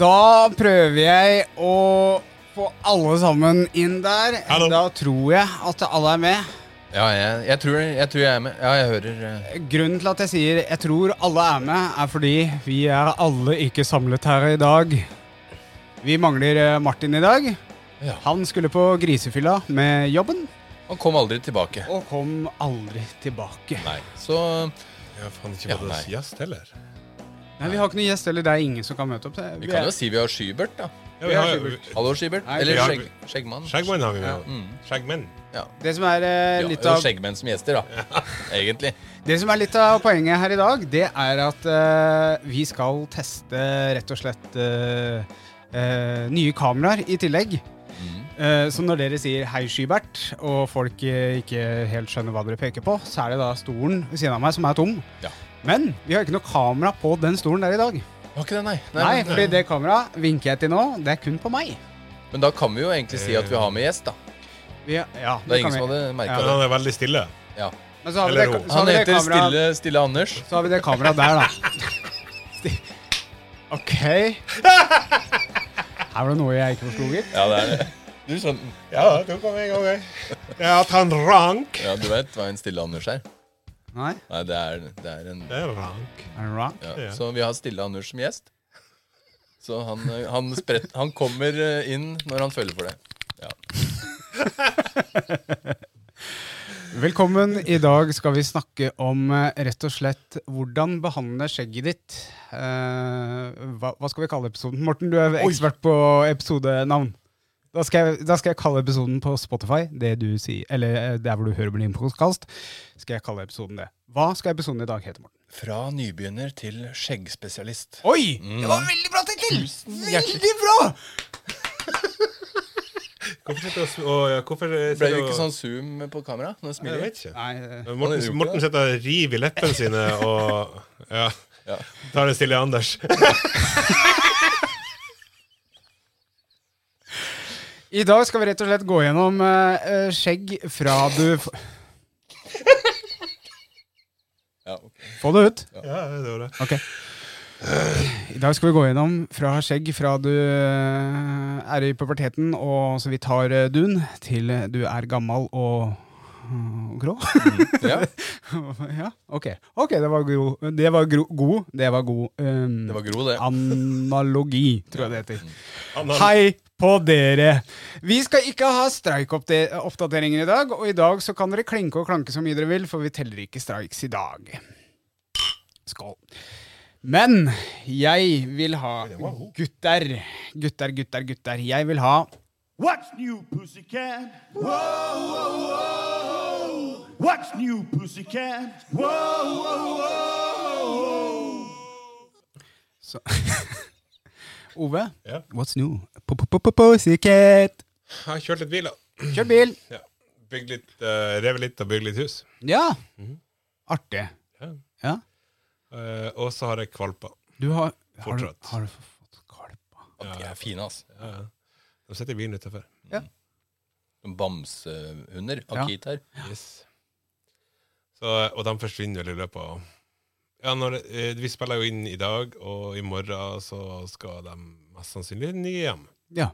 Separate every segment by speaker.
Speaker 1: Da prøver jeg å få alle sammen inn der.
Speaker 2: Hallo.
Speaker 1: Da tror jeg at alle er med.
Speaker 3: Ja, jeg, jeg, tror, jeg tror jeg er med. Ja, jeg hører eh,
Speaker 1: Grunnen til at jeg sier 'jeg tror alle er med', er fordi vi er alle ikke samlet her i dag. Vi mangler eh, Martin i dag.
Speaker 3: Ja.
Speaker 1: Han skulle på grisefylla med jobben
Speaker 3: Han kom aldri tilbake.
Speaker 1: og kom aldri tilbake.
Speaker 3: Nei. Så
Speaker 2: Jeg har faen ikke
Speaker 3: Ja,
Speaker 2: vært hos
Speaker 3: nei.
Speaker 2: gjest heller.
Speaker 1: Nei, vi har ikke noen gjest, eller det er ingen som kan møte opp.
Speaker 3: vi kan jo si vi har Skybert, da.
Speaker 2: Ja,
Speaker 1: Vi
Speaker 2: vi
Speaker 1: har
Speaker 2: har
Speaker 1: Skybert.
Speaker 3: Hallo, Skybert.
Speaker 1: Nei,
Speaker 3: Eller
Speaker 2: vi har-
Speaker 3: skjegg, Skjeggmann.
Speaker 2: Skjeggmenn har vi
Speaker 1: Ja.
Speaker 2: med.
Speaker 3: Mm.
Speaker 2: Skjeggmenn.
Speaker 1: Det som er eh,
Speaker 3: Ja,
Speaker 1: litt
Speaker 3: og
Speaker 1: av
Speaker 3: skjeggmenn som gjester, da. Egentlig.
Speaker 1: Det som er litt av poenget her i dag, det er at eh, vi skal teste rett og slett eh, eh, nye kameraer i tillegg.
Speaker 3: Mm.
Speaker 1: Eh, så når dere sier 'hei, Skybert', og folk eh, ikke helt skjønner hva dere peker på, så er det da stolen ved siden av meg som er tom.
Speaker 3: Ja.
Speaker 1: Men vi har ikke noe kamera på den stolen der i dag.
Speaker 3: Var ikke det, nei.
Speaker 1: Nei, fordi det kameraet vinker jeg til nå, det er kun på meg.
Speaker 3: Men da kan vi jo egentlig si at vi har med gjest, da.
Speaker 1: Vi, ja, det
Speaker 3: Det er
Speaker 1: kan
Speaker 3: ingen
Speaker 1: vi.
Speaker 3: som hadde merka
Speaker 2: Men
Speaker 3: det.
Speaker 2: han er veldig stille.
Speaker 3: Ja.
Speaker 1: Men så har vi
Speaker 2: Eller
Speaker 1: det,
Speaker 2: ro.
Speaker 1: så har
Speaker 3: Han
Speaker 1: vi det
Speaker 3: heter
Speaker 1: kameraet-
Speaker 3: Stille, Stille Anders.
Speaker 1: Så har vi det kameraet der, da. Sti- OK. Her var det noe jeg ikke forsto, gitt.
Speaker 3: Ja, det er det. Du skjønner
Speaker 2: Ja, du kom en gang, jeg. Ja, at han rank.
Speaker 3: Ja, du vet hva en Stille Anders er?
Speaker 1: Nei?
Speaker 3: Nei, det er, det er en
Speaker 2: Det er rank.
Speaker 1: Er det wrong?
Speaker 3: ja.
Speaker 2: Ja.
Speaker 3: Så vi har Stille Anders som gjest. Så han, eh, han, spredt, han kommer eh, inn når han føler for det. Ja.
Speaker 1: Velkommen. I dag skal vi snakke om eh, rett og slett hvordan behandle skjegget ditt. Eh, hva, hva skal vi kalle episoden? Morten, du er ekspert på episodenavn. Da skal, jeg, da skal jeg kalle episoden på Spotify, det du sier, eller eh, der hvor du hører min podkast. Skal jeg kalle episoden det. Hva skal episoden i dag hete, Morten?
Speaker 3: Fra nybegynner til skjeggspesialist.
Speaker 1: Oi! Det var veldig bra tittel!
Speaker 3: hjertelig-
Speaker 1: Veldig bra!
Speaker 2: Hvorfor sitter du og sm- og ja, Hvorfor sitter
Speaker 3: Ble du
Speaker 2: og-
Speaker 3: ikke sånn zoom på kamera? Når du
Speaker 2: Jeg
Speaker 3: smiler?
Speaker 2: vet ikke.
Speaker 1: Nei, eh,
Speaker 3: Han
Speaker 2: Men
Speaker 3: er jo
Speaker 2: Morten,
Speaker 3: ikke
Speaker 2: Morten
Speaker 3: det.
Speaker 2: sitter og river i leppene sine og ja.
Speaker 3: Ja.
Speaker 2: tar en stille Anders.
Speaker 1: I dag skal vi rett og slett gå gjennom eh, eh, skjegg fra du f-
Speaker 3: Ja, ok.
Speaker 1: Få det ut.
Speaker 2: Ja, det var det.
Speaker 1: Ok. Eh, I dag skal vi gå gjennom fra skjegg fra du eh, er i puberteten og så vidt har eh, dun, til eh, du er gammel og og grå?
Speaker 3: Mm. ja.
Speaker 1: ja, OK. Ok, Det var, gro, det var gro, god Det var god ehm,
Speaker 3: Det var Gro, det. Mm.
Speaker 1: analogi, tror jeg det heter.
Speaker 2: Han, han,
Speaker 1: Hei på dere! Vi skal ikke ha streikoppdateringer i dag, og i dag så kan dere klinke og klanke så mye dere vil, for vi teller ikke streiks i dag. Skål. Men jeg vil ha gutter. Gutter, gutter, gutter. Jeg vil ha
Speaker 4: What's new, pussycat? Whoa, whoa, whoa. What's new, pussycat? Whoa, whoa, whoa.
Speaker 1: så. Ove,
Speaker 2: Ja.
Speaker 1: what's new? Pussycat.
Speaker 2: har kjørt litt bil, da.
Speaker 1: Kjør bil.
Speaker 2: Ja. Bygd litt, eh, revet litt og bygd litt hus.
Speaker 1: Ja. Artig.
Speaker 2: Ja.
Speaker 1: Mhm. Ja.
Speaker 2: Eh, og så har jeg kvalper.
Speaker 1: Du har har du-
Speaker 2: Fortsatt.
Speaker 1: Har du fått kvalpa?
Speaker 3: At de er fine, altså.
Speaker 2: Ja. De sitter i bilen utafor.
Speaker 3: Som Bamsehunder.
Speaker 1: Ja.
Speaker 3: Akit her.
Speaker 2: Yes. Så, eh, og de forsvinner vel i løpet av ja, når, eh, Vi spiller jo inn i dag, og i morgen så skal de mest sannsynlig nye hjem.
Speaker 1: Ja.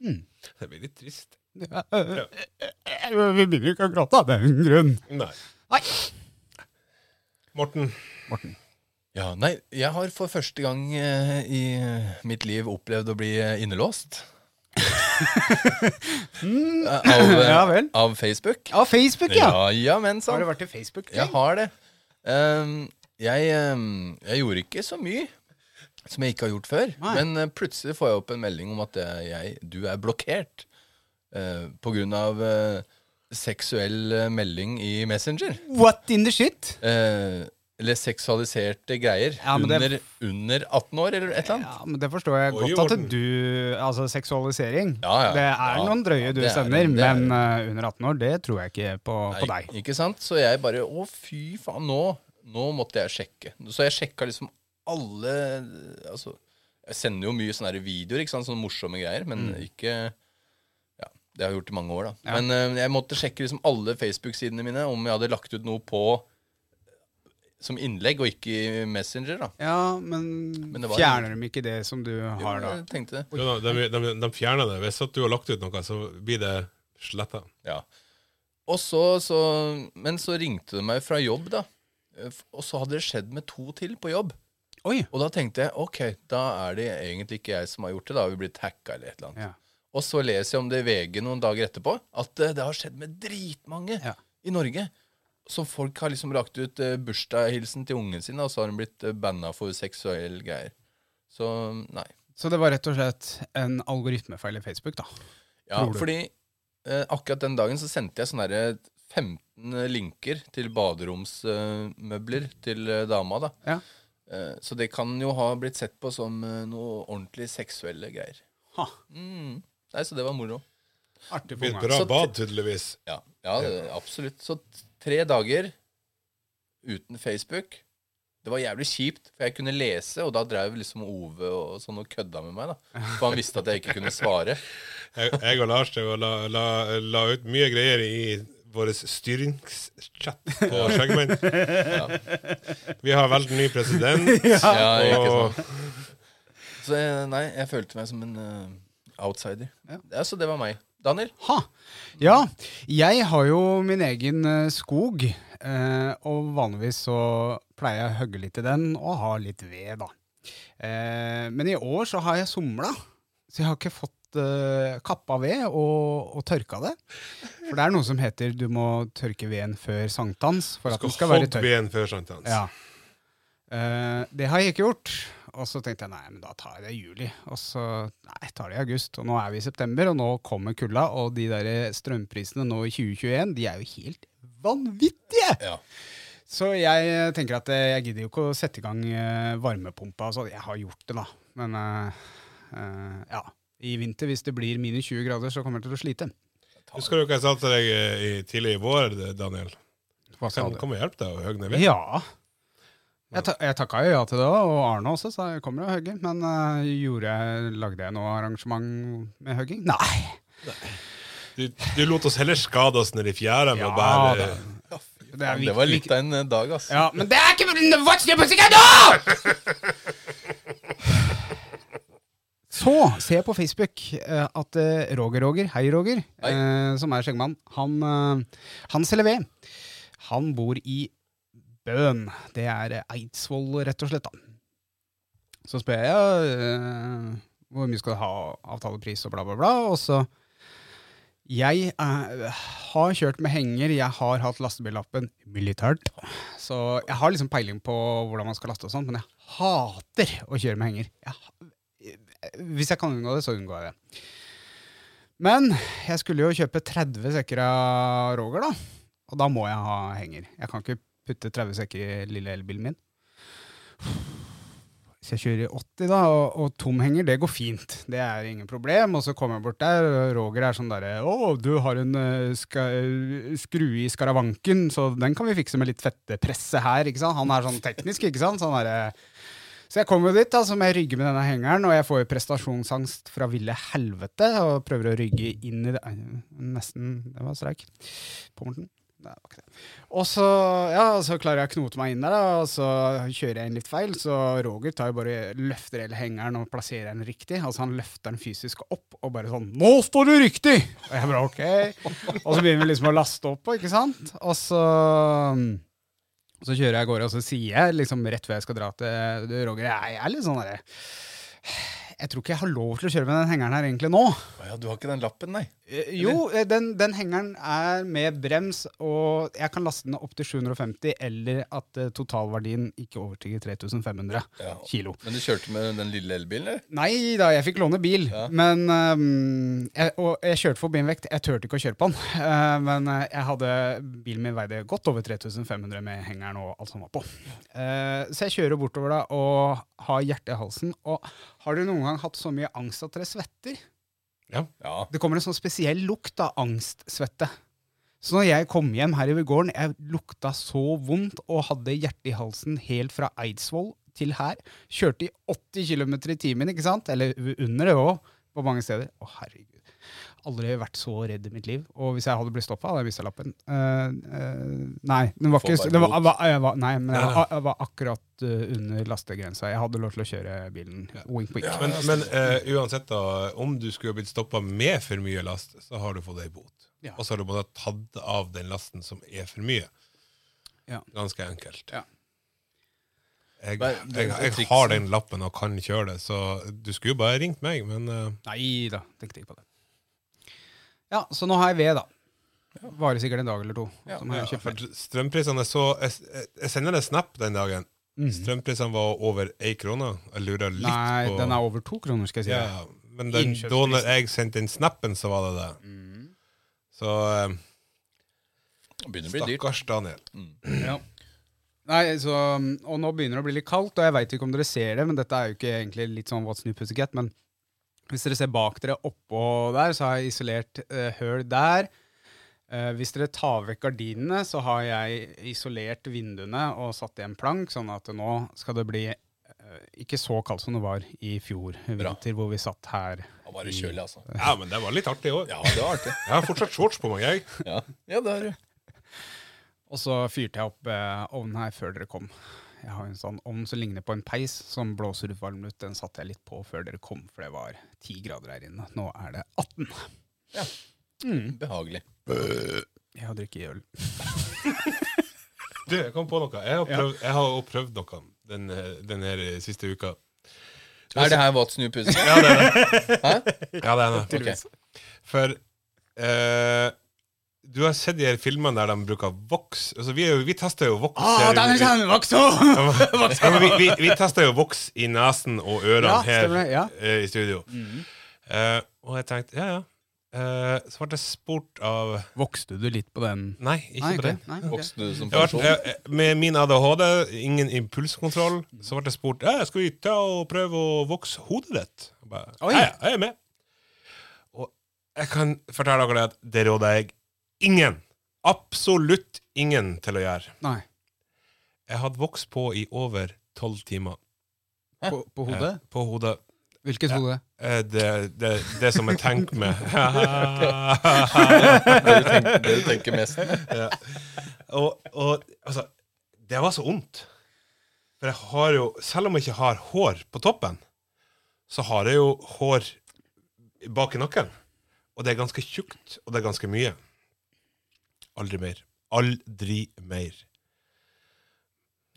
Speaker 2: Det blir litt trist.
Speaker 1: Ja, øh, øh, Vi begynner ikke å gråte av den grunn.
Speaker 2: Nei.
Speaker 1: Nei.
Speaker 2: Morten,
Speaker 3: Ja, nei, jeg har for første gang eh, i mitt liv opplevd å bli eh, innelåst. Av, eh,
Speaker 1: Ja vel.
Speaker 3: av Facebook.
Speaker 1: Ja, Facebook, ja!
Speaker 3: Ja, ja, men sånn. sant.
Speaker 1: Har du vært til Facebook?
Speaker 3: Jeg har det. Ehm, jeg, ehm, jeg gjorde ikke så mye som jeg ikke har gjort før.
Speaker 1: Nei.
Speaker 3: Men eh, plutselig får jeg opp en melding om at eh, jeg, du er blokkert eh, på grunn av eh, seksuell eh, melding i Messenger.
Speaker 1: What in the shit?
Speaker 3: Eh, eller seksualiserte greier
Speaker 1: Ja, men
Speaker 3: under,
Speaker 1: det-
Speaker 3: under 18 år, eller et eller annet.
Speaker 1: Ja, men Det forstår jeg
Speaker 2: Oi,
Speaker 1: godt at
Speaker 2: Morten.
Speaker 1: du Altså seksualisering.
Speaker 3: Ja, ja,
Speaker 1: Det er
Speaker 3: ja.
Speaker 1: noen drøye du
Speaker 3: Det er-
Speaker 1: sender,
Speaker 3: det er-
Speaker 1: men eh, under 18 år, det tror jeg ikke på, på
Speaker 3: Nei,
Speaker 1: deg.
Speaker 3: Ikke sant? Så jeg bare Å, fy faen, nå, nå måtte jeg sjekke. Så jeg sjekka liksom alle Altså, jeg sender jo mye sånne her videoer, ikke sant? Sånne morsomme greier, men
Speaker 1: Mm.
Speaker 3: ikke Ja, det har jeg gjort i mange år, da. Men eh, jeg måtte sjekke liksom alle Facebook-sidene mine om jeg hadde lagt ut noe på som innlegg, og ikke i Messenger, da.
Speaker 1: Ja, men,
Speaker 3: Men det var-
Speaker 1: fjerner de ikke det som du har da?
Speaker 3: Jeg tenkte det.
Speaker 2: Jo, da, de, de, de fjerner det. Hvis at du har lagt ut noe, så blir det sletta.
Speaker 3: Ja. Og så, så, men så ringte de meg fra jobb, da. Eh, f- Og så hadde det skjedd med to til på jobb.
Speaker 1: Oi!
Speaker 3: Og da tenkte jeg ok, da er det egentlig ikke jeg som har gjort det. Da har vi blitt hacka eller et eller annet.
Speaker 1: Ja.
Speaker 3: Og så leser jeg om det i VG noen dager etterpå, at eh, det har skjedd med dritmange
Speaker 1: Ja.
Speaker 3: i Norge. Så folk har liksom lagt ut eh, bursdagshilsen til ungen sin, og så har hun blitt eh, banna for seksuelle greier. Så nei.
Speaker 1: Så det var rett og slett en algoritmefeil i Facebook, da.
Speaker 3: Ja,
Speaker 1: Tror du?
Speaker 3: fordi eh, akkurat den dagen så sendte jeg sånn sånne her 15 eh, linker til baderomsmøbler til eh, dama, da.
Speaker 1: Ja.
Speaker 3: Eh, så det kan jo ha blitt sett på som eh, noe ordentlig seksuelle greier.
Speaker 1: Ha,
Speaker 3: Mm. Nei, så det var moro.
Speaker 1: artig for
Speaker 2: Blir et
Speaker 1: meg.
Speaker 2: bra
Speaker 3: Så-
Speaker 2: bad, tydeligvis.
Speaker 3: Ja, ja det, absolutt. Så t- tre dager uten Facebook. Det var jævlig kjipt, for jeg kunne lese, og da drev liksom Ove og sånn og kødda med meg. da. For han visste at jeg ikke kunne svare.
Speaker 2: Jeg, jeg og Lars drev og la, la, la ut mye greier i vår styringschat på Skjeggmenn. Vi har valgt ny president.
Speaker 3: Ja, ikke sant.
Speaker 2: og
Speaker 3: Så jeg, nei, jeg følte meg som en eh, outsider.
Speaker 1: Ja.
Speaker 3: Ja. så det var meg. Daniel?
Speaker 1: Ha. Ja, jeg har jo min egen eh, skog, eh, og vanligvis så pleier jeg å hogge litt i den og ha litt ved, da. Eh, men i år så har jeg somla, så jeg har ikke fått eh, kappa ved og, og tørka det. For det er noe som heter du må tørke veden før sankthans for at
Speaker 2: skal
Speaker 1: den skal være
Speaker 2: hogge
Speaker 1: tørr.
Speaker 2: veden før sankthans.
Speaker 1: Ja. Eh, det har jeg ikke gjort. Og så tenkte jeg nei, men da tar jeg det i juli. Og så nei, jeg tar det i august. Og nå er vi i september, og nå kommer kulda. Og de der strømprisene nå i 2021, de er jo helt vanvittige!
Speaker 3: Ja.
Speaker 1: Så jeg eh, tenker at eh, jeg gidder jo ikke å sette i gang eh, varmepumpa. Altså, jeg har gjort det, da. Men eh, eh, ja. I vinter, hvis det blir minus 20 grader, så kommer jeg til å slite.
Speaker 2: Husker du hva jeg sa til deg eh, i, tidlig i vår, eh, Daniel?
Speaker 1: Hva sa
Speaker 2: Kan
Speaker 1: du?
Speaker 2: komme og hjelpe deg å høgne ved.
Speaker 1: Ja. Jeg, ta jeg takka jo ja til det, også, og Arne også sa jeg kommer og hugger. Men eh, gjorde jeg, lagde jeg noe arrangement med hugging? Nei.
Speaker 2: Du, du lot oss heller skade oss nede i fjæra med
Speaker 1: Ja,
Speaker 2: å bære
Speaker 1: da. Det, er
Speaker 3: Det var
Speaker 1: viktig.
Speaker 3: litt av en eh, dag, ass.
Speaker 1: Ja, men det er ikke What's your music I know? Så ser jeg på Facebook eh, at eh, Roger Roger, hei Roger,
Speaker 3: Hei.
Speaker 1: eh, som er skjeggmann, han, eh, han selger ved. Han bor i Bøn. Det er eh, Eidsvoll, rett og slett. da. Så spør jeg eh, hvor mye skal du ha avtalepris og bla, bla, bla. Og så Jeg eh, har kjørt med henger, jeg har hatt lastebillappen militært. Så jeg har liksom peiling på hvordan man skal laste og sånn, men jeg hater å kjøre med henger. Jeg, ha- hvis jeg kan unngå det, så unngår jeg det. Men jeg skulle jo kjøpe 30 sekker av Roger, da. Og da må jeg ha henger. Jeg kan ikke putte 30 sekker i lille elbilen min. Hvis jeg kjører i 80 da, og, og tom henger, det går fint. Det er ingen problem. Og så kommer jeg bort der, og Roger er sånn derre Å, du har en eh, ska, skrue i skaravanken, så den kan vi fikse med litt fettepresse her, ikke sant? Han er sånn teknisk, ikke sant? Sånn derre så jeg kommer jo dit, da, så må jeg rygge med denne hengeren, og jeg får jo prestasjonsangst fra ville helvete, og prøver å rygge inn i det Ai, Nesten Det var streik på Morten. Nei, det var ikke det. Og så, ja, så klarer jeg å knote meg inn der, da, og så kjører jeg inn litt feil. Så Roger tar jo bare løfter hele hengeren og plasserer den riktig. Altså Han løfter den fysisk opp og bare sånn 'Nå står du riktig!' Og jeg bare OK. Og så begynner vi liksom å laste opp, ikke sant? Og så og så kjører jeg av gårde, og så sier jeg liksom rett før jeg skal dra til Roger Jeg er litt sånn derre jeg tror ikke jeg har lov til å kjøre med den hengeren her egentlig nå.
Speaker 3: Å ja, du har ikke den lappen, nei?
Speaker 1: Eh, Jo, eh, den, den hengeren er med brems, og jeg kan laste den opp til 750, eller at eh, totalverdien ikke overstiger 3500
Speaker 3: Ja.
Speaker 1: kilo.
Speaker 3: Men du kjørte med den lille elbilen, eller?
Speaker 1: Nei da, jeg fikk låne bil,
Speaker 3: Ja.
Speaker 1: men ehm, jeg, Og jeg kjørte forbi en vekt. Jeg turte ikke å kjøre på den, eh, men eh, jeg hadde bilen min veide godt over 3500 med hengeren og alt som var på. Eh, så jeg kjører bortover da og har hjertet i halsen. Og har du noen gang hatt så mye angst at dere svetter?
Speaker 3: Ja.
Speaker 1: Det kommer en sånn spesiell lukt av angstsvette. Så når jeg kom hjem her i gården, jeg lukta så vondt og hadde hjertet i halsen helt fra Eidsvoll til her. Kjørte i 80 km i timen, ikke sant? Eller u- under det òg, på mange steder. Å, herregud. Aldri vært så redd i mitt liv. Og hvis jeg hadde blitt stoppa, hadde jeg mista lappen. Eh, eh, nei, den var
Speaker 3: Få
Speaker 1: ikke
Speaker 3: bare
Speaker 1: det var,
Speaker 3: bot.
Speaker 1: var, Ah, jeg var, Nei, men jeg
Speaker 2: Nei,
Speaker 1: var, jeg var akkurat eh, under lastegrensa. Jeg hadde lov til å kjøre bilen. Wink, wink.
Speaker 2: Men, men eh, uansett, da, om du skulle blitt stoppa med for mye last, så har du fått ei bot.
Speaker 1: Ja.
Speaker 2: Og så har du måttet tatt av den lasten som er for mye.
Speaker 1: Ja.
Speaker 2: Ganske enkelt.
Speaker 1: Ja.
Speaker 2: Jeg,
Speaker 3: Nei,
Speaker 2: jeg,
Speaker 3: det-
Speaker 2: jeg,
Speaker 3: det trikset-
Speaker 2: har den lappen og kan kjøre det, så du skulle jo bare ringt meg, men eh,
Speaker 1: Nei da, tenkte ikke på det. Ja, så nå har jeg ved, da. Varer sikkert en dag eller to.
Speaker 3: Ja,
Speaker 1: så må jeg
Speaker 2: ja,
Speaker 1: kjøpe.
Speaker 2: for strømprisene så Jeg, jeg- jeg sender deg snap den dagen. Strømprisene var over ei krone. Jeg lurer litt
Speaker 1: Mhm. Nei,
Speaker 2: på
Speaker 1: den er over to kroner, skal jeg si.
Speaker 2: Ja,
Speaker 1: deg.
Speaker 2: ja. men den,
Speaker 1: Innkjøpsprisen.
Speaker 2: da når jeg sendte inn snappen, så var det det.
Speaker 3: Mhm.
Speaker 2: Så eh,
Speaker 3: Det begynner å bli dyrt.
Speaker 2: stakkars Daniel.
Speaker 1: Ja. Nei, så, um, og nå begynner det å bli litt kaldt, og jeg veit ikke om dere ser det, men dette er jo ikke egentlig litt sånn What's New Pussycat, men hvis dere ser bak dere oppå der, så har jeg isolert eh, høl der. Eh, hvis dere tar vekk gardinene, så har jeg isolert vinduene og satt i en plank, sånn at nå skal det bli eh, ikke så kaldt som det var i fjor vinter, hvor vi satt her.
Speaker 3: Det var bare kjølig, altså.
Speaker 2: Ja, men det var litt artig i år.
Speaker 3: Ja, det var artig.
Speaker 2: Jeg har fortsatt shorts på meg, jeg.
Speaker 3: Ja, ja det har du.
Speaker 1: Og så fyrte jeg opp eh, ovnen her før dere kom. Jeg har en sånn ovn som ligner på en peis som blåser ut varmen ut. Den satte jeg litt på før dere kom, for det var 10 grader her inne. Nå er det 18.
Speaker 3: Mm. Behagelig.
Speaker 1: Jeg har drukket øl.
Speaker 2: Du, jeg kom på noe. Jeg har prøvd, jeg har jo prøvd noe den, eh, den her siste uka.
Speaker 3: Er det her What's New Pussy?
Speaker 2: Ja, det er det. Ja, det, er det.
Speaker 3: Ok.
Speaker 2: For eh, du har sett de her filmene der de bruker voks. Altså, vi, er jo, vi tester jo voks.
Speaker 1: Ah,
Speaker 2: her i-
Speaker 1: sånn. sandvokser!
Speaker 2: ja, men vi, vi, vi tester jo voks i nesen og ørene
Speaker 1: Ja,
Speaker 2: her
Speaker 1: stemmer det, ja.
Speaker 2: eh, i studio. Eh, og jeg tenkte, ja, ja. Eh, så ble jeg spurt av
Speaker 1: Vokste du litt på den?
Speaker 2: Nei, ikke
Speaker 1: Nei,
Speaker 2: på
Speaker 1: ok.
Speaker 2: den.
Speaker 1: Nei, ok.
Speaker 3: Vokste du som
Speaker 2: Jeg
Speaker 3: person?
Speaker 2: ble, jeg, eh, med min ADHD, ingen impulskontroll, så ble jeg spurt ja, skal vi ta og prøve å vokse hodet ditt. Jeg bare,
Speaker 1: Oi.
Speaker 2: ja, ja, jeg er med. Og jeg kan fortelle dere at det råder jeg ingen, absolutt ingen, til å gjøre.
Speaker 1: Nei.
Speaker 2: Jeg hadde vokst på i over tolv timer.
Speaker 1: På, på hodet?
Speaker 2: Eh, På hodet.
Speaker 1: Hvilket hode?
Speaker 2: Eh, Det, det, det som jeg tenker med.
Speaker 3: Det du tenker, det du tenker mest med?
Speaker 2: ja. og, og altså Det var så vondt. For jeg har jo Selv om jeg ikke har hår på toppen, så har jeg jo hår bak i nakken. Og det er ganske tjukt, og det er ganske mye. Aldri mer. Aldri mer.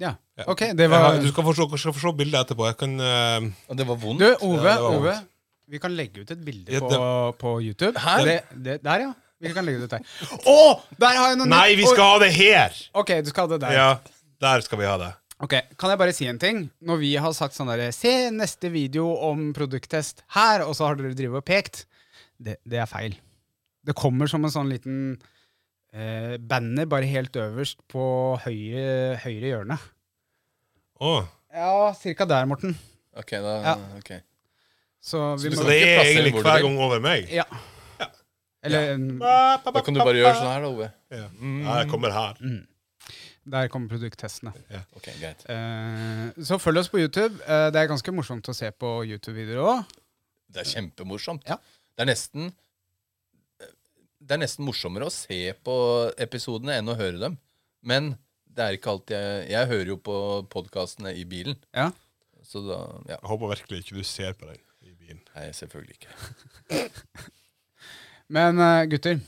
Speaker 1: Ja.
Speaker 2: Ja.
Speaker 1: Ok, det var
Speaker 2: Jeg har- Du skal få se, skal få se bildet etterpå. Jeg kan eh,
Speaker 3: Og det var vondt?
Speaker 1: Du, Ove,
Speaker 2: Ja, det var
Speaker 1: Ove,
Speaker 2: vondt.
Speaker 1: vi kan legge ut et bilde
Speaker 2: Ja,
Speaker 1: på,
Speaker 2: det-
Speaker 1: på YouTube.
Speaker 3: Hæ?
Speaker 1: Det, det, der, ja. Vi kan legge ut et der. Å! Der har jeg noe
Speaker 2: Nei, vi skal ha det her!
Speaker 1: Ok, du skal ha det der.
Speaker 2: Ja, der skal vi ha det.
Speaker 1: Ok, Kan jeg bare si en ting? Når vi har sagt sånn derre Se neste video om produkttest her, og så har dere drevet og pekt. Det, det er feil. Det kommer som en sånn liten eh, banner bare helt øverst på høyre, høyre hjørne.
Speaker 2: Å,
Speaker 1: Ja, cirka der, Morten.
Speaker 3: Ok, da,
Speaker 1: Ja.
Speaker 3: ok.
Speaker 1: Så vi
Speaker 3: du
Speaker 1: må
Speaker 2: så
Speaker 3: kan
Speaker 2: det
Speaker 3: ikke
Speaker 2: er
Speaker 3: plassere
Speaker 2: egentlig
Speaker 3: hvor du vil.
Speaker 2: hver gang over meg.
Speaker 1: Ja. Eller mm,
Speaker 3: Da kan du bare gjøre sånn her, da, Ove.
Speaker 2: Ja, Ja, jeg kommer her.
Speaker 1: Der kommer produkttestene.
Speaker 3: Ok, greit.
Speaker 1: Eh, så følg oss på YouTube. Eh, det er ganske morsomt å se på YouTube-videoer òg.
Speaker 3: Det er kjempemorsomt.
Speaker 1: Ja.
Speaker 3: Det er nesten Det er nesten morsommere å se på episodene enn å høre dem. Men det er ikke alltid Jeg, jeg hører jo på podkastene i bilen.
Speaker 1: Ja.
Speaker 3: Så da Ja,
Speaker 2: Jeg håper virkelig ikke du ser på den i bilen.
Speaker 3: nei, selvfølgelig ikke.
Speaker 1: Men eh, gutter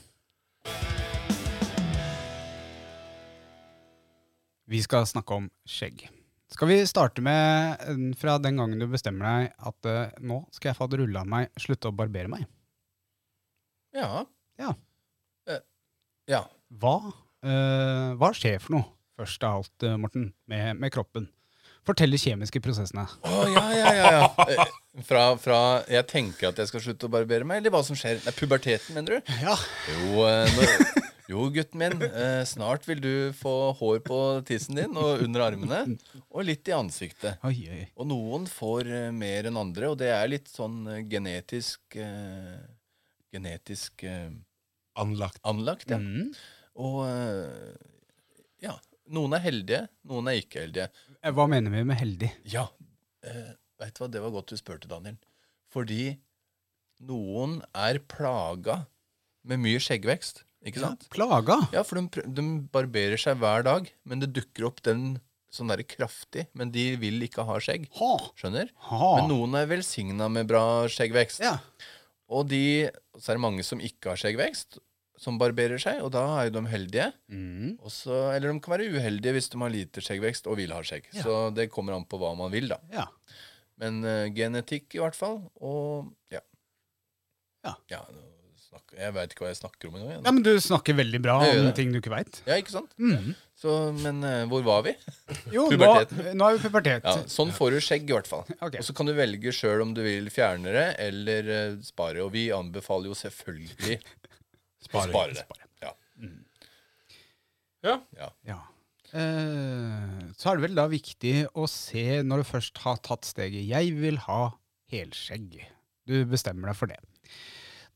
Speaker 1: Vi skal snakke om skjegg. Skal vi starte med eh, fra den gangen du bestemmer deg at eh, nå skal jeg fader rulle av meg, slutte å barbere meg.
Speaker 3: Ja.
Speaker 1: Ja.
Speaker 3: Eh, ja.
Speaker 1: Hva, eh, hva skjer for noe, først av alt, eh, Morten, med, med kroppen? Fortell de kjemiske prosessene.
Speaker 3: Å, ja, ja, ja. ja. Eh, Fra, fra jeg tenker at jeg skal slutte å barbere meg, eller hva som skjer? Nei, puberteten, mener du?
Speaker 1: Ja.
Speaker 3: Jo, eh, nå, jo gutten min, eh, snart vil du få hår på tissen din og under armene, og litt i ansiktet.
Speaker 1: Oi, oi.
Speaker 3: Og noen får eh, mer enn andre, og det er litt sånn eh, genetisk eh, Genetisk eh,
Speaker 2: Anlagt.
Speaker 3: anlagt, ja.
Speaker 1: Mm.
Speaker 3: Og eh, ja. Noen er heldige, noen er ikke heldige.
Speaker 1: Eh, Hva mener vi med heldig?
Speaker 3: Ja, eh, vet du hva, det var godt du spurte, Daniel. Fordi noen er plaga med mye skjeggvekst, ikke sant?
Speaker 1: Plaga?
Speaker 3: Ja, for de, pr- de barberer seg hver dag, men det dukker opp den sånn derre kraftig, men de vil ikke ha skjegg.
Speaker 1: Ha.
Speaker 3: Skjønner?
Speaker 1: Ha.
Speaker 3: Men noen er velsigna med bra skjeggvekst.
Speaker 1: Ja.
Speaker 3: Og de, så er det mange som ikke har skjeggvekst, som barberer seg, og da er jo de heldige.
Speaker 1: Mm.
Speaker 3: Og så- eller de kan være uheldige hvis de har lite skjeggvekst og vil ha skjegg.
Speaker 1: Ja.
Speaker 3: Så det kommer an på hva man vil, da.
Speaker 1: ja.
Speaker 3: Men eh, genetikk i hvert fall, og ja.
Speaker 1: Ja.
Speaker 3: nå snakker, jeg veit ikke hva jeg snakker om engang.
Speaker 1: Ja,
Speaker 3: jeg.
Speaker 1: men du snakker veldig bra
Speaker 3: Jeg gjør
Speaker 1: om
Speaker 3: det.
Speaker 1: ting du ikke veit.
Speaker 3: Ja, ikke sant?
Speaker 1: Mm.
Speaker 3: Så, men eh, hvor var vi?
Speaker 1: Jo, nå,
Speaker 3: Puberteten.
Speaker 1: nå er vi pubertet.
Speaker 3: Ja, sånn får du skjegg, i hvert fall.
Speaker 1: Ok.
Speaker 3: Og så kan du velge sjøl om du vil fjerne det eller eh, spare. Og vi anbefaler jo selvfølgelig å
Speaker 2: Sparing.
Speaker 3: spare det. Ja.
Speaker 1: Mhm.
Speaker 2: Ja.
Speaker 1: Ja. Eh, så er det vel da viktig å se, når du først har tatt steget 'jeg vil ha helskjegg', du bestemmer deg for det.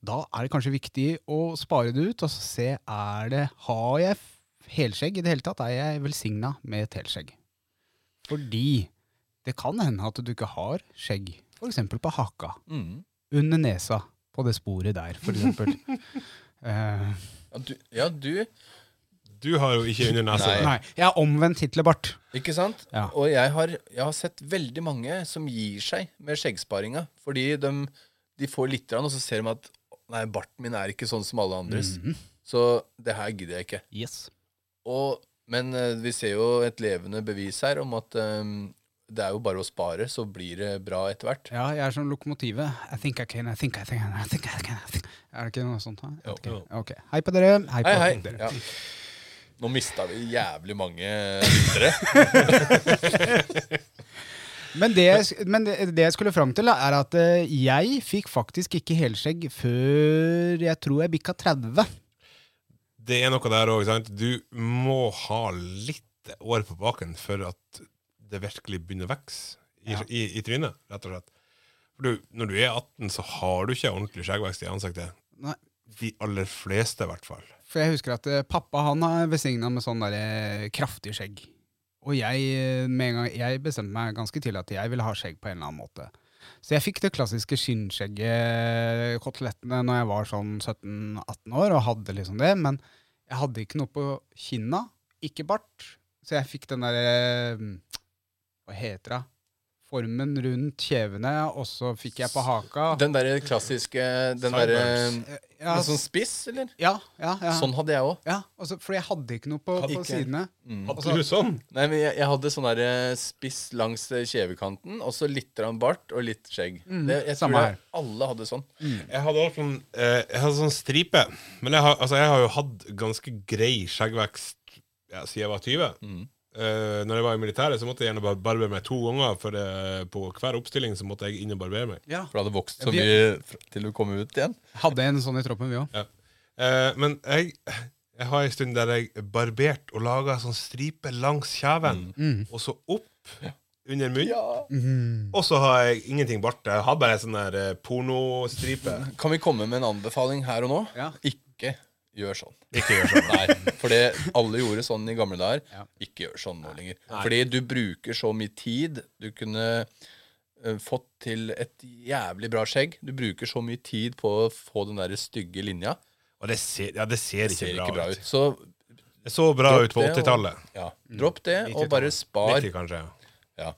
Speaker 1: Da er det kanskje viktig å spare det ut og så se er det, har jeg f- helskjegg i det hele tatt. Er jeg velsigna med et helskjegg? Fordi det kan hende at du ikke har skjegg, f.eks. på haka,
Speaker 3: Mm.
Speaker 1: under nesa, på det sporet der, f.eks. uh,
Speaker 3: Ja, du, ja, du
Speaker 2: Du har jo ikke under nesa.
Speaker 3: Nei.
Speaker 1: nei, jeg har omvendt Hitlerbart.
Speaker 3: Ikke sant?
Speaker 1: Ja.
Speaker 3: Og jeg har, jeg har sett veldig mange som gir seg med skjeggsparinga. Fordi de, de får litt, grann, og så ser de at Nei, barten min er ikke sånn som alle andres.
Speaker 1: Mhm.
Speaker 3: Så det her gidder jeg ikke.
Speaker 1: Yes.
Speaker 3: Og, men eh, vi ser jo et levende bevis her om at eh, det er jo bare å spare, så blir det bra etter hvert.
Speaker 1: Ja, jeg er som lokomotivet. I think I can, I think I can, I think I can. I think. Er det ikke noe sånt? da? Jeg vet
Speaker 2: Jo.
Speaker 1: ikke. Ok. Hei på dere. Hei på
Speaker 3: Hei, hei.
Speaker 1: dere.
Speaker 3: Ja. Nå mista vi jævlig mange lyttere.
Speaker 1: Men, det, jeg sk- men det, det jeg skulle fram til, da, er at eh, jeg fikk faktisk ikke helskjegg før jeg tror jeg bikka 30.
Speaker 2: Det er noe der òg, sant? Du må ha litt år på baken for at det virkelig begynner å vokse i,
Speaker 1: Ja.
Speaker 2: i, i trynet, rett og slett. For du, når du er 18, så har du ikke ordentlig skjeggvekst i ansiktet.
Speaker 1: Nei.
Speaker 2: De aller fleste, i hvert fall.
Speaker 1: For jeg husker at eh, pappa han er besigna med sånn der, eh, kraftig skjegg. Og jeg, eh, med en gang, jeg bestemte meg ganske tidlig at jeg ville ha skjegg på en eller annen måte. Så jeg fikk det klassiske skinnskjegget, kotelettene, når jeg var sånn 17-18 år og hadde liksom det. Men jeg hadde ikke noe på kinna, ikke bart. Så jeg fikk den derre Hva heter det? Formen rundt kjevene, og så fikk jeg på haka.
Speaker 3: Den derre klassiske Den derre
Speaker 2: Sideburns.
Speaker 1: ja,
Speaker 3: med Sånn spiss, eller?
Speaker 1: ja, ja, ja.
Speaker 3: Sånn hadde jeg òg.
Speaker 1: Ja, og så- for jeg hadde ikke noe på,
Speaker 3: Hadde
Speaker 1: på
Speaker 3: ikke.
Speaker 1: sidene.
Speaker 2: Hadde
Speaker 1: Altså,
Speaker 2: du sånn?
Speaker 3: Nei, men jeg, jeg hadde sånn der eh, spiss langs eh, kjevekanten, og så litt grann bart og litt skjegg. det, jeg
Speaker 1: samme
Speaker 3: tror
Speaker 1: her.
Speaker 3: jeg, alle hadde sånn.
Speaker 2: Jeg hadde også sånn, eh, jeg hadde sånn stripe. Men jeg har, altså, jeg har jo hatt ganske grei skjeggvekst ja, siden jeg var 20.
Speaker 3: Mm.
Speaker 2: Eh, når jeg var i militæret, så måtte jeg gjerne bare barbere meg to ganger. For eh, på hver oppstilling så måtte jeg inn og barbere meg.
Speaker 1: Ja.
Speaker 3: For det hadde vokst så
Speaker 1: Vi-
Speaker 3: mye fra- til du kom ut igjen.
Speaker 1: Hadde en sånn i troppen, vi òg.
Speaker 2: Ja. Eh, men jeg, jeg har en stund der jeg barberte og laga sånn stripe langs kjeven,
Speaker 3: Mm.
Speaker 2: og så opp under munnen. Og så har jeg ingenting bart. Jeg har bare sånn der eh, pornostripe.
Speaker 3: Kan vi komme med en anbefaling her og nå?
Speaker 1: Ja.
Speaker 3: Ikke gjør sånn.
Speaker 2: Ikke gjør sånn.
Speaker 3: Nei, for det, alle gjorde sånn i gamle dager.
Speaker 1: Ja.
Speaker 3: Ikke gjør sånn nå lenger. Fordi du bruker så mye tid. Du kunne eh, fått til et jævlig bra skjegg. Du bruker så mye tid på å få den der stygge linja.
Speaker 2: Og det ser, ja, det ser,
Speaker 3: Det
Speaker 2: ikke,
Speaker 3: ser
Speaker 2: bra
Speaker 3: ikke bra ut.
Speaker 2: ut.
Speaker 3: Så
Speaker 2: Det så bra
Speaker 3: Dropp
Speaker 2: ut på
Speaker 3: det, og-
Speaker 2: 80-tallet.
Speaker 3: ja, dropp det, og
Speaker 2: 90-tallet.
Speaker 3: bare spar.
Speaker 2: 90 kanskje.
Speaker 3: Ja.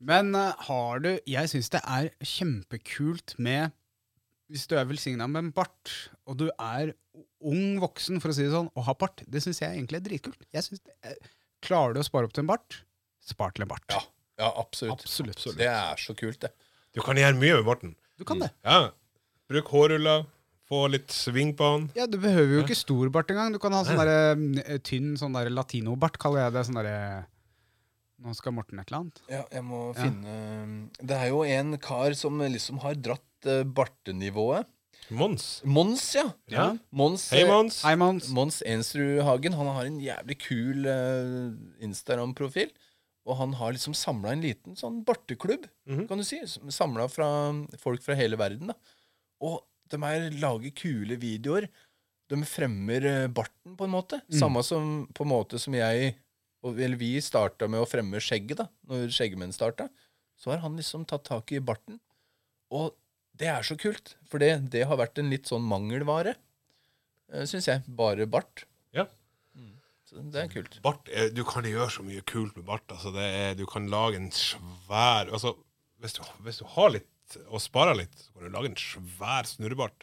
Speaker 1: Men eh, har du Jeg syns det er kjempekult med Hvis du er velsigna med en bart, og du er ung eh, voksen for å si det sånn, og har bart, det syns jeg egentlig er dritkult. Jeg synes det er, Klarer du å spare opp til en bart, spart eller bart.
Speaker 3: Ja, ja absolutt.
Speaker 1: Absolutt.
Speaker 3: Det er så kult, det.
Speaker 2: Du kan gjøre mye med barten.
Speaker 1: Du kan
Speaker 3: Mm.
Speaker 1: det.
Speaker 2: Ja. Bruk hårruller, få litt sving på den.
Speaker 1: Ja, Du behøver jo ikke stor bart engang. Du kan ha sånn der, eh, tynn sånn der latinobart, kaller jeg det. Sånn derre Nå skal Morten et eller annet.
Speaker 3: Ja, jeg må finne um, Det er jo en kar som liksom har dratt eh, bartenivået.
Speaker 2: Mons.
Speaker 3: Mons, ja.
Speaker 2: Ja.
Speaker 3: Mons,
Speaker 2: Hei,
Speaker 3: eh,
Speaker 2: Mons.
Speaker 1: Hei, Mons.
Speaker 3: Mons Ensrudhagen han har en jævlig kul eh, Instagram-profil. Og han har liksom samla en liten sånn barteklubb, kan du si. Samla fra folk fra hele verden. da. Og de her lager kule videoer. De fremmer eh, barten, på en måte. Samme som på en måte som jeg og, Eller vi starta med å fremme skjegget, da. Når skjeggmenn starta. Så har han liksom tatt tak i barten. Og det er så kult, for det, det har vært en litt sånn mangelvare syns jeg. Bare bart.
Speaker 2: Ja.
Speaker 3: Så det er kult.
Speaker 2: Bart, eh, du kan gjøre så mye kult med bart. Altså, det er, du kan lage en svær altså, hvis, du, hvis du har litt og sparer litt, så kan du lage en svær snurrebart.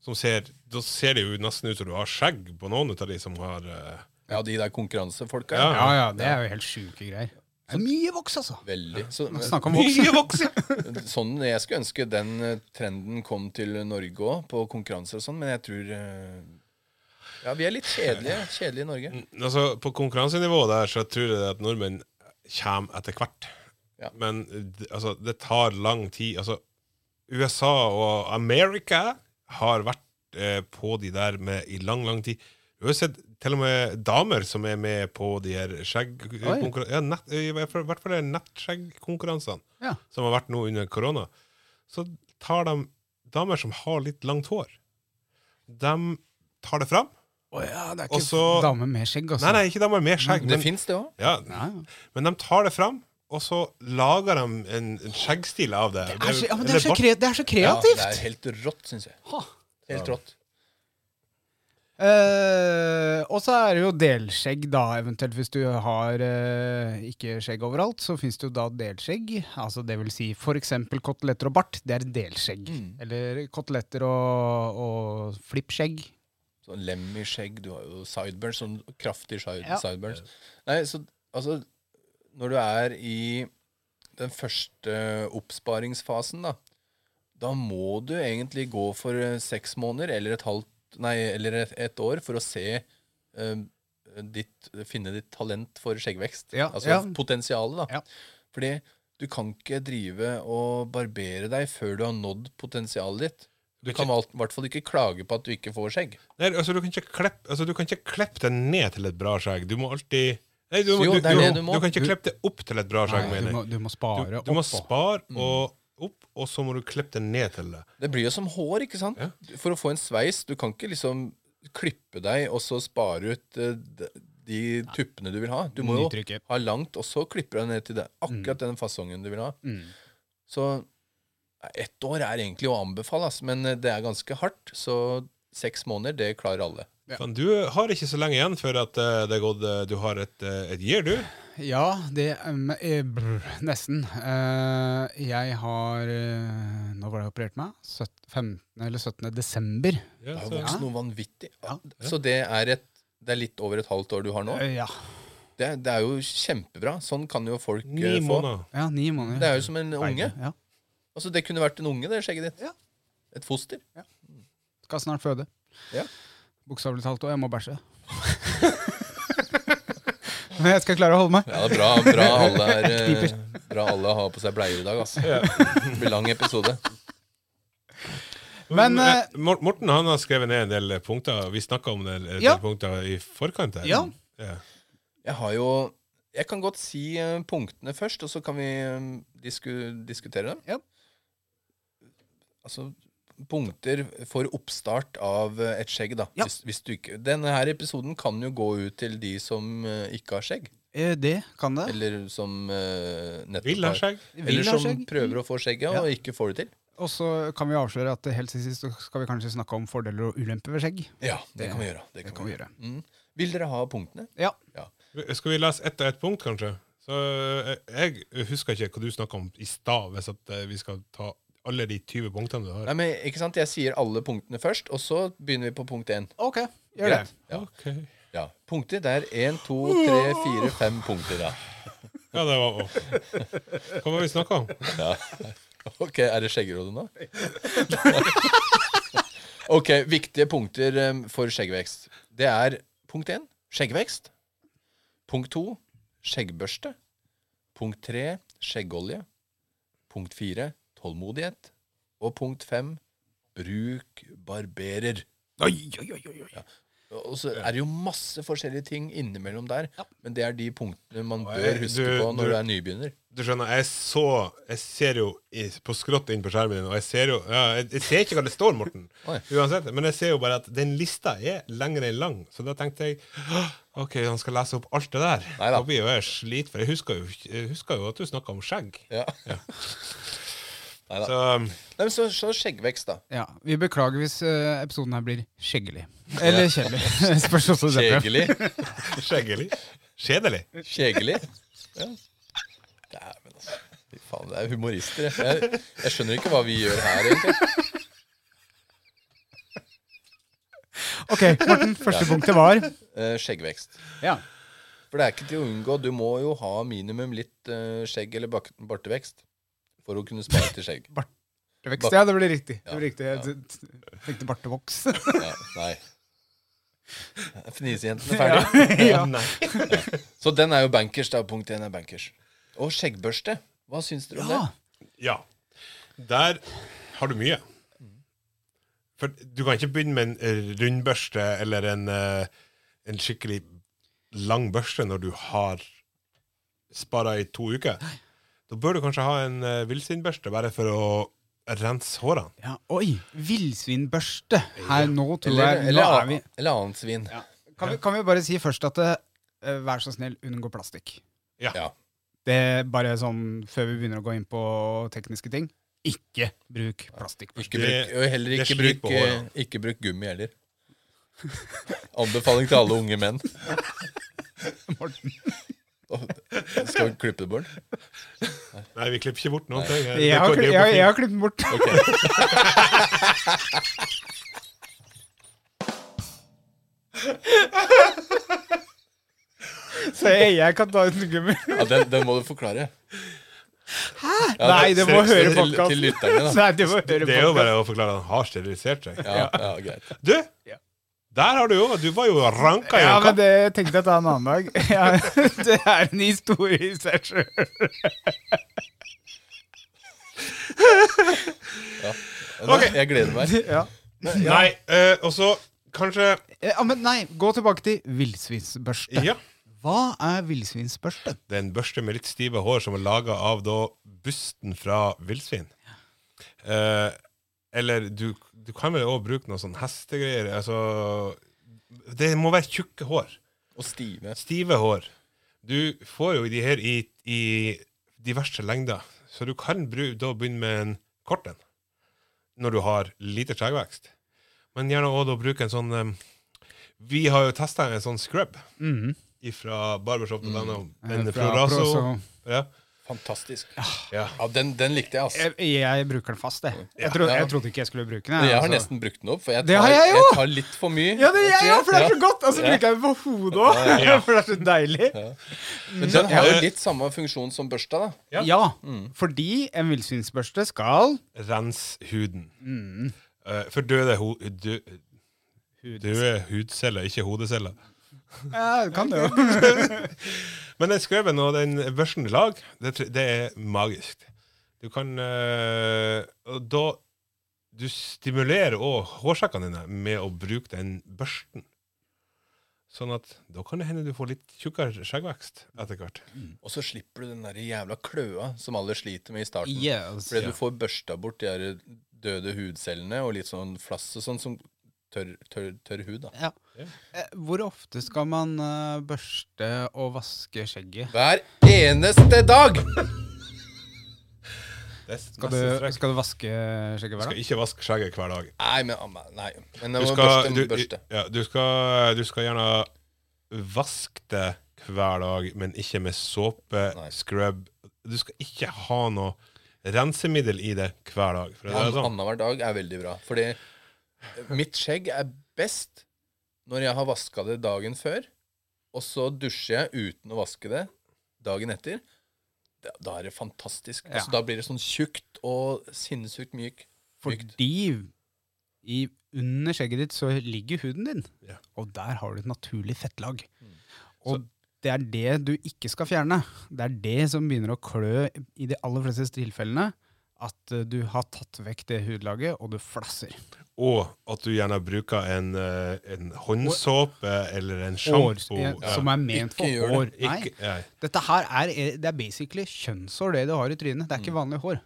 Speaker 2: Som ser, da ser det jo nesten ut som du har skjegg på noen av de som har eh,
Speaker 3: Ja, de der konkurransefolka.
Speaker 2: Ja.
Speaker 3: Ja.
Speaker 1: Ja, ja, det er jo helt sjuke greier. Det er mye voks, altså.
Speaker 3: Veldig. Så,
Speaker 1: Snakk om voks.
Speaker 2: Mye voksen!
Speaker 3: sånn jeg skulle ønske den eh, trenden kom til Norge òg, på konkurranser og sånn, men jeg tror eh, Ja, vi er litt kjedelige, kjedelige i Norge.
Speaker 2: altså, på konkurransenivå der så tror jeg at nordmenn kommer etter hvert.
Speaker 3: Ja.
Speaker 2: Men d- altså, det tar lang tid. Altså, USA og America har vært eh, på de der med i lang, lang tid. Du har jo sett til og med damer som er med på de her skjeggkonkurransene. Ja, nett- I hvert fall- hvert fall er det nettskjeggkonkurransene
Speaker 1: Ja.
Speaker 2: som har vært nå under korona. Så tar de damer som har litt langt hår, de tar det fram.
Speaker 1: Å ja, det er
Speaker 2: Og
Speaker 1: ikke
Speaker 2: så-
Speaker 1: dame med skjegg, altså.
Speaker 2: Nei, nei, ikke damer med skjegg.
Speaker 3: Det
Speaker 2: men-
Speaker 3: fins, det òg.
Speaker 2: ja,
Speaker 1: Ja, ja.
Speaker 2: men de tar det fram, og så lager de en, en skjeggstil av det.
Speaker 1: Det, er så, ja, men det,
Speaker 2: Eller
Speaker 1: er så
Speaker 2: bart-
Speaker 1: kre, det er så
Speaker 3: Ja, det
Speaker 1: kreativt!
Speaker 3: er helt rått, syns jeg.
Speaker 1: Ha.
Speaker 3: Helt rått.
Speaker 1: Eh, og så er det jo delskjegg, da, eventuelt. Hvis du har eh, ikke skjegg overalt, så fins det jo da delskjegg. Altså det vil si for eksempel koteletter og bart, det er delskjegg.
Speaker 3: Mm.
Speaker 1: Eller koteletter og, og flippskjegg.
Speaker 3: Sånn Lemmy-skjegg, du har jo sideburns, sånn kraftig side,
Speaker 1: Ja.
Speaker 3: sideburns. Nei, så altså Når du er i den første oppsparingsfasen, da, da må du egentlig gå for eh, seks måneder eller et halvt Nei, eller et, et år for å se eh, ditt, finne ditt talent for skjeggvekst.
Speaker 1: Ja,
Speaker 3: altså
Speaker 1: ja.
Speaker 3: potensialet, da.
Speaker 1: Ja.
Speaker 3: Fordi du kan ikke drive og barbere deg før du har nådd potensialet ditt. Du
Speaker 2: Du
Speaker 3: kan i hvert fall ikke klage på at du ikke får skjegg.
Speaker 2: Nei, altså, du kan ikke klippe altså, du kan ikke klippe det ned til et bra skjegg. Du må alltid Nei, du, må-
Speaker 3: Jo,
Speaker 2: du,
Speaker 3: det er
Speaker 2: du,
Speaker 3: det
Speaker 2: du,
Speaker 3: du må.
Speaker 2: kan ikke klippe det opp til et bra skjegg,
Speaker 1: Nei, du,
Speaker 2: mener
Speaker 1: må,
Speaker 2: jeg.
Speaker 1: du må
Speaker 2: Du,
Speaker 1: spare
Speaker 2: du
Speaker 1: opp. Mm.
Speaker 2: må
Speaker 1: og-
Speaker 2: spare og opp, og så må du klippe det ned til det.
Speaker 3: Det blir jo som hår, ikke sant?
Speaker 2: Ja.
Speaker 3: For å få en sveis, du kan ikke liksom klippe deg og så spare ut eh, de- de tuppene du vil ha. Du må jo
Speaker 1: Nytrykke.
Speaker 3: ha langt, og så klipper du deg ned til det.
Speaker 2: Mm.
Speaker 3: akkurat den fasongen du vil ha.
Speaker 1: Mm.
Speaker 3: Så nei, ett år er egentlig å anbefale, ass, men eh, det er ganske hardt. Så seks måneder, det klarer alle.
Speaker 1: Ja.
Speaker 2: Faen, Sånn, du har ikke så lenge igjen før at eh, det er gått eh, Du har et, eh, et year, du.
Speaker 1: Ja, det um, eh, brr, Nesten. Eh, jeg har eh, Nå var det jeg opererte meg. Søtt- 15. eller 17. desember.
Speaker 3: Det
Speaker 2: Ja,
Speaker 3: har
Speaker 2: så,
Speaker 3: vokst noe vanvittig.
Speaker 1: Ja.
Speaker 3: Så det er, et, det er litt over et halvt år du har nå.
Speaker 1: Eh, ja.
Speaker 3: Det, det er jo kjempebra. Sånn kan jo folk
Speaker 2: ni
Speaker 3: eh, få.
Speaker 2: måneder.
Speaker 1: ja, ni måneder.
Speaker 3: Det er jo som en unge.
Speaker 1: Ja.
Speaker 3: Altså, det kunne vært en unge, det skjegget ditt.
Speaker 1: Ja.
Speaker 3: Et foster.
Speaker 1: Skal snart føde.
Speaker 3: Ja.
Speaker 1: Bokstavelig talt òg. Jeg må bæsje. Men jeg skal klare å holde meg.
Speaker 3: Ja, det er bra, bra, alle er, eh, bra alle har på seg bleier i dag, altså. Det blir lang episode.
Speaker 1: Men,
Speaker 2: Men,
Speaker 1: eh,
Speaker 2: eh, Mor- Morten han har skrevet ned en del punkter. Vi snakka om det en del
Speaker 1: Ja.
Speaker 2: punkter i forkant. her.
Speaker 1: Ja.
Speaker 2: Ja.
Speaker 3: Jeg har jo Jeg kan godt si eh, punktene først, og så kan vi eh, disku, diskutere dem.
Speaker 1: Ja.
Speaker 3: Altså punkter for oppstart av eh, et skjegg, da.
Speaker 1: Ja.
Speaker 3: Hvis, hvis du ikke Denne her episoden kan jo gå ut til de som eh, ikke har skjegg,
Speaker 1: Eh, Det kan det.
Speaker 3: eller som eh, nettopp
Speaker 2: Vil ha skjegg.
Speaker 1: Vil
Speaker 3: Eller
Speaker 1: ha
Speaker 3: som
Speaker 1: skjegg.
Speaker 3: prøver å få skjegget, og ikke får det til.
Speaker 1: Og så kan vi avsløre at helt til sist så skal vi kanskje snakke om fordeler og ulemper ved skjegg.
Speaker 3: Ja, det,
Speaker 1: Det-
Speaker 3: kan vi gjøre. Det
Speaker 1: Det kan vi gjøre.
Speaker 3: Mm. Vil dere ha punktene?
Speaker 1: Ja.
Speaker 2: Skal vi lese ett og ett punkt, kanskje? Så eh, Jeg husker ikke hva du snakka om i stad, hvis at eh, vi skal ta alle de 20 punktene du har.
Speaker 3: Nei, men ikke sant, Jeg sier alle punktene først, og så begynner vi på punkt én.
Speaker 1: Ok, gjør det.
Speaker 3: Ja,
Speaker 2: Ok.
Speaker 3: ja. Punkter. Det er én, to, tre, fire, fem punkter. da.
Speaker 2: Ja, det var åh. Hva var det vi snakka om?
Speaker 3: Ja. Ok, er det skjeggerådet nå? ok, viktige punkter em, for skjeggvekst. Det er punkt 1, skjeggvekst. Punkt 2, skjeggbørste. Punkt 3, skjeggolje. Punkt 4, tålmodighet. Og punkt 5, bruk barberer. Ja. Og så er det jo masse forskjellige ting innimellom der, men det er de punktene man
Speaker 2: Og jeg-
Speaker 3: bør huske
Speaker 2: du-
Speaker 3: på når
Speaker 2: du-
Speaker 3: du er nybegynner.
Speaker 2: Du skjønner, jeg så Jeg ser jo i, på skrått inn på skjermen din, og jeg ser jo ja, jeg, jeg ser ikke hva det står, Morten.
Speaker 3: Oi.
Speaker 2: Uansett. Men jeg ser jo bare at den lista er lengre enn lang, så da tenkte jeg «Åh, OK, han skal lese opp alt det der.
Speaker 3: Neida.
Speaker 2: Da blir jo jeg slit, for jeg husker jo, jeg husker jo at du snakka om skjegg.
Speaker 3: Ja. Neida.
Speaker 2: Så
Speaker 3: Nei, men så, så skjeggvekst, da.
Speaker 1: Ja, Vi beklager hvis eh, episoden her blir skjeggelig. Eller kjedelig. Spørs også det. Preben.
Speaker 3: Kjegelig.
Speaker 2: skjeggelig. Kjedelig.
Speaker 3: Kjegelig. Ja. Dæven, altså. Fy faen, det er humorister. jeg. Jeg, jeg skjønner ikke hva vi gjør her, egentlig.
Speaker 1: Ok, Morten. Første punktet var
Speaker 3: Eh, skjeggvekst.
Speaker 1: Ja.
Speaker 3: For det er ikke til å unngå. Du må jo ha minimum litt eh, skjegg eller bak bartevekst for å kunne spare til skjegg.
Speaker 1: Vekst, ja, det blir riktig. Det
Speaker 3: Ja,
Speaker 1: blir riktig. Jeg
Speaker 3: ja.
Speaker 1: t- tenkte bartevoks.
Speaker 3: Ja, nei. Fnisejentene er ferdige.
Speaker 1: ja.
Speaker 2: Nei.
Speaker 3: Så den er jo bankers, da. Punkt én er bankers. Og skjeggbørste. Hva syns dere om
Speaker 1: Ja.
Speaker 2: Ja. Der har du mye. For du kan ikke begynne med en eh, rundbørste eller en, eh, en skikkelig lang børste når du har spara i to uker. Da bør du kanskje ha en eh, villsvinbørste bare for å rense hårene.
Speaker 1: ja. Oi! Villsvinbørste. Her nå
Speaker 3: det?
Speaker 1: tror
Speaker 3: Eller,
Speaker 1: jeg Nå er
Speaker 3: eller,
Speaker 1: vi
Speaker 3: eller annet svin. Ja.
Speaker 1: Kan vi, kan vi bare si først at eh, vær så snill, unngå plastikk. Det er bare sånn før vi begynner å gå inn på tekniske ting. Ikke bruk plastikkbørste.
Speaker 3: Ikke bruk,
Speaker 2: Det-
Speaker 3: og heller
Speaker 2: det
Speaker 3: ikke
Speaker 2: sliter
Speaker 3: bruk,
Speaker 2: på håret.
Speaker 3: eh, ikke bruk gummi heller. Anbefaling til alle unge menn.
Speaker 1: Morten.
Speaker 3: Åh, Skal vi klippe det bort?
Speaker 2: Nei, vi klipper ikke bort noen ting. Det
Speaker 1: Jeg har,
Speaker 2: går- det
Speaker 1: klipp-
Speaker 2: går
Speaker 1: jeg, har-
Speaker 2: fint.
Speaker 1: jeg har klippet den bort.
Speaker 3: Ok.
Speaker 1: Så jeg, jeg kan ta uten gummi.
Speaker 3: Ja, den, den må du forklare. Ja,
Speaker 1: Nei, det må
Speaker 2: se-
Speaker 1: høre
Speaker 3: til, til
Speaker 1: podkasten.
Speaker 3: lytterne, da.
Speaker 1: Nei, det må høre
Speaker 2: Det er jo
Speaker 1: podcasten.
Speaker 2: bare å forklare at han har sterilisert seg.
Speaker 3: Ja, ja, greit.
Speaker 2: Du!
Speaker 1: Ja.
Speaker 2: Der har du jo Du var jo ranka i
Speaker 1: Ja,
Speaker 2: en
Speaker 1: men
Speaker 2: kapp.
Speaker 1: det tenkte jeg ta en annen dag. Ja, det er en historie i seg sjøl.
Speaker 3: Nå, Jeg gleder meg.
Speaker 1: Ja. Eh,
Speaker 2: Nei, eh, og så kanskje
Speaker 1: ja, men nei, gå tilbake til villsvinsbørste.
Speaker 2: Ja.
Speaker 1: Hva er villsvinsbørste?
Speaker 2: Det er en børste med litt stive hår som er laga av da busten fra villsvin. Eh, eller du, du kan vel òg bruke noe sånn hestegreier. Altså Det må være tjukke hår.
Speaker 3: Og stive.
Speaker 2: Stive hår. Du får jo de her i, i diverse lengder, så du kan bru, da begynne med en kort en når du har lite skjeggvekst. Men gjerne òg da bruke en sånn eh, Vi har jo testa en sånn scrub fra Barbershop. Mm. Den
Speaker 1: Mm-hmm. Eh, Fra
Speaker 2: Proraso.
Speaker 1: Proso.
Speaker 2: Ja.
Speaker 3: Fantastisk.
Speaker 2: Ja.
Speaker 3: Ja, den, den likte jeg, altså.
Speaker 1: Ah. Jeg, jeg bruker den fast, jeg. Jeg, trodde-
Speaker 3: Ja.
Speaker 1: jeg trodde ikke jeg skulle bruke den.
Speaker 3: Men jeg har
Speaker 1: altså.
Speaker 3: nesten brukt den opp, for jeg
Speaker 1: Det
Speaker 3: tar,
Speaker 1: har jeg
Speaker 3: jeg
Speaker 1: jo!
Speaker 3: tar litt for mye.
Speaker 1: Ja, det
Speaker 3: jeg
Speaker 1: gjør jeg,
Speaker 3: tror.
Speaker 1: for det er så
Speaker 3: Ja.
Speaker 1: godt! Og så
Speaker 3: Ja.
Speaker 1: bruker jeg den på hodet òg,
Speaker 2: Ja.
Speaker 1: for det er så deilig.
Speaker 3: Men den har
Speaker 2: Ja.
Speaker 3: jo litt samme funksjon som børsta, da.
Speaker 2: Ja.
Speaker 1: Ja, fordi en villsvinsbørste skal
Speaker 2: Rens huden.
Speaker 1: Mm-hmm.
Speaker 2: Eh, for døde, ho dø døde hudceller, ikke hodeceller.
Speaker 1: Ja, du kan det jo.
Speaker 2: Men den skrøven og den børsten i lag, det, tr- det er magisk. Du kan eh, Og da Du stimulerer òg hårsekkene dine med å bruke den børsten. Sånn at da kan det hende du får litt tjukkere skjeggvekst etter hvert.
Speaker 3: Og så slipper du den der jævla kløa som alle sliter med i starten.
Speaker 1: Yes.
Speaker 3: Fordi du får børsta bort de her døde hudcellene og litt sånn flass og sånn som tørr, tørr, tørr hud. da.
Speaker 1: Ja. Eh, Hvor ofte skal man eh, børste og vaske skjegget?
Speaker 3: Hver eneste dag!
Speaker 2: Det er
Speaker 1: Skal
Speaker 2: nesten
Speaker 1: du,
Speaker 2: strekk.
Speaker 1: skal du vaske skjegget hver
Speaker 2: skal
Speaker 1: dag?
Speaker 2: ikke vaske skjegget hver dag.
Speaker 3: Nei, men amma, nei. Men
Speaker 2: Du
Speaker 3: jeg må
Speaker 2: skal,
Speaker 3: børste,
Speaker 2: du,
Speaker 3: børste.
Speaker 2: ja, du, skal, du skal gjerne vaske det hver dag, men ikke med såpe,
Speaker 3: Nei.
Speaker 2: scrub Du skal ikke ha noe rensemiddel i det hver dag. For det er
Speaker 3: Ann-
Speaker 2: sånn.
Speaker 3: Annenhver dag er veldig bra. Fordi mitt skjegg er best når jeg har vaska det dagen før, og så dusjer jeg uten å vaske det dagen etter. da- da er det fantastisk.
Speaker 1: Ja.
Speaker 3: Altså, da blir det sånn tjukt og sinnssykt myk. mykt.
Speaker 1: Fordi i, under skjegget ditt så ligger huden din,
Speaker 2: Ja. Mm.
Speaker 1: og der har du et naturlig fettlag. Og det er det du ikke skal fjerne. Det er det som begynner å klø i de aller fleste tilfellene. At eh, du har tatt vekk det hudlaget, og du flasser.
Speaker 2: Og at du gjerne bruker en, eh, en håndsåpe eller en
Speaker 1: Hår,
Speaker 2: sjampo.
Speaker 1: eh,
Speaker 2: Ja.
Speaker 1: som er ment
Speaker 3: Ikke gjør
Speaker 1: for hår. Nei.
Speaker 2: Ikke, ja.
Speaker 1: Dette her er, eh, det er basically kjønnshår, det du har i trynet. Det er ikke vanlig hår.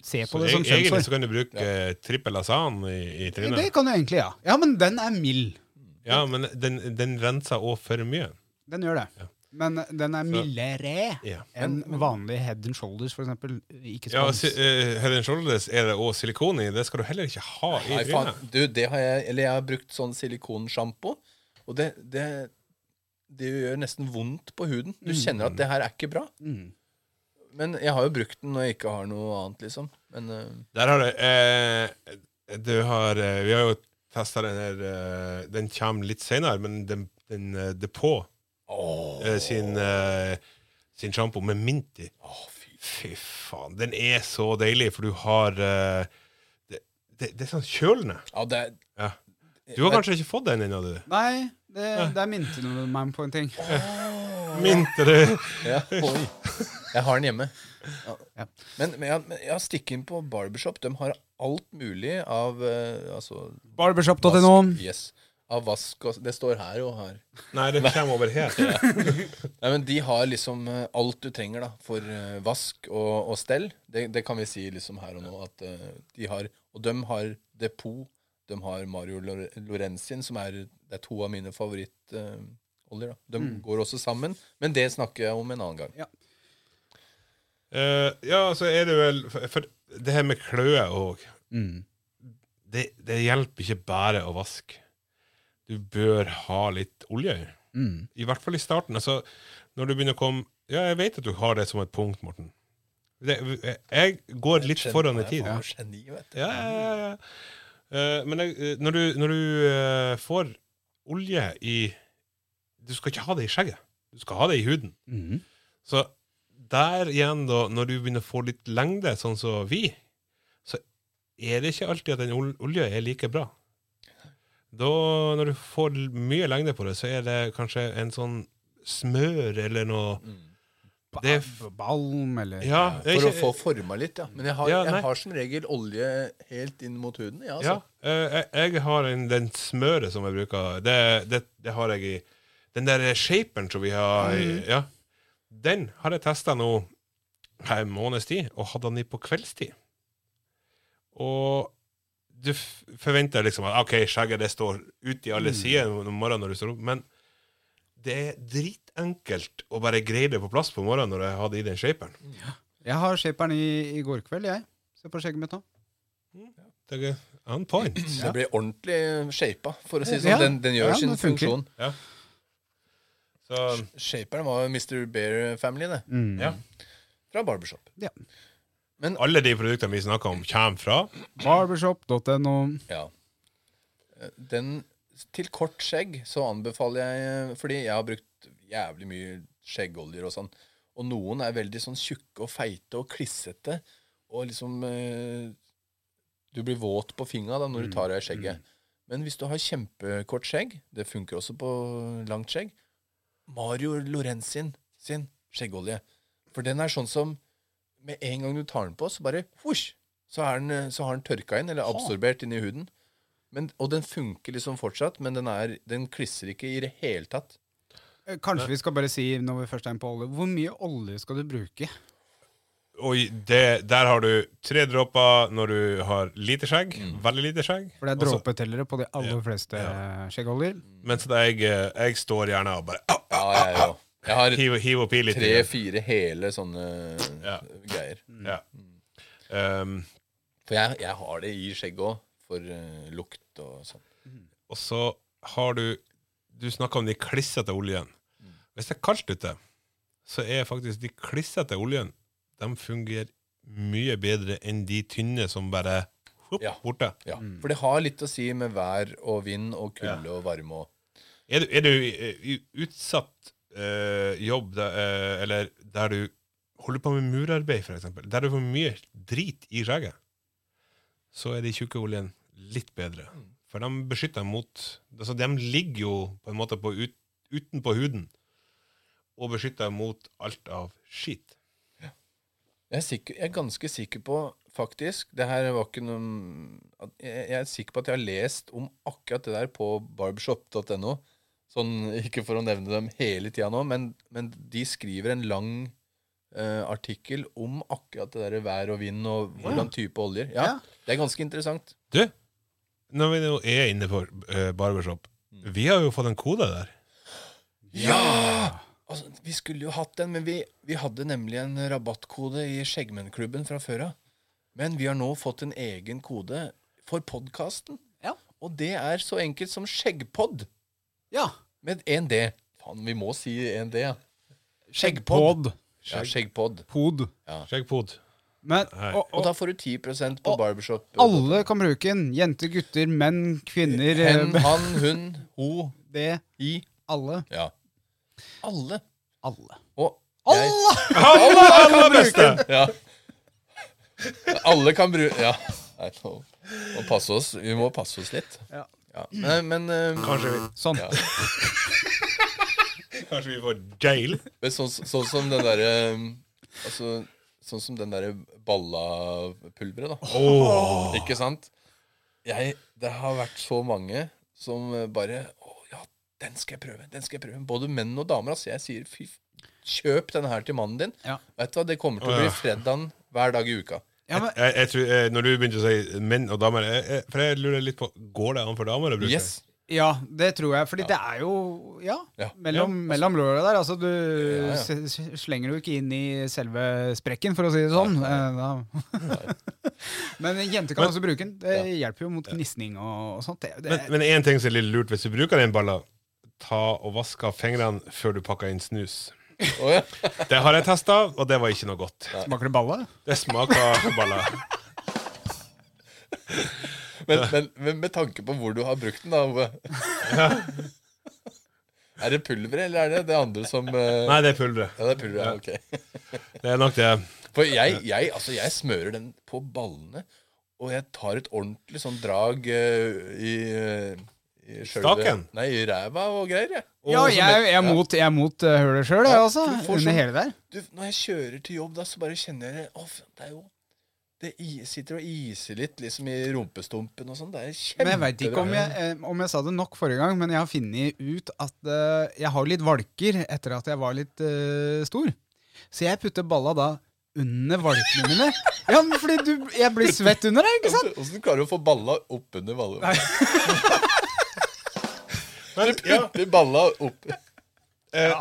Speaker 1: Se på
Speaker 2: Mm. Så
Speaker 1: det som
Speaker 2: e- egentlig
Speaker 1: kjønnshår.
Speaker 2: så kan du bruke eh, trippel asan i, i
Speaker 1: Det
Speaker 2: trynet.
Speaker 1: kan du egentlig, ja. Ja, men den er mild.
Speaker 2: Ja, men den, den renser òg for mye.
Speaker 1: Den gjør det. Men den er
Speaker 2: Så-
Speaker 1: mildere
Speaker 2: Ja.
Speaker 1: enn vanlig head and shoulders, for eksempel. Ikke
Speaker 2: Ja,
Speaker 1: spons.
Speaker 2: si- eh, Head and Shoulders er det òg silikon i. Det skal du heller ikke ha i
Speaker 3: Nei, faen,
Speaker 2: trynet.
Speaker 3: du, det har jeg Eller jeg har brukt sånn silikonsjampo, og det, det det gjør nesten vondt på huden. Du kjenner at det her er ikke bra.
Speaker 1: Mm.
Speaker 3: Men jeg har jo brukt den når jeg ikke har noe annet, liksom. Men eh,
Speaker 2: Der har du eh, Du har eh, Vi har jo testa den her eh, Den kommer litt seinere, men den, den eh, Depot eh, sin eh, sin sjampo med mint i. Fy faen. Den er så deilig, for du har eh, det, det, det er sånn kjølende.
Speaker 3: ja, det er
Speaker 2: Ja. Du har kanskje ikke fått den ennå, du?
Speaker 1: Nei, det, der minte du meg på en ting.
Speaker 2: Mint, du?
Speaker 3: Ja, oi. Jeg har den hjemme. Ja.
Speaker 1: Ja.
Speaker 3: Men, men, jeg, men jeg stikker inn på Barbershop. De har alt mulig av eh, altså,
Speaker 1: Barbershop.no.
Speaker 3: Yes. Av vask og Det står her og her.
Speaker 2: Nei, den kommer over her.
Speaker 3: Nei, men De har liksom eh, alt du trenger da, for eh, vask og, og stell. Det, det kan vi si liksom her og nå. At, eh, de har, og de har Depot. De har Mario Lor- Lorenzin, som er, det er to av mine favorittoljer. da. de
Speaker 2: Mm.
Speaker 3: går også sammen, men det snakker jeg om en annen gang.
Speaker 2: Eh, ja, så er det vel For, for det her med kløe òg
Speaker 1: Mm.
Speaker 2: det, det hjelper ikke bare å vaske. Du bør ha litt olje i.
Speaker 1: Mm.
Speaker 2: I hvert fall i starten. Altså, når du begynner å komme Ja, jeg vet at du har det som et punkt, Morten. Det, jeg går litt foran i
Speaker 3: Jeg
Speaker 2: tid.
Speaker 3: er faen geni, vet du.
Speaker 2: Ja, ja, ja, ja. Eh, men jeg, eh, når du, når du eh, får olje i Du skal ikke ha det i skjegget. Du skal ha det i huden.
Speaker 1: Mm.
Speaker 2: Så der igjen, da, når du begynner å få litt lengde, sånn som vi, så er det ikke alltid at den ol- olja er like bra. Da, når du får l- mye lengde på det, så er det kanskje en sånn smør eller noe
Speaker 1: Ba-
Speaker 2: Det er f-
Speaker 1: Balm, eller
Speaker 2: Ja, det er
Speaker 3: For å
Speaker 2: ikke-
Speaker 3: få forma litt, ja. Men jeg har,
Speaker 2: Ja, nei.
Speaker 3: jeg har som regel olje helt inn mot huden. Ja,
Speaker 2: Ja,
Speaker 3: altså.
Speaker 2: eh, jeg, jeg har en, den smøret som jeg bruker det, det, det har jeg i Den der shaperen som vi har i, ja, Den har jeg testa nå her en måneds tid, og hadde den i på kveldstid. Og du f forventer liksom at OK, skjegget det står ut i alle sider om morgenen når du står opp, men det er dritenkelt å bare greie det på plass på morgenen når jeg hadde i den shaperen.
Speaker 1: Jeg har shaperen i, i går kveld, jeg. Se på skjegget mitt nå.
Speaker 2: Det er on point.
Speaker 3: Det blir ordentlig shapa, for å si det sånn.
Speaker 1: Ja.
Speaker 3: Den, den gjør
Speaker 1: Ja,
Speaker 3: sin
Speaker 1: det funker.
Speaker 3: funksjon.
Speaker 2: Så
Speaker 3: Shaperen var jo Mr. Bear Family, det.
Speaker 1: Mm.
Speaker 2: ja.
Speaker 3: Fra Barbershop.
Speaker 1: Ja.
Speaker 2: Alle de produktene vi snakker om, kommer fra
Speaker 1: Barbershop.no.
Speaker 3: Ja. Eh, Den Til kort skjegg så anbefaler jeg eh, Fordi jeg har brukt jævlig mye skjeggoljer og sånn. Og noen er veldig sånn tjukke og feite og klissete. Og liksom eh, Du blir våt på fingra da når du tar av deg skjegget. Men hvis du har kjempekort skjegg Det funker også på langt skjegg. Mario Lorenzin sin skjeggolje. For den er sånn som med en gang du tar den på, så bare husj, så, er den, eh, så har den tørka inn, eller absorbert inn i huden. Men, og den funker liksom fortsatt, men den, er, den klisser ikke i det hele tatt.
Speaker 1: Eh, Kanskje vi skal bare si når vi først er inne på olje, hvor mye olje skal du bruke?
Speaker 2: Og i det, der har du tre dråper når du har lite skjegg. Veldig lite skjegg.
Speaker 1: For det er
Speaker 2: Også-
Speaker 1: dråpetellere på de aller fleste eh, skjeggoljer.
Speaker 2: Mens det er jeg, eh, jeg står gjerne og bare ah,
Speaker 3: Ja, jeg òg. Jeg har
Speaker 2: hiv, hiv og pil litt. i det.
Speaker 3: tre-fire hele sånne
Speaker 2: Ja.
Speaker 3: greier.
Speaker 2: Ja. Um,
Speaker 3: For jeg, jeg har det i skjegget òg, for eh, lukt og sånn.
Speaker 2: og så har du Du snakka om de klissete oljene. Hvis det er kaldt ute, så er faktisk de klissete oljene De fungerer mye bedre enn de tynne som bare hopp,
Speaker 3: Ja.
Speaker 2: borte.
Speaker 3: Ja. For det har litt å si med vær og vind og kulde og varme og
Speaker 2: Er du, er du i- i utsatt eh, jobb der, eh, eller der du holder på med murarbeid, for eksempel, der du får mye drit i skjegget, så er de tjukke oljen litt bedre. For de beskytter dem mot altså De ligger jo på en måte på ut, utenpå huden og beskytter dem mot alt av skit.
Speaker 3: Jeg er, sikker, jeg er ganske sikker på, faktisk Det her var ikke noe at Jeg jeg er sikker på at jeg har lest om akkurat det der på barbershop.no. Sånn, ikke for å nevne dem hele tida nå, men, men de skriver en lang eh, artikkel om akkurat det der vær og vind og hvordan type oljer. Ja,
Speaker 1: Ja.
Speaker 3: Det er ganske interessant.
Speaker 2: Du, når vi nå er inne på eh, barbershop, vi har jo fått en kode der.
Speaker 3: Ja! Altså, vi skulle jo hatt den, men vi, vi hadde nemlig en rabattkode i Skjeggmennklubben fra før av. Men vi har nå fått en egen kode for podkasten.
Speaker 1: Ja.
Speaker 3: Og det er så enkelt som Skjeggpod
Speaker 1: Ja.
Speaker 3: med en D. Faen, vi må si en D, ja. Skjeggpod.
Speaker 1: Pod.
Speaker 3: Ja, Skjeggpod.
Speaker 1: Pod.
Speaker 2: Skjeggpod.
Speaker 1: Men,
Speaker 2: Nei.
Speaker 1: og,
Speaker 3: Og
Speaker 1: og
Speaker 3: da får du 10 på
Speaker 1: Og
Speaker 3: barbershop.
Speaker 1: alle kan bruke den. Jenter, gutter, menn, kvinner.
Speaker 3: Hen,
Speaker 1: eh,
Speaker 3: han, hun, ho,
Speaker 1: Det.
Speaker 3: i.
Speaker 1: Alle.
Speaker 3: Ja. Alle.
Speaker 1: Alle.
Speaker 3: Og jeg-
Speaker 1: Alle!
Speaker 2: Alle, alle beste!
Speaker 3: Ja. Alle kan bruke Ja. Nei, nå må passe oss. Vi må passe oss litt.
Speaker 1: Ja.
Speaker 3: Nei, Men, eh,
Speaker 2: Kanskje vi,
Speaker 1: Sånn.
Speaker 3: Ja.
Speaker 2: kanskje vi får jail?
Speaker 3: men sånn, sånn som den derre eh, Altså Sånn som den derre ballapulveret, da. Ikke sant? Jeg, det har vært så mange som eh, bare Å ja, den skal jeg prøve. Den skal jeg prøve. Både menn og damer. Altså, jeg sier fy, f- kjøp den her til mannen din.
Speaker 1: Ja.
Speaker 3: Vet du hva, det kommer til å
Speaker 2: Å, ja.
Speaker 3: bli fredagen hver dag i uka.
Speaker 1: Ja, men,
Speaker 2: Jeg, jeg tror, eh, når du begynte å si menn og damer jeg, jeg, For jeg lurer litt på Går det an for damer å bruke
Speaker 3: Yes.
Speaker 1: ja, det tror jeg. Fordi det er jo Ja,
Speaker 3: Ja.
Speaker 1: mellom, mellom låra der. Altså, du
Speaker 3: ja.
Speaker 1: s- s- slenger jo ikke inn i selve sprekken, for å si det sånn. Eh, da- men jenter kan også bruke den. Det hjelper jo mot gnisning og, og sånt. Det, det,
Speaker 2: Men, men en ting som er litt lurt hvis du bruker den balla, ta og vask av fingrene før du pakker inn snus.
Speaker 3: Å, ja.
Speaker 2: Det har jeg testa, og det var ikke noe godt.
Speaker 1: smaker det balle?
Speaker 2: Det smaker balla.
Speaker 3: Men, men, men med tanke på hvor du har brukt den, da Ove Er det pulveret, eller er det det andre som eh,
Speaker 2: Nei, det er pulveret.
Speaker 3: Ja, det er pulveret. ja, Ok.
Speaker 2: Det er nok det.
Speaker 3: For jeg, jeg, altså, jeg smører den på ballene, og jeg tar et ordentlig sånn drag eh, i, eh, i sjølve-
Speaker 2: Staken?
Speaker 3: Nei, i ræva og greier, jeg. Og
Speaker 1: Ja,
Speaker 3: som
Speaker 1: jeg, jeg,
Speaker 3: ja.
Speaker 1: er mot, jeg er mot eh, hølet sjøl, jeg
Speaker 3: Ja,
Speaker 1: også.
Speaker 3: for du får
Speaker 1: Under
Speaker 3: sånn-
Speaker 1: hele der.
Speaker 3: du, Når jeg kjører til jobb, da, så bare kjenner jeg det Å, faen, det er jo det i- sitter og iser litt liksom i rumpestumpen og sånn. Det er
Speaker 1: Men jeg veit ikke om
Speaker 3: kjempebra.
Speaker 1: jeg, eh, om jeg sa det nok forrige gang, men jeg har funnet ut at eh, jeg har litt valker etter at jeg var litt eh, stor. Så jeg putter balla da under valkene mine. Ja, men fordi du, jeg blir svett under her, ikke sant?
Speaker 3: Åssen klarer du å få balla oppunder balla?
Speaker 2: Men ja,
Speaker 3: Putter balla opp
Speaker 2: eh,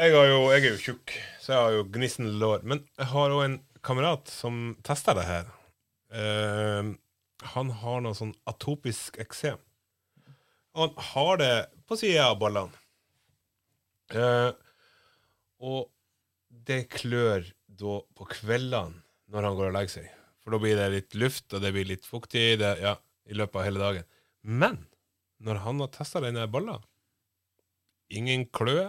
Speaker 2: jeg, har jo, jeg er jo tjukk, så jeg har jo gnissende lår. Men jeg har òg en kamerat som tester det her. Eh, han har noe sånn atopisk eksem. Og han har det på sida av ballene. Eh, og det klør da på kveldene når han går og legger seg. For da blir det litt luft, og det blir litt fuktig det, ja, i løpet av hele dagen. Men når han har testa denne balla Ingen kløe.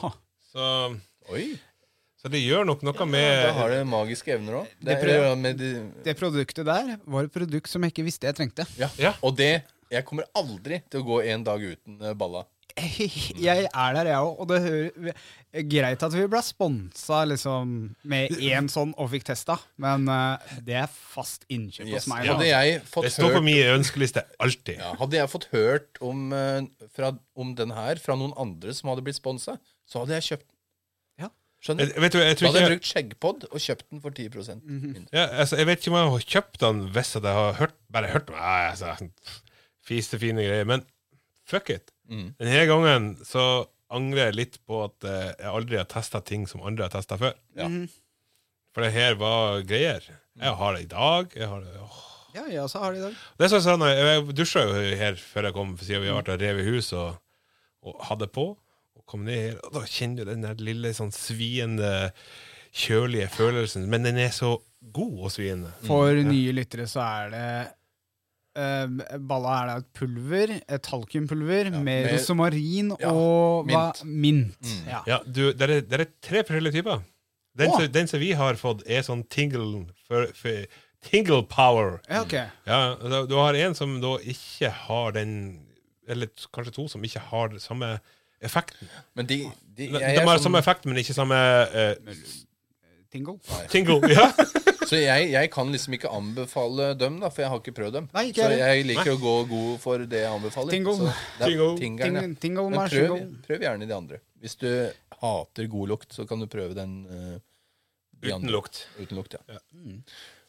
Speaker 1: Ha.
Speaker 2: Så,
Speaker 3: Oi!
Speaker 2: så det gjør nok noe med
Speaker 3: Da har det magiske evner òg.
Speaker 1: Det prøver-
Speaker 3: Det
Speaker 1: Det produktet der var et produkt som jeg ikke visste jeg trengte.
Speaker 3: ja.
Speaker 2: Ja.
Speaker 3: Og det Jeg kommer aldri til å gå en dag uten eh, balla.
Speaker 1: Jeg er der, jeg òg. Og det hører, eh, greit at vi ble sponsa liksom, med én sånn og fikk testa, men eh, det er fast innkjøp
Speaker 3: Yes.
Speaker 1: hos meg. altså.
Speaker 3: Hadde jeg
Speaker 2: Det
Speaker 3: fått
Speaker 2: står på
Speaker 3: hørt
Speaker 2: min ønskeliste alltid.
Speaker 3: ja, Hadde jeg fått hørt om, eh, fra, om den her fra noen andre som hadde blitt sponsa, så hadde jeg kjøpt den.
Speaker 1: Ja.
Speaker 3: Skjønner
Speaker 2: Jeg,
Speaker 3: du?
Speaker 2: Eh, vet du, jeg,
Speaker 3: Da
Speaker 2: tror
Speaker 3: hadde jeg
Speaker 2: ikke, jeg,
Speaker 3: brukt skjeggpod og kjøpt den for 10
Speaker 1: Mhm.
Speaker 3: mindre.
Speaker 2: ja, altså, jeg vet ikke om jeg har kjøpt den hvis jeg har hørt Bare hørt meg Nei, altså, Fisefine greier. Men fuck it.
Speaker 3: Mm.
Speaker 2: Denne gangen så angrer jeg litt på at eh, jeg aldri har testa ting som andre har testa før.
Speaker 3: Ja.
Speaker 2: For det her var greier. Jeg har det i dag. Jeg har det, åh.
Speaker 1: Ja, jeg også har det i dag.
Speaker 2: Det er sånn, sånn, jeg jeg dusja jo her før jeg kom, siden vi har vært og revet hus og, og hadde på. Og kom ned her, og da kjenner du den der lille sånn sviende, kjølige følelsen. Men den er så god og sviende.
Speaker 1: For nye lyttere så er det eh, balla er da et pulver, et talkumpulver, med
Speaker 3: med-
Speaker 1: rosmarin
Speaker 3: Ja,
Speaker 1: og
Speaker 3: mint.
Speaker 1: hva, mint. Ja.
Speaker 2: Ja, du, det er, det er tre forskjellige typer. Den,
Speaker 1: Åh.
Speaker 2: som- den som vi har fått, er sånn tingle, for, for, tingle power.
Speaker 1: ja, ok.
Speaker 2: Ja, da- du har en som da ikke har den Eller t- kanskje to som ikke har den samme effekten.
Speaker 3: Men de, de,
Speaker 2: De,
Speaker 3: jeg,
Speaker 2: de
Speaker 3: er
Speaker 2: har
Speaker 3: sånn-
Speaker 2: samme effekt, men ikke samme eh,
Speaker 1: Tingle.
Speaker 2: tingle. Ja.
Speaker 3: Så jeg, jeg kan liksom ikke anbefale dem, da, for jeg har ikke prøvd dem.
Speaker 1: Nei, ikke
Speaker 3: så
Speaker 1: heller.
Speaker 3: jeg liker å gå god for det jeg anbefaler.
Speaker 1: Tingle.
Speaker 3: Så det er
Speaker 2: Tingle.
Speaker 3: tingeren, ja.
Speaker 1: Ting, tingle
Speaker 3: Men prøv,
Speaker 1: marshmallow.
Speaker 3: prøv gjerne de andre. Hvis du hater god lukt, så kan du prøve den eh, de
Speaker 2: Uten
Speaker 3: andre.
Speaker 2: lukt.
Speaker 3: Uten lukt. ja.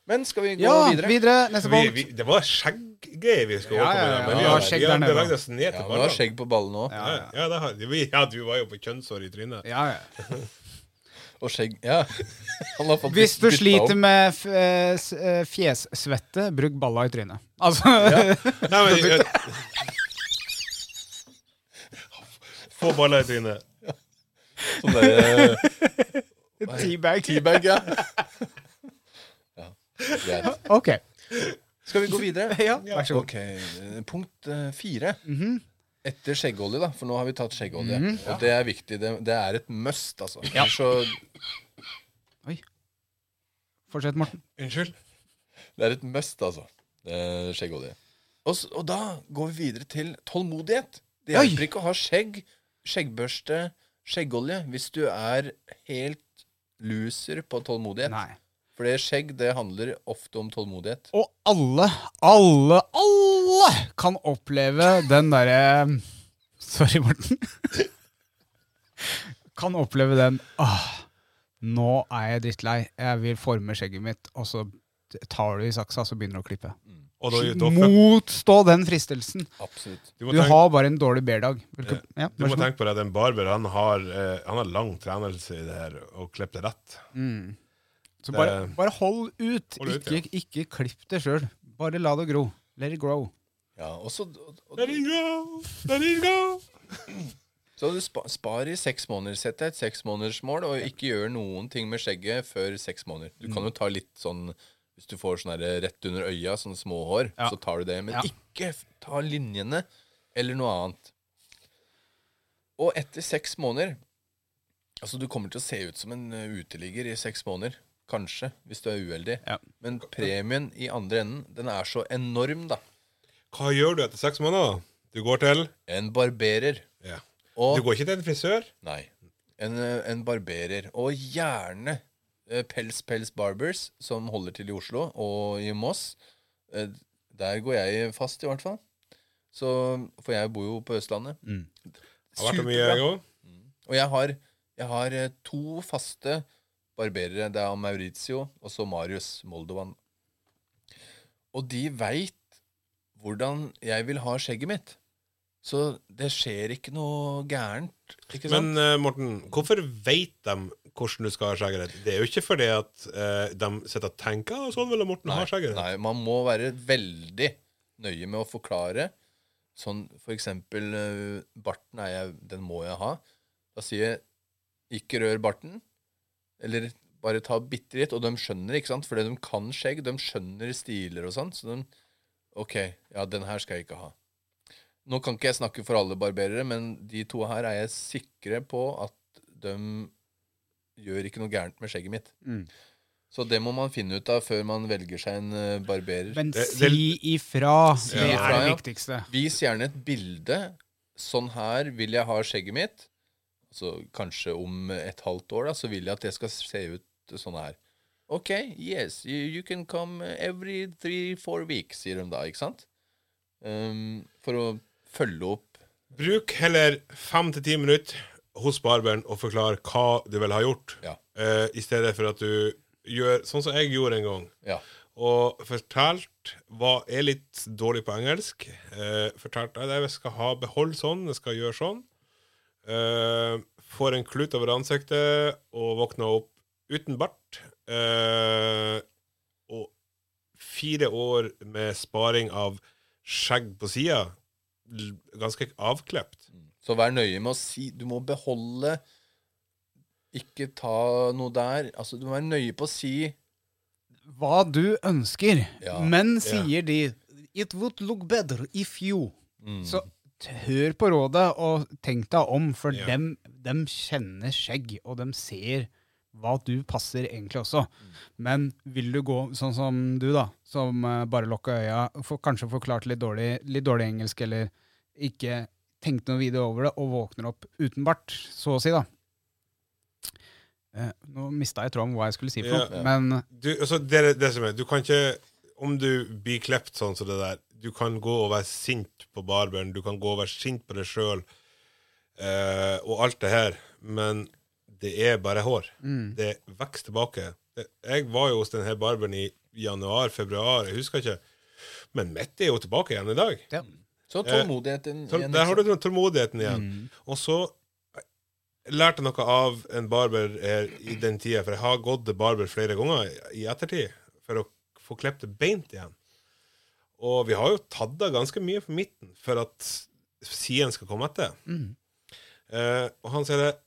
Speaker 3: Men skal vi gå
Speaker 1: Mm. Ja,
Speaker 3: videre?
Speaker 1: videre. Neste
Speaker 2: Vi,
Speaker 1: punkt.
Speaker 2: vi, det var skjegggreier vi skulle
Speaker 1: Ja,
Speaker 2: overkomme,
Speaker 1: ja, ja.
Speaker 2: men
Speaker 3: Vi
Speaker 2: vi
Speaker 3: har
Speaker 2: har,
Speaker 1: skjegg
Speaker 2: vi
Speaker 1: der
Speaker 2: har
Speaker 1: nede.
Speaker 2: beveget oss ned
Speaker 3: Ja,
Speaker 2: til
Speaker 3: nå har
Speaker 2: barna.
Speaker 3: jeg skjegg på ballen òg.
Speaker 1: Ja,
Speaker 2: Ja,
Speaker 1: ja.
Speaker 2: ja, det har, vi- ja, du var jo på kjønnsår i trynet.
Speaker 1: ja, ja.
Speaker 3: Og skjegg Ja. Han har fått
Speaker 1: Hvis du
Speaker 3: bytta
Speaker 1: sliter
Speaker 3: opp.
Speaker 1: med f- eh, s- eh, fjessvette, bruk balla i trynet. Altså,
Speaker 2: Nei, men, jeg, få baller i trynet.
Speaker 3: Sånn der, eh,
Speaker 1: teabag.
Speaker 3: teabag, ja. ja. Greit.
Speaker 1: Ok,
Speaker 3: Skal vi gå videre?
Speaker 1: ja, Mhm. vær så god.
Speaker 3: Ok, eh, Punkt eh, fire. Etter skjeggolje, da. For nå har vi tatt skjeggolje.
Speaker 1: Mhm.
Speaker 3: Og det er viktig. Det, det er et must, altså. Ja. Så,
Speaker 1: Fortsett, Morten.
Speaker 2: Unnskyld?
Speaker 3: det er et must, altså. Eh, skjeggolje. Og, s- og da går vi videre til tålmodighet. Det
Speaker 1: Oi.
Speaker 3: hjelper ikke å ha skjegg, skjeggbørste, skjeggolje hvis du er helt loser på tålmodighet.
Speaker 1: Nei.
Speaker 3: For det skjegg, det handler ofte om tålmodighet.
Speaker 1: Og alle, alle, alle kan oppleve den derre Sorry, Morten. Kan oppleve den ah, Nå er jeg drittlei. Jeg vil forme skjegget mitt, og så tar du i saksa, så begynner du å klippe.
Speaker 2: Og da, da, fuck-
Speaker 1: Motstå den fristelsen.
Speaker 3: Absolutt.
Speaker 2: du, må
Speaker 1: Du
Speaker 2: tenke,
Speaker 1: har bare en dårlig bærdag. Hvilke- Ja,
Speaker 2: du
Speaker 1: vær
Speaker 2: må
Speaker 1: så god.
Speaker 2: tenke på det at en barber han har, eh, han har lang trenelse i det her, og klipper det rett.
Speaker 1: Så
Speaker 2: Det-
Speaker 1: bare, bare hold ut.
Speaker 2: Eh, Hold ut,
Speaker 1: Ikke, ikke klipp det sjøl. Bare la det gro. Let it grow.
Speaker 3: Ja, og så, og, og,
Speaker 2: Let it go! Let it go!
Speaker 3: så du spa, spar i seks måneder. Sett deg et seksmånedersmål, og ikke gjør noen ting med skjegget før seks måneder. Du
Speaker 1: Mm.
Speaker 3: kan jo ta litt sånn Hvis du får sånn her rett under øya, sånne små hår,
Speaker 1: Ja.
Speaker 3: så tar du det. Men
Speaker 1: Ja.
Speaker 3: ikke f- ta linjene eller noe annet. Og etter seks måneder Altså, du kommer til å se ut som en eh, uteligger i seks måneder. Kanskje, hvis du er uheldig.
Speaker 1: Ja.
Speaker 3: Men premien i andre enden, den er så enorm, da.
Speaker 2: Hva gjør du etter seks måneder? Du går til
Speaker 3: En barberer.
Speaker 2: ja.
Speaker 3: Og
Speaker 2: Du går ikke til en frisør?
Speaker 3: Nei. En, eh, en barberer. Og gjerne eh, Pels Pels Barbers, som holder til i Oslo og i Moss. Eh, Der går jeg fast, i hvert fall. Så, for jeg bor jo på Østlandet.
Speaker 2: Mm. Har vært der mye
Speaker 3: Superbra.
Speaker 2: jeg òg.
Speaker 3: Og jeg har, jeg har eh, to faste barberere. Det er Maurizio og så Marius Moldovan. Og de veit hvordan jeg vil ha skjegget mitt. Så det skjer ikke noe gærent. Ikke sant?
Speaker 2: Men eh, Morten, hvorfor veit de hvordan du skal ha skjegget ditt? Det er jo ikke fordi at eh, de sitter og tenker «Å, sånn ville Morten ha skjegget ditt.
Speaker 3: Nei, man må være veldig nøye med å forklare. Sånn for eksempel øh, Barten er jeg, den må jeg ha. Da sier jeg ikke rør barten. Eller bare ta bitte litt. Og de skjønner, ikke sant? Fordi de kan skjegg. De skjønner stiler og sånn. Så de OK, ja, den her skal jeg ikke ha. Nå kan ikke jeg snakke for alle barberere, men de to her er jeg sikre på at de gjør ikke noe gærent med skjegget mitt.
Speaker 1: Mm.
Speaker 3: Så det må man finne ut av før man velger seg en eh, barberer.
Speaker 1: Men
Speaker 2: Det- det-
Speaker 1: si ifra.
Speaker 3: Si
Speaker 1: Det
Speaker 3: ifra,
Speaker 1: er det
Speaker 3: ja.
Speaker 1: viktigste.
Speaker 3: Vis gjerne et bilde. Sånn her vil jeg ha skjegget mitt. Altså, kanskje om et halvt år da, så vil jeg at det skal se ut sånn her. Ok, yes, you, you can come every three, four weeks, sier de da, ikke sant? Um, for å følge opp.
Speaker 2: Bruk heller fem til ti minutter hos barberen og forklar hva du vil ha gjort,
Speaker 3: Ja.
Speaker 2: eh, i stedet for at du gjør sånn som jeg gjorde en gang.
Speaker 3: Ja.
Speaker 2: og fortalt hva er litt dårlig på engelsk. Eh, fortalt at jeg skal ha behold sånn, jeg skal gjøre sånn. Eh, får en klut over ansiktet og våkner opp uten bart. Eh, og fire år med sparing av skjegg på sida. l- Ganske avklipt.
Speaker 3: Så vær nøye med å si Du må beholde Ikke ta noe der. Altså, du må være nøye på å si
Speaker 1: Hva du ønsker.
Speaker 3: Ja.
Speaker 1: Men sier de It would look better if you Så t- hør på rådet, og tenk deg om, for
Speaker 2: Ja.
Speaker 1: dem, dem kjenner skjegg, og dem ser hva du passer egentlig også. Men vil du gå sånn som du, da, som eh, bare lukka øya, for, kanskje forklarte litt dårlig, litt dårlig engelsk, eller ikke tenkte noe videre over det, og våkner opp uten bart, så å si, da. Eh, nå mista jeg tråden om hva jeg skulle si, for
Speaker 2: Ja.
Speaker 1: noe, men
Speaker 2: Du, altså, det er det som er. Du kan ikke Om du blir klept sånn som det der Du kan gå og være sint på barberen, du kan gå og være sint på deg sjøl eh, og alt det her, men det er bare hår. Det vokser tilbake. Det- Jeg var jo hos denne barberen i januar-februar, jeg husker ikke. Men mitt er jo tilbake igjen i dag.
Speaker 1: ja.
Speaker 3: Så tålmodigheten
Speaker 2: Tål-
Speaker 3: igjen,
Speaker 2: Der har
Speaker 3: ikke
Speaker 2: du den tålmodigheten igjen. Og så lærte jeg noe av en barber her i den tida, for jeg har gått til barber flere ganger i ettertid for å få klippet det beint igjen. Og vi har jo tatt av ganske mye på midten for at siden skal komme etter. Eh, og han sier det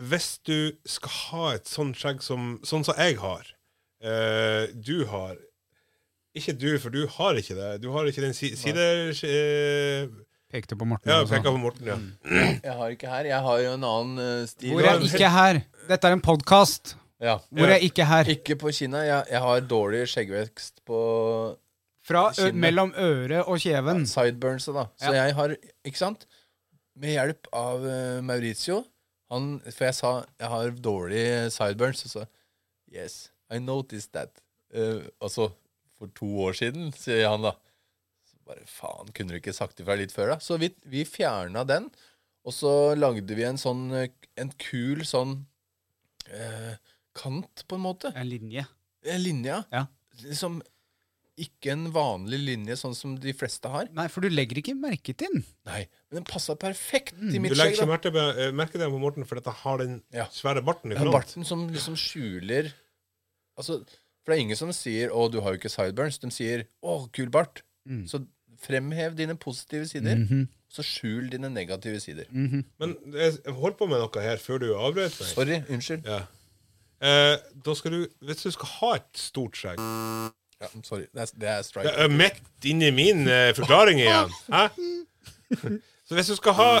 Speaker 2: Hvis du skal ha et sånt skjegg som sånn som jeg har eh, Du har Ikke du, for du har ikke det. Du har ikke den si, side... eh,
Speaker 1: Pekte på Morten.
Speaker 2: ja,
Speaker 1: også.
Speaker 2: peka på Morten, ja.
Speaker 3: sant? Jeg har ikke her. Jeg har jo en annen eh, stil.
Speaker 1: Hvor jeg ikke er her. Dette er en podkast.
Speaker 3: Ja.
Speaker 1: Hvor jeg ikke er her.
Speaker 3: Ikke på kinnet. Jeg, jeg har dårlig skjeggvekst på
Speaker 1: Fra ø
Speaker 3: Kinnet.
Speaker 1: mellom øret og kjeven.
Speaker 3: sideburnsa, da. Så
Speaker 1: Ja.
Speaker 3: jeg har Ikke sant? Med hjelp av eh, Maurizio han, For jeg sa jeg har dårlig sideburns, og så Yes, I noticed that. Eh, altså for to år siden, sier han da. Så bare faen, kunne du ikke sagt ifra litt før, da? Så vi, vi fjerna den, og så lagde vi en sånn eh, En kul sånn eh, kant, på en måte.
Speaker 1: En linje.
Speaker 3: En linje,
Speaker 1: Ja.
Speaker 3: Liksom Eh, ikke en vanlig linje, sånn som de fleste har.
Speaker 1: Nei, for du legger ikke merke til den.
Speaker 3: Nei, men den passa perfekt i
Speaker 2: Du
Speaker 3: mitt
Speaker 2: legger
Speaker 3: skjegg.
Speaker 2: ikke
Speaker 3: da.
Speaker 2: merke, eh, merke det på Morten, for at han har den
Speaker 3: Ja.
Speaker 2: svære barten i
Speaker 3: Det er
Speaker 2: front.
Speaker 3: barten som liksom skjuler Altså, For det er ingen som sier 'Å, du har jo ikke sideburns'. De sier 'Å, kul bart'. Så fremhev dine positive sider, så skjul dine negative sider.
Speaker 2: Men jeg jeg holdt på med noe her før du avbrøt meg.
Speaker 3: Sorry. Unnskyld.
Speaker 2: Ja. Eh, da skal du, Hvis du skal ha et stort skjegg
Speaker 3: Ja, sorry. Det er, det er
Speaker 2: Det
Speaker 3: strike.
Speaker 2: er midt inni min eh, forklaring igjen. Hæ? Så hvis du skal ha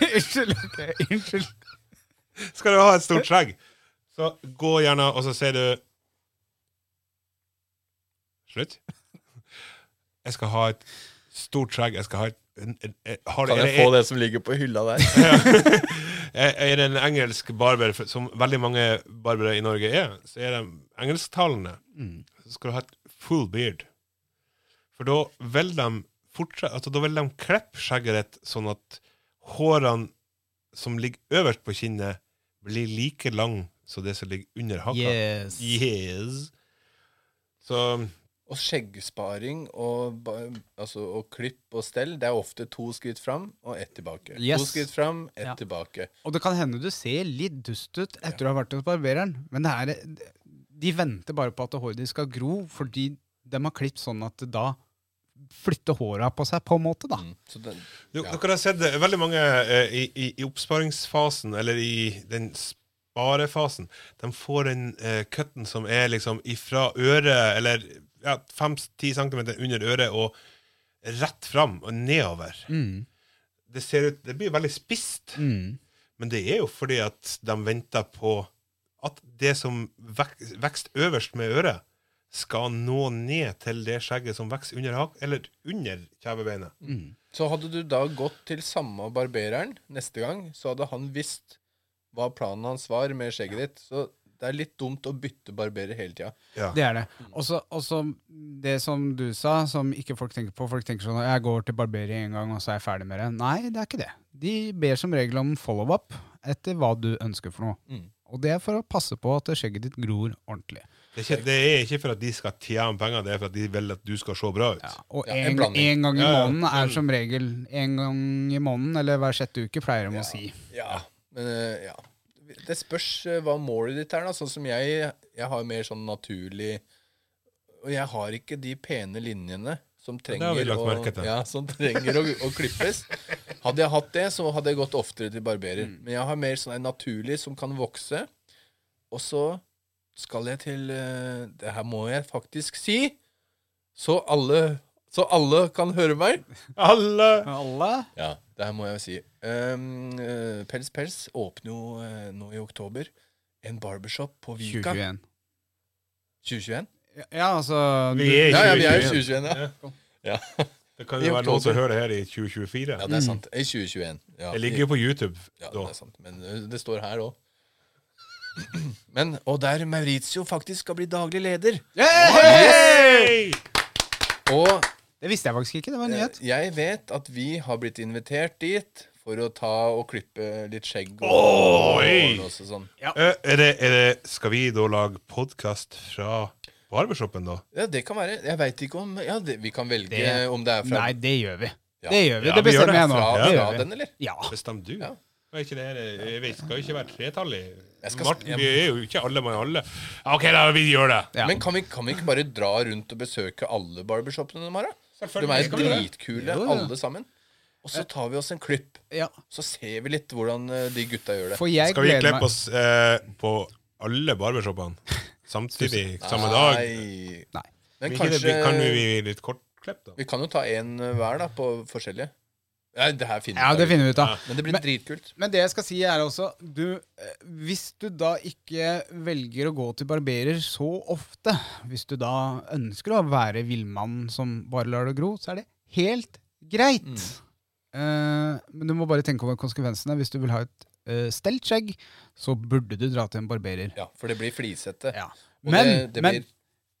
Speaker 1: Unnskyld. ok, Unnskyld.
Speaker 2: Skal du ha et stort skjegg, så gå gjerne og så sier du Slutt. Jeg skal ha et stort skjegg. Jeg skal ha et en- en- en- har,
Speaker 3: Kan
Speaker 2: er
Speaker 3: jeg
Speaker 2: det-
Speaker 3: få det som ligger på hylla der?
Speaker 2: er er det en engelsk barber, for- som veldig mange barbere i Norge er, så er de engelsktalende. Så skal du ha et full beard. For da vil de fortsette, altså da vil de klippe skjegget ditt sånn at hårene som ligger øverst på kinnet, blir like lang som det som ligger under haka.
Speaker 1: Yes.
Speaker 2: Yes. Så
Speaker 3: Og skjeggsparing og, ba- altså, og klipp og stell, det er ofte to skritt fram og ett tilbake.
Speaker 1: Yes.
Speaker 3: To skritt fram, ett
Speaker 1: Ja.
Speaker 3: tilbake.
Speaker 1: Og det kan hende du ser litt dust ut etter du har vært hos barbereren, men det er, de venter bare på at håret ditt skal gro, fordi de har klippet sånn at det da flytter håra på seg, på en måte, da.
Speaker 3: Mm. Så den,
Speaker 2: Du,
Speaker 3: Ja.
Speaker 2: Dere har sett det, veldig mange eh, i, i, i oppsparingsfasen, eller i den sparefasen, de får den eh, cutten som er liksom ifra øret, eller ja, 5-10 cm under øret, og rett fram og nedover.
Speaker 1: Mm.
Speaker 2: Det ser ut, det blir veldig spisst,
Speaker 1: Mm.
Speaker 2: men det er jo fordi at de venter på at det som vek, vekst øverst med øret, skal nå ned til det skjegget som vokser under, hak- eller under kjevebeinet.
Speaker 1: Mm.
Speaker 3: Så hadde du da gått til samme barbereren neste gang, så hadde han visst hva planen hans var med skjegget ditt. Så det er litt dumt å bytte barberer hele tida.
Speaker 2: Ja.
Speaker 1: Det er det. Også, også det som du sa, som ikke folk tenker på. Folk tenker sånn jeg går til barbering en gang, og så er jeg ferdig med det. Nei, det er ikke det. De ber som regel om follow-up etter hva du ønsker for noe.
Speaker 3: Mm.
Speaker 1: Og det er for å passe på at skjegget ditt gror ordentlig.
Speaker 2: Det er, ikke, det er ikke for at de skal tjene penger, det er for at de vil at du skal se bra ut.
Speaker 1: Ja, og
Speaker 3: Ja, en
Speaker 1: en,
Speaker 3: blanding.
Speaker 1: en gang i
Speaker 2: Ja, ja.
Speaker 1: måneden er
Speaker 2: Mm.
Speaker 1: som regel en gang i måneden, eller hver sjette uke, pleier de å si.
Speaker 3: Ja, men eh, ja. Det spørs eh, hva målet ditt er. da Sånn som jeg, jeg har mer sånn naturlig Og jeg har ikke de pene linjene som
Speaker 2: det
Speaker 3: trenger,
Speaker 2: har vi lagt
Speaker 3: å,
Speaker 2: merke til.
Speaker 3: ja, som trenger å, å klippes. Hadde jeg hatt det, så hadde jeg gått oftere til barberer.
Speaker 2: Mm.
Speaker 3: Men jeg har mer sånn en naturlig som kan vokse. Og så skal jeg til eh, Det her må jeg faktisk si. Så alle, så alle kan høre meg?
Speaker 2: Alle
Speaker 1: Alle?
Speaker 3: Ja, det her må jeg jo si. Ehm, eh, Pels Pels åpner jo eh, nå i oktober en barbershop på Vika.
Speaker 1: 2021.
Speaker 3: 2021?
Speaker 1: Ja, altså
Speaker 2: Vi er i
Speaker 3: Ja, ja, vi er i 2021,
Speaker 2: 2021.
Speaker 3: ja. Ja,
Speaker 2: Det kan
Speaker 3: I
Speaker 2: jo være noen som
Speaker 3: oktober.
Speaker 2: hører det her i 2024.
Speaker 3: ja det er sant. I 2021. Ja,
Speaker 2: Jeg ligger jo på YouTube
Speaker 3: Ja,
Speaker 2: da.
Speaker 3: det er sant. Men ø, det står her òg. Men, og der Maurizio faktisk skal bli daglig leder.
Speaker 2: Hei!
Speaker 3: Og
Speaker 1: Det visste jeg faktisk ikke. Det var en
Speaker 3: ø,
Speaker 1: nyhet.
Speaker 3: jeg vet at vi har blitt invitert dit for å ta og klippe litt skjegg. Og,
Speaker 2: Oi!
Speaker 3: og, og sånn.
Speaker 2: Eh, Er det, er det, skal vi da lage podkast fra barbershoppen, da?
Speaker 3: Ja, det kan være. Jeg veit ikke om ja, det, Vi kan velge
Speaker 1: Det-
Speaker 3: om det er fra,
Speaker 1: Nei, det gjør vi.
Speaker 3: Ja.
Speaker 1: Det gjør vi. Det
Speaker 2: Ja, vi gjør
Speaker 1: bestemmer
Speaker 2: det.
Speaker 1: jeg nå.
Speaker 3: fra,
Speaker 2: Ja,
Speaker 1: Det
Speaker 3: fra
Speaker 1: gjør vi.
Speaker 3: den, eller?
Speaker 1: Ja.
Speaker 2: Bestem du.
Speaker 3: Ja.
Speaker 2: Er ikke det, jeg vet, skal ikke være tretallig.
Speaker 3: Jeg skal-
Speaker 2: Martin, vi er jo ikke alle mann alle. OK, da vi gjør det.
Speaker 1: Ja.
Speaker 3: Men kan vi, kan vi ikke bare dra rundt og besøke alle barbershopene de har? da? De er
Speaker 2: Selvfølgelig
Speaker 3: jo
Speaker 2: kan vi det.
Speaker 3: dritkule,
Speaker 1: Jo, ja.
Speaker 3: alle sammen. Og så tar vi oss en klipp.
Speaker 1: ja.
Speaker 3: Så ser vi litt hvordan ø, de gutta gjør det.
Speaker 1: For jeg
Speaker 2: Skal vi
Speaker 1: gleder
Speaker 2: klippe
Speaker 1: meg
Speaker 2: oss eh, på alle barbershoppene samtidig, samme dag?
Speaker 3: Nei.
Speaker 1: Nei.
Speaker 3: Men
Speaker 2: Vi
Speaker 3: kanskje
Speaker 2: Kan vi bli litt kortklipp, da?
Speaker 3: Vi kan jo ta én hver, da, på forskjellige. Nei, det her finner
Speaker 1: Ja, det
Speaker 3: ut.
Speaker 1: finner vi ut av.
Speaker 3: Men det blir
Speaker 1: Men-
Speaker 3: dritkult.
Speaker 1: Men det jeg skal si, er også du, eh, Hvis du da ikke velger å gå til barberer så ofte, hvis du da ønsker å være villmann som bare lar det gro, så er det helt greit.
Speaker 3: Mm.
Speaker 1: Eh, men du må bare tenke over konsekvensene. Hvis du vil ha et eh, stelt skjegg, så burde du dra til en barberer.
Speaker 3: Ja, for det blir flisete.
Speaker 1: Ja.
Speaker 3: Og
Speaker 1: Men,
Speaker 3: det, det
Speaker 1: men
Speaker 3: blir,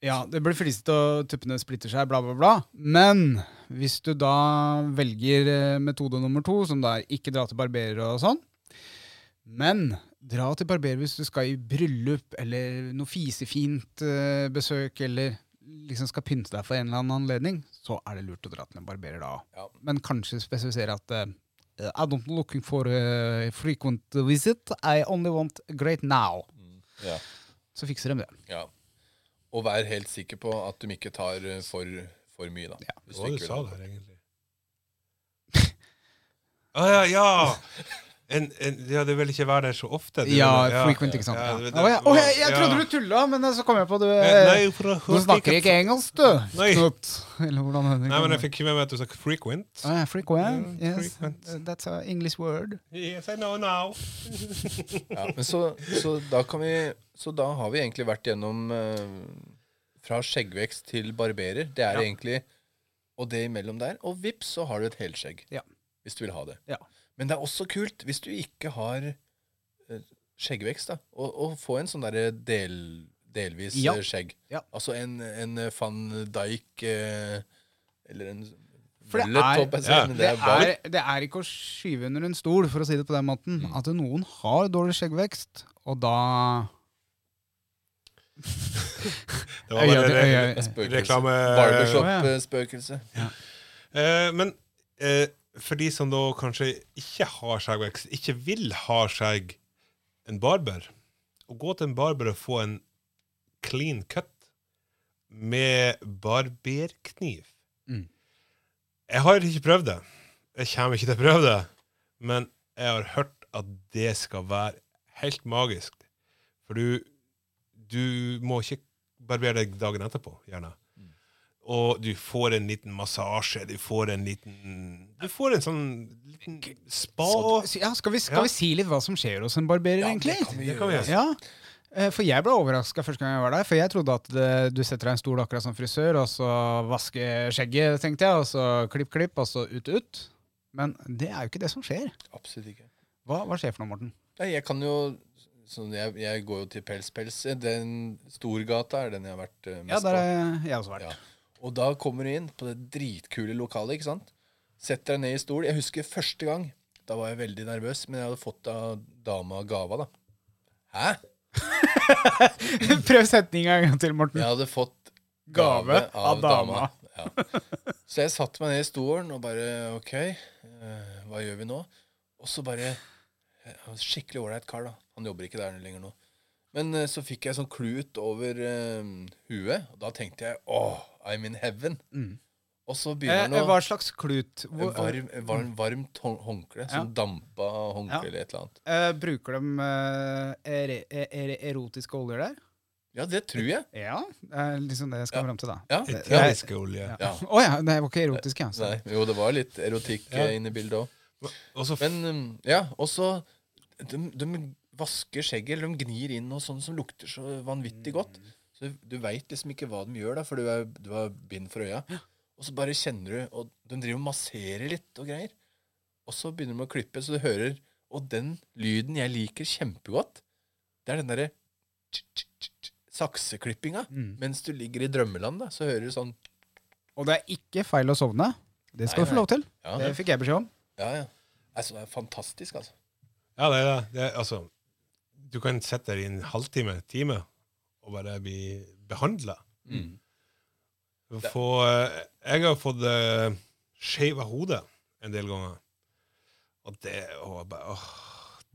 Speaker 1: Ja, det blir flisete og tuppene splitter seg, bla, bla, bla. Men hvis du da velger eh, metode nummer to, som da er ikke dra til barberer og sånn, men dra til barberer hvis du skal i bryllup eller noe fisefint eh, besøk, eller liksom skal pynte deg for en eller annen anledning, så er det lurt å dra til en barberer da.
Speaker 3: Ja.
Speaker 1: Men kanskje spesifisere at eh, I don't looking for a frequent visit, I only want great now.
Speaker 3: ja,
Speaker 1: Så fikser de det.
Speaker 3: ja. Og vær helt sikker på at de ikke tar eh, for, for mye, da. Hvis
Speaker 2: Hva var det du
Speaker 3: ikke
Speaker 2: sa
Speaker 3: vil.
Speaker 2: der, egentlig? Å Ah, ja, ja! En, en, ja, det vil ikke være der så ofte. du-
Speaker 1: Ja, frequent, ikke sant.
Speaker 2: ja,
Speaker 1: Ja,
Speaker 2: det-
Speaker 1: Å, ja. Å, jeg, jeg
Speaker 2: ja.
Speaker 1: trodde du tulla, men eh, så kom jeg på du
Speaker 2: Eh,
Speaker 1: eh,
Speaker 2: Nei, for jeg
Speaker 1: Du
Speaker 2: hørte
Speaker 1: snakker ikke engelsk, du.
Speaker 2: Nei.
Speaker 1: Knut. Eller hvordan er det?
Speaker 2: Nei, men jeg fikk ikke med meg at du sa frequent.
Speaker 1: Ah, yeah, frequent.
Speaker 2: Ja,
Speaker 1: Yes.
Speaker 2: frequent.
Speaker 1: Uh, That's an English word.
Speaker 2: Yes, I know now.
Speaker 3: Ja, men så, så, da kan vi, så da har vi egentlig vært gjennom eh, fra skjeggvekst til barberer. Det
Speaker 1: Ja.
Speaker 3: er egentlig Og det imellom der. Og vips, så har du et helskjegg.
Speaker 1: Ja.
Speaker 3: Hvis du vil ha det.
Speaker 1: Ja.
Speaker 3: Men det er også kult hvis du ikke har eh, skjeggvekst, da. Og, og få en sånn derre del, delvis
Speaker 1: Ja.
Speaker 3: eh, skjegg.
Speaker 1: Ja.
Speaker 3: Altså en, en eh, van Dijk eh, eller en
Speaker 1: For det
Speaker 3: Mullet,
Speaker 1: er-
Speaker 3: håper jeg å si,
Speaker 2: Ja.
Speaker 3: men
Speaker 1: Det
Speaker 3: det er bare
Speaker 1: er, det er ikke å skyve under en stol, for å si det på den måten,
Speaker 2: Mm.
Speaker 1: at noen har dårlig skjeggvekst, og da
Speaker 2: Det var bare
Speaker 1: Øya-
Speaker 2: re
Speaker 1: øya-
Speaker 3: spøkelse.
Speaker 2: reklame...
Speaker 3: Barbershop-spøkelse.
Speaker 2: Eh, men eh, for de som da kanskje ikke har skjeggvekst, ikke vil ha skjegg, en barber Å gå til en barber og få en clean cut med barberkniv
Speaker 1: Mm.
Speaker 2: Jeg har ikke prøvd det. Jeg kommer ikke til å prøve det. Men jeg har hørt at det skal være helt magisk. For du, du må ikke barbere deg dagen etterpå, gjerne.
Speaker 1: Mm.
Speaker 2: Og du får en liten massasje, du får en liten Du får en sånn liten spa.
Speaker 1: Så- ja, skal, vi, skal
Speaker 2: Ja.
Speaker 1: vi si litt hva som skjer hos en barberer,
Speaker 3: Ja,
Speaker 1: egentlig?
Speaker 3: det kan vi
Speaker 2: Det kan vi
Speaker 3: gjøre.
Speaker 2: gjøre.
Speaker 1: Ja, eh, for jeg ble overraska første gang jeg var der. For jeg trodde at eh, du setter deg i en stol akkurat som frisør, og så vaske skjegget, tenkte jeg, og så klipp, klipp, og så ut, ut. Men det er jo ikke det som skjer.
Speaker 3: Absolutt ikke.
Speaker 1: Hva, hva skjer for noe, Morten?
Speaker 3: Nei, jeg kan jo sånn, jeg, jeg går jo til Pels Pels. Den Storgata er den jeg har vært eh, mest
Speaker 1: Ja, der
Speaker 3: på.
Speaker 1: har jeg- jeg også vært.
Speaker 3: Ja. Og da kommer du inn på det dritkule lokalet, ikke sant? Setter deg ned i stol. Jeg husker første gang, da var jeg veldig nervøs, men jeg hadde fått av dama gava, da. Hæ?
Speaker 1: Prøv setninga en gang til, Morten.
Speaker 3: Jeg hadde fått
Speaker 1: Gave
Speaker 3: gave
Speaker 1: av
Speaker 3: av dama. Ja. Så jeg satte meg ned i stolen og bare OK, eh, hva gjør vi nå? Og så bare eh, han var Skikkelig ålreit kar, da. Han jobber ikke der lenger nå. Men eh, så fikk jeg sånn klut over eh, huet, og da tenkte jeg åh, I'm in heaven.
Speaker 1: Mm.
Speaker 3: Og så
Speaker 1: Eh,
Speaker 3: begynner
Speaker 1: eh,
Speaker 3: han å
Speaker 1: hva slags klut? Hvor,
Speaker 3: varm, varm, Varmt hå- håndkle. Sånn dampa håndkle
Speaker 1: Ja.
Speaker 3: eller et eller annet.
Speaker 1: eh, bruker de eh, er, er, er erotiske eh, oljer der?
Speaker 3: Ja, det tror jeg.
Speaker 1: Ja, det er liksom det jeg skal fram til, da.
Speaker 3: Ja. ja.
Speaker 2: Eterisk olje.
Speaker 1: Å ja.
Speaker 3: Ja.
Speaker 1: det var ikke erotisk, ja. Så.
Speaker 3: Nei, jo, det var litt erotikk
Speaker 2: Ja.
Speaker 3: eh, inne i bildet òg.
Speaker 2: Og så f-
Speaker 3: Men um, ja, og så de, de vasker skjegget, eller de gnir inn noe sånt som lukter så vanvittig godt. Så du veit liksom ikke hva de gjør, da, for du, er, du har bind for øya. Og så bare kjenner du Og de driver og masserer litt og greier. Og så begynner de å klippe, så du hører Og den lyden jeg liker kjempegodt, det er den derre tsk, tsk, tsk, tsk, sakseklippinga.
Speaker 1: Mm.
Speaker 3: Mens du ligger i drømmeland, da, så hører du sånn
Speaker 1: Og det er ikke feil å sovne. Det skal
Speaker 3: Nei,
Speaker 1: du få lov til.
Speaker 3: Ja,
Speaker 1: Det
Speaker 3: ja,
Speaker 1: fikk jeg beskjed om.
Speaker 3: ja. Altså, det er fantastisk, altså.
Speaker 2: Ja, det er det. det er, altså, du kan sette deg i en halvtime, time, og bare bli behandla.
Speaker 3: Mm.
Speaker 2: Få, eh, jeg har fått eh, skeiva hodet en del ganger. Og det og jeg bare, åh,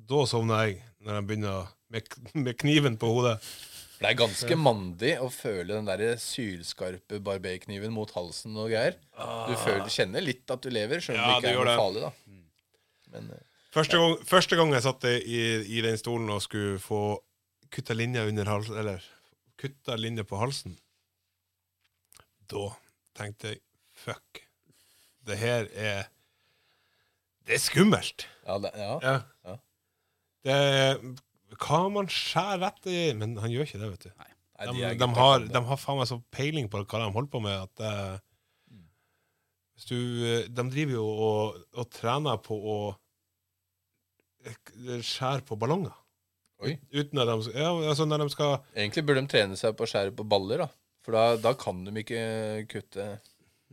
Speaker 2: Da sovner jeg, når jeg begynner med, k- med kniven på hodet.
Speaker 3: For det er ganske mandig å føle den der sylskarpe barberkniven mot halsen og greier. Du føler, kjenner litt at du lever, selv om
Speaker 2: Ah.
Speaker 3: det
Speaker 2: Ja,
Speaker 3: ikke
Speaker 2: du
Speaker 3: er
Speaker 2: gjør
Speaker 3: noe
Speaker 2: det. Mm.
Speaker 3: farlig, da. Men eh,
Speaker 2: Første gang, første gang jeg satt i, i den stolen og skulle få kutta linja under halsen, eller kutta linja på halsen, da tenkte jeg fuck, det her er Det er skummelt.
Speaker 3: ja, det, ja.
Speaker 2: Ja.
Speaker 3: Ja.
Speaker 2: Det er hva man skjærer rett i Men han gjør ikke det, vet du.
Speaker 3: Nei,
Speaker 2: De,
Speaker 3: de er
Speaker 2: de,
Speaker 3: gutta
Speaker 2: har,
Speaker 3: som det.
Speaker 2: de har faen meg så peiling på hva de holder på med, at eh, hvis du, eh, De driver jo og, og trener på å eh, skjære på ballonger.
Speaker 3: Oi.
Speaker 2: Uten at de, skal- ja, altså når de skal
Speaker 3: Egentlig burde de trene seg på å skjære på baller, da. For da, da kan de ikke eh, kutte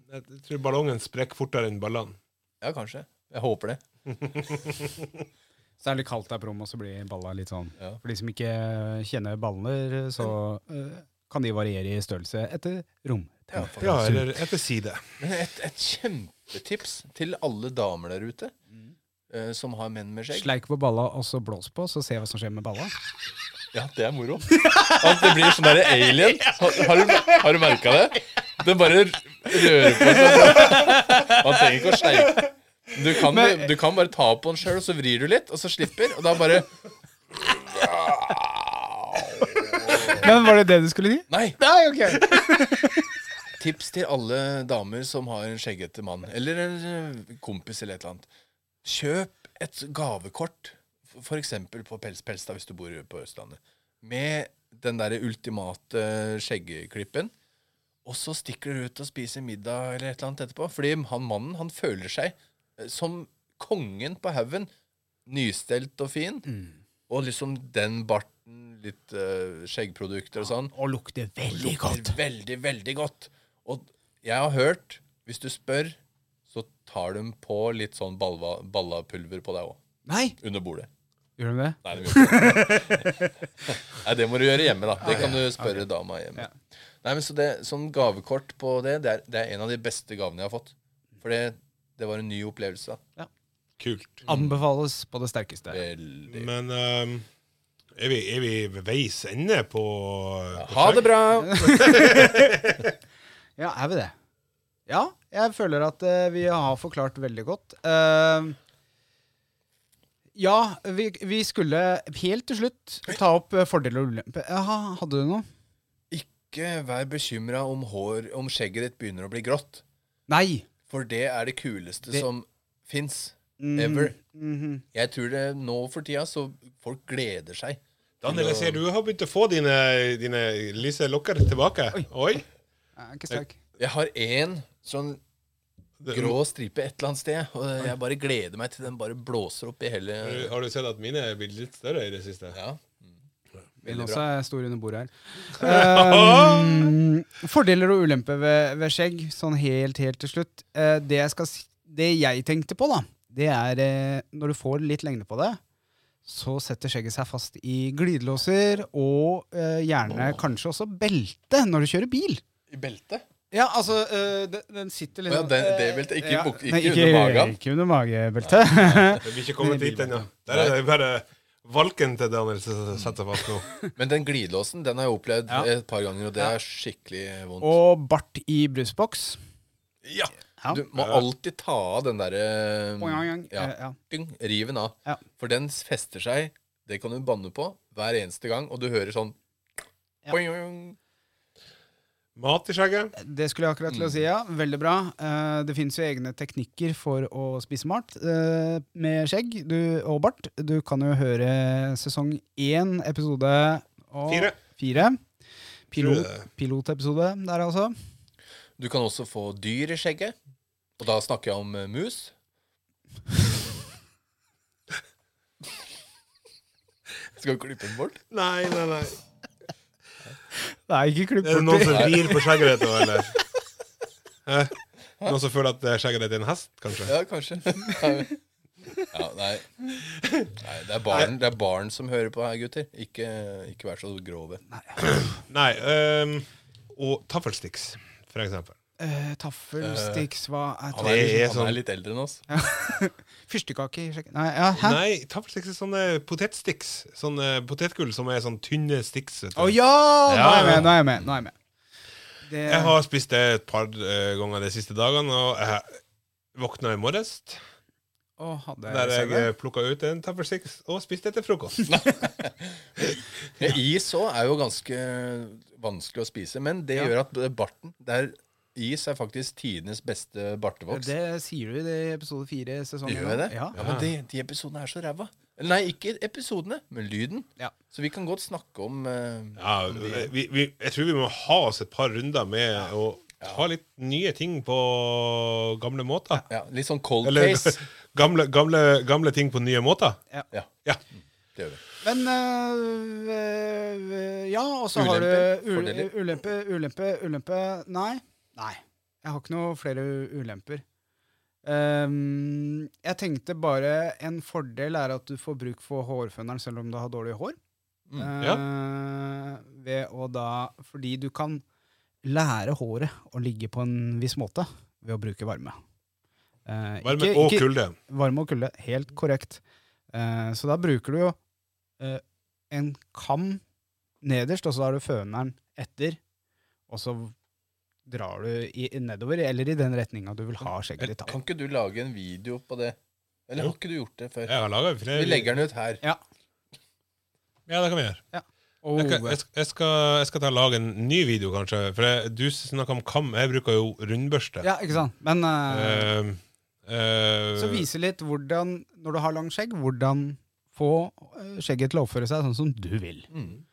Speaker 2: Jeg tror ballongen sprekker fortere enn ballene.
Speaker 3: Ja, kanskje. Jeg håper det.
Speaker 1: Så er det litt kaldt der på rommet, og så blir balla litt sånn.
Speaker 3: Ja.
Speaker 1: For de som ikke kjenner baller, så eh, kan de variere i størrelse etter romtemperatur.
Speaker 2: Ja, eller etter side.
Speaker 3: Men et, et kjempetips til alle damer der ute
Speaker 2: Mm.
Speaker 3: eh, som har menn med skjegg.
Speaker 1: Sleik på balla og så blås på, så se hva som skjer med balla.
Speaker 3: Ja, det er moro. At det blir sånn derre alien. Har, har du, har du merka det? Det bare rører på seg. sånn. Man trenger ikke å sleike. Du kan, du kan bare ta på den sjøl, og så vrir du litt, og så slipper. Og da bare
Speaker 1: Men var det det du skulle si?
Speaker 3: Nei!
Speaker 1: Nei, ok.
Speaker 3: Tips til alle damer som har en skjeggete mann, eller en eh, kompis eller et eller annet. Kjøp et gavekort, f- for eksempel på Pels Pels, da, hvis du bor på Østlandet, med den derre ultimate skjeggeklippen. Og så stikker dere ut og spiser middag eller et eller annet etterpå. Fordi han mannen, han føler seg eh, som kongen på haugen. Nystelt og fin.
Speaker 1: Mm.
Speaker 3: Og liksom den barten, litt eh, skjeggprodukter og sånn
Speaker 1: Og lukter veldig godt.
Speaker 3: lukter veldig, veldig godt. Og jeg har hørt, hvis du spør, så tar de på litt sånn balva, ballapulver på deg òg.
Speaker 1: Nei,
Speaker 3: Under bordet.
Speaker 1: gjør de det?
Speaker 3: Nei, de gjør ikke det. Nei, det må du gjøre hjemme, da. Det kan du spørre dama hjemme. Nei, men så det, Sånn gavekort på det, det er, det er en av de beste gavene jeg har fått. For det, det var en ny opplevelse. da.
Speaker 2: Kult.
Speaker 1: Anbefales på det sterkeste.
Speaker 3: Veldig.
Speaker 2: Men ehm, er, vi, er vi ved veis ende på, på
Speaker 3: Ha det bra!
Speaker 1: Ja, er vi det? Ja, jeg føler at eh, vi har forklart veldig godt. Eh, ja, vi, vi skulle helt til slutt ta opp eh, fordeler og ulemper. Jaha, hadde du noe?
Speaker 3: Ikke vær bekymra om, hår- om skjegget ditt begynner å bli grått.
Speaker 1: Nei.
Speaker 3: For det er det kuleste
Speaker 1: Det-
Speaker 3: som fins.
Speaker 1: Mm,
Speaker 3: Ever.
Speaker 1: mhm.
Speaker 3: Jeg tror det nå for tida, så folk gleder seg.
Speaker 2: Daniel, jeg ser du har begynt å få dine, dine lyse lokker tilbake. Oi.
Speaker 1: Jeg er ikke sterk.
Speaker 3: Jeg har én sånn
Speaker 2: Det-
Speaker 3: grå stripe et eller annet sted, og jeg bare gleder meg til den bare blåser opp i hele
Speaker 2: Har du- Har du sett at mine er blitt litt større i det siste?
Speaker 3: Ja.
Speaker 1: Den
Speaker 3: Veldig
Speaker 1: også
Speaker 3: bra. Ah!
Speaker 1: er stor under bordet her. Um, fordeler og ulemper ved, ved skjegg, sånn helt, helt til slutt. Eh, det, jeg skal, si- det jeg tenkte på, da, det er eh, når du får litt lengde på det, så setter skjegget seg fast i glidelåser og eh, gjerne kanskje også belte når du kjører bil.
Speaker 3: I beltet?
Speaker 1: Ja, altså, eh, den, den sitter
Speaker 3: Å ja,
Speaker 1: liksom
Speaker 3: det- det beltet, ikke i buk- ikke
Speaker 1: Nei,
Speaker 3: under magen. Ah.
Speaker 1: Ikke under magebeltet.
Speaker 2: Vi er ikke kommet dit ennå. Der er det bare valken til Daniel som setter fast nå.
Speaker 3: Men den glidelåsen den har jeg opplevd
Speaker 1: Ja.
Speaker 3: et par ganger, og det er skikkelig vondt.
Speaker 1: og bart i brusboks.
Speaker 3: ja.
Speaker 1: Ja.
Speaker 3: Du må alltid ta av den eh, derre
Speaker 1: Eh, Ja.
Speaker 3: Mm. ja,
Speaker 1: Ja.
Speaker 3: dyng, Riv den av.
Speaker 1: Ja.
Speaker 3: For den fester seg, det kan du banne på, hver eneste gang, og du hører sånn Boing.
Speaker 2: Mat i skjegget.
Speaker 1: Det skulle jeg akkurat til å si, ja. Veldig bra. Eh, Det fins jo egne teknikker for å spise mat eh, med skjegg du, og bart. Du kan jo høre sesong én, episode og
Speaker 2: Fire.
Speaker 1: fire. Pilot,
Speaker 2: Tror
Speaker 1: pilotepisode der, altså.
Speaker 3: Du kan også få dyr i skjegget. Og da snakker jeg om eh, mus. Skal vi klippe den bort?
Speaker 2: Nei, nei, nei.
Speaker 1: Nei, ikke klipp
Speaker 2: Er det noen
Speaker 1: bort.
Speaker 2: som rir på skjegget ditt, da, eller? Hæ? Noen som føler at eh, skjegget ditt er en hest, kanskje?
Speaker 3: Ja, kanskje. Ja, nei. nei det, er barn, det er barn som hører på her, gutter. Ikke, ikke vær så grove.
Speaker 2: Nei. ehm, og taffelsticks, for eksempel.
Speaker 1: Eh, Taffelsticks, hva er
Speaker 3: Han er,
Speaker 2: Det er
Speaker 3: litt- han
Speaker 2: sånn-
Speaker 3: er litt eldre enn oss.
Speaker 1: Fyrstekake i skjegget Nei, ja, hæ?
Speaker 2: Nei, taffelsticks er sånne potetsticks. Sånne potetgull som er sånn tynne sticks. vet du.
Speaker 1: Å ja! Nå er jeg med, nå er jeg med. Nå er jeg med. Det,
Speaker 2: Jeg har spist det et par eh, ganger de siste dagene, og jeg våkna i morges
Speaker 1: Å, hadde jeg
Speaker 2: der
Speaker 1: sett det?
Speaker 2: jeg plukka ut en taffelsticks og spiste det til frokost.
Speaker 3: Ja, Eh, is òg er jo ganske vanskelig å spise, men det gjør at eh, barten der Is er faktisk tidenes beste bartevoks.
Speaker 1: Det sier du i det episode fire sesong
Speaker 3: eh, Gjør jeg det?
Speaker 1: Ja.
Speaker 3: men de, de episodene er så ræva. Eller Nei, ikke episodene, men lyden.
Speaker 1: Ja.
Speaker 3: Så vi kan godt snakke om eh,
Speaker 2: Ja, vi, vi, jeg tror vi må ha oss et par runder med å ta litt nye ting på gamle måter.
Speaker 3: ja, litt sånn cold
Speaker 2: Eller
Speaker 3: case.
Speaker 2: gamle, gamle, gamle ting på nye måter.
Speaker 3: Ja,
Speaker 2: Ja.
Speaker 3: det gjør vi.
Speaker 1: Men øh, øh, Ja, og så har du
Speaker 3: Ulemper,
Speaker 1: ul-
Speaker 3: fordeler.
Speaker 1: ulempe, ulempe, ulempe Nei. Nei. Jeg har ikke noe flere u- ulemper. Ehm, jeg tenkte bare en fordel er at du får bruk for hårføneren selv om du har dårlig hår.
Speaker 3: Mm,
Speaker 1: Eh,
Speaker 2: ja.
Speaker 1: ved å da Fordi du kan lære håret å ligge på en viss måte ved å bruke varme. Eh,
Speaker 2: Varme
Speaker 1: ikke-
Speaker 2: og
Speaker 1: ikke-
Speaker 2: kulde.
Speaker 1: varme og kulde. Helt korrekt. Eh, så da bruker du jo eh, en kam nederst, og så har du føneren etter. Og så drar du i, nedover, eller i den retninga du vil ha skjegget ditt.
Speaker 3: Kan ikke du lage en video på det? Eller
Speaker 2: Jo.
Speaker 3: har ikke du gjort det før?
Speaker 2: Jeg har laga
Speaker 3: Vi
Speaker 2: flere.
Speaker 3: legger den ut her.
Speaker 2: Ja, det kan vi gjøre.
Speaker 1: Og,
Speaker 2: Jeg, skal- jeg, skal- jeg, skal, jeg skal ta og lage en ny video, kanskje. For jeg, du snakker om kam. Jeg bruker jo rundbørste.
Speaker 1: ja, ikke sant? Men eh,
Speaker 2: Eh, eh,
Speaker 1: så vise litt hvordan, når du har langt skjegg, hvordan få eh, skjegget til å oppføre seg sånn som du vil.
Speaker 3: Mm.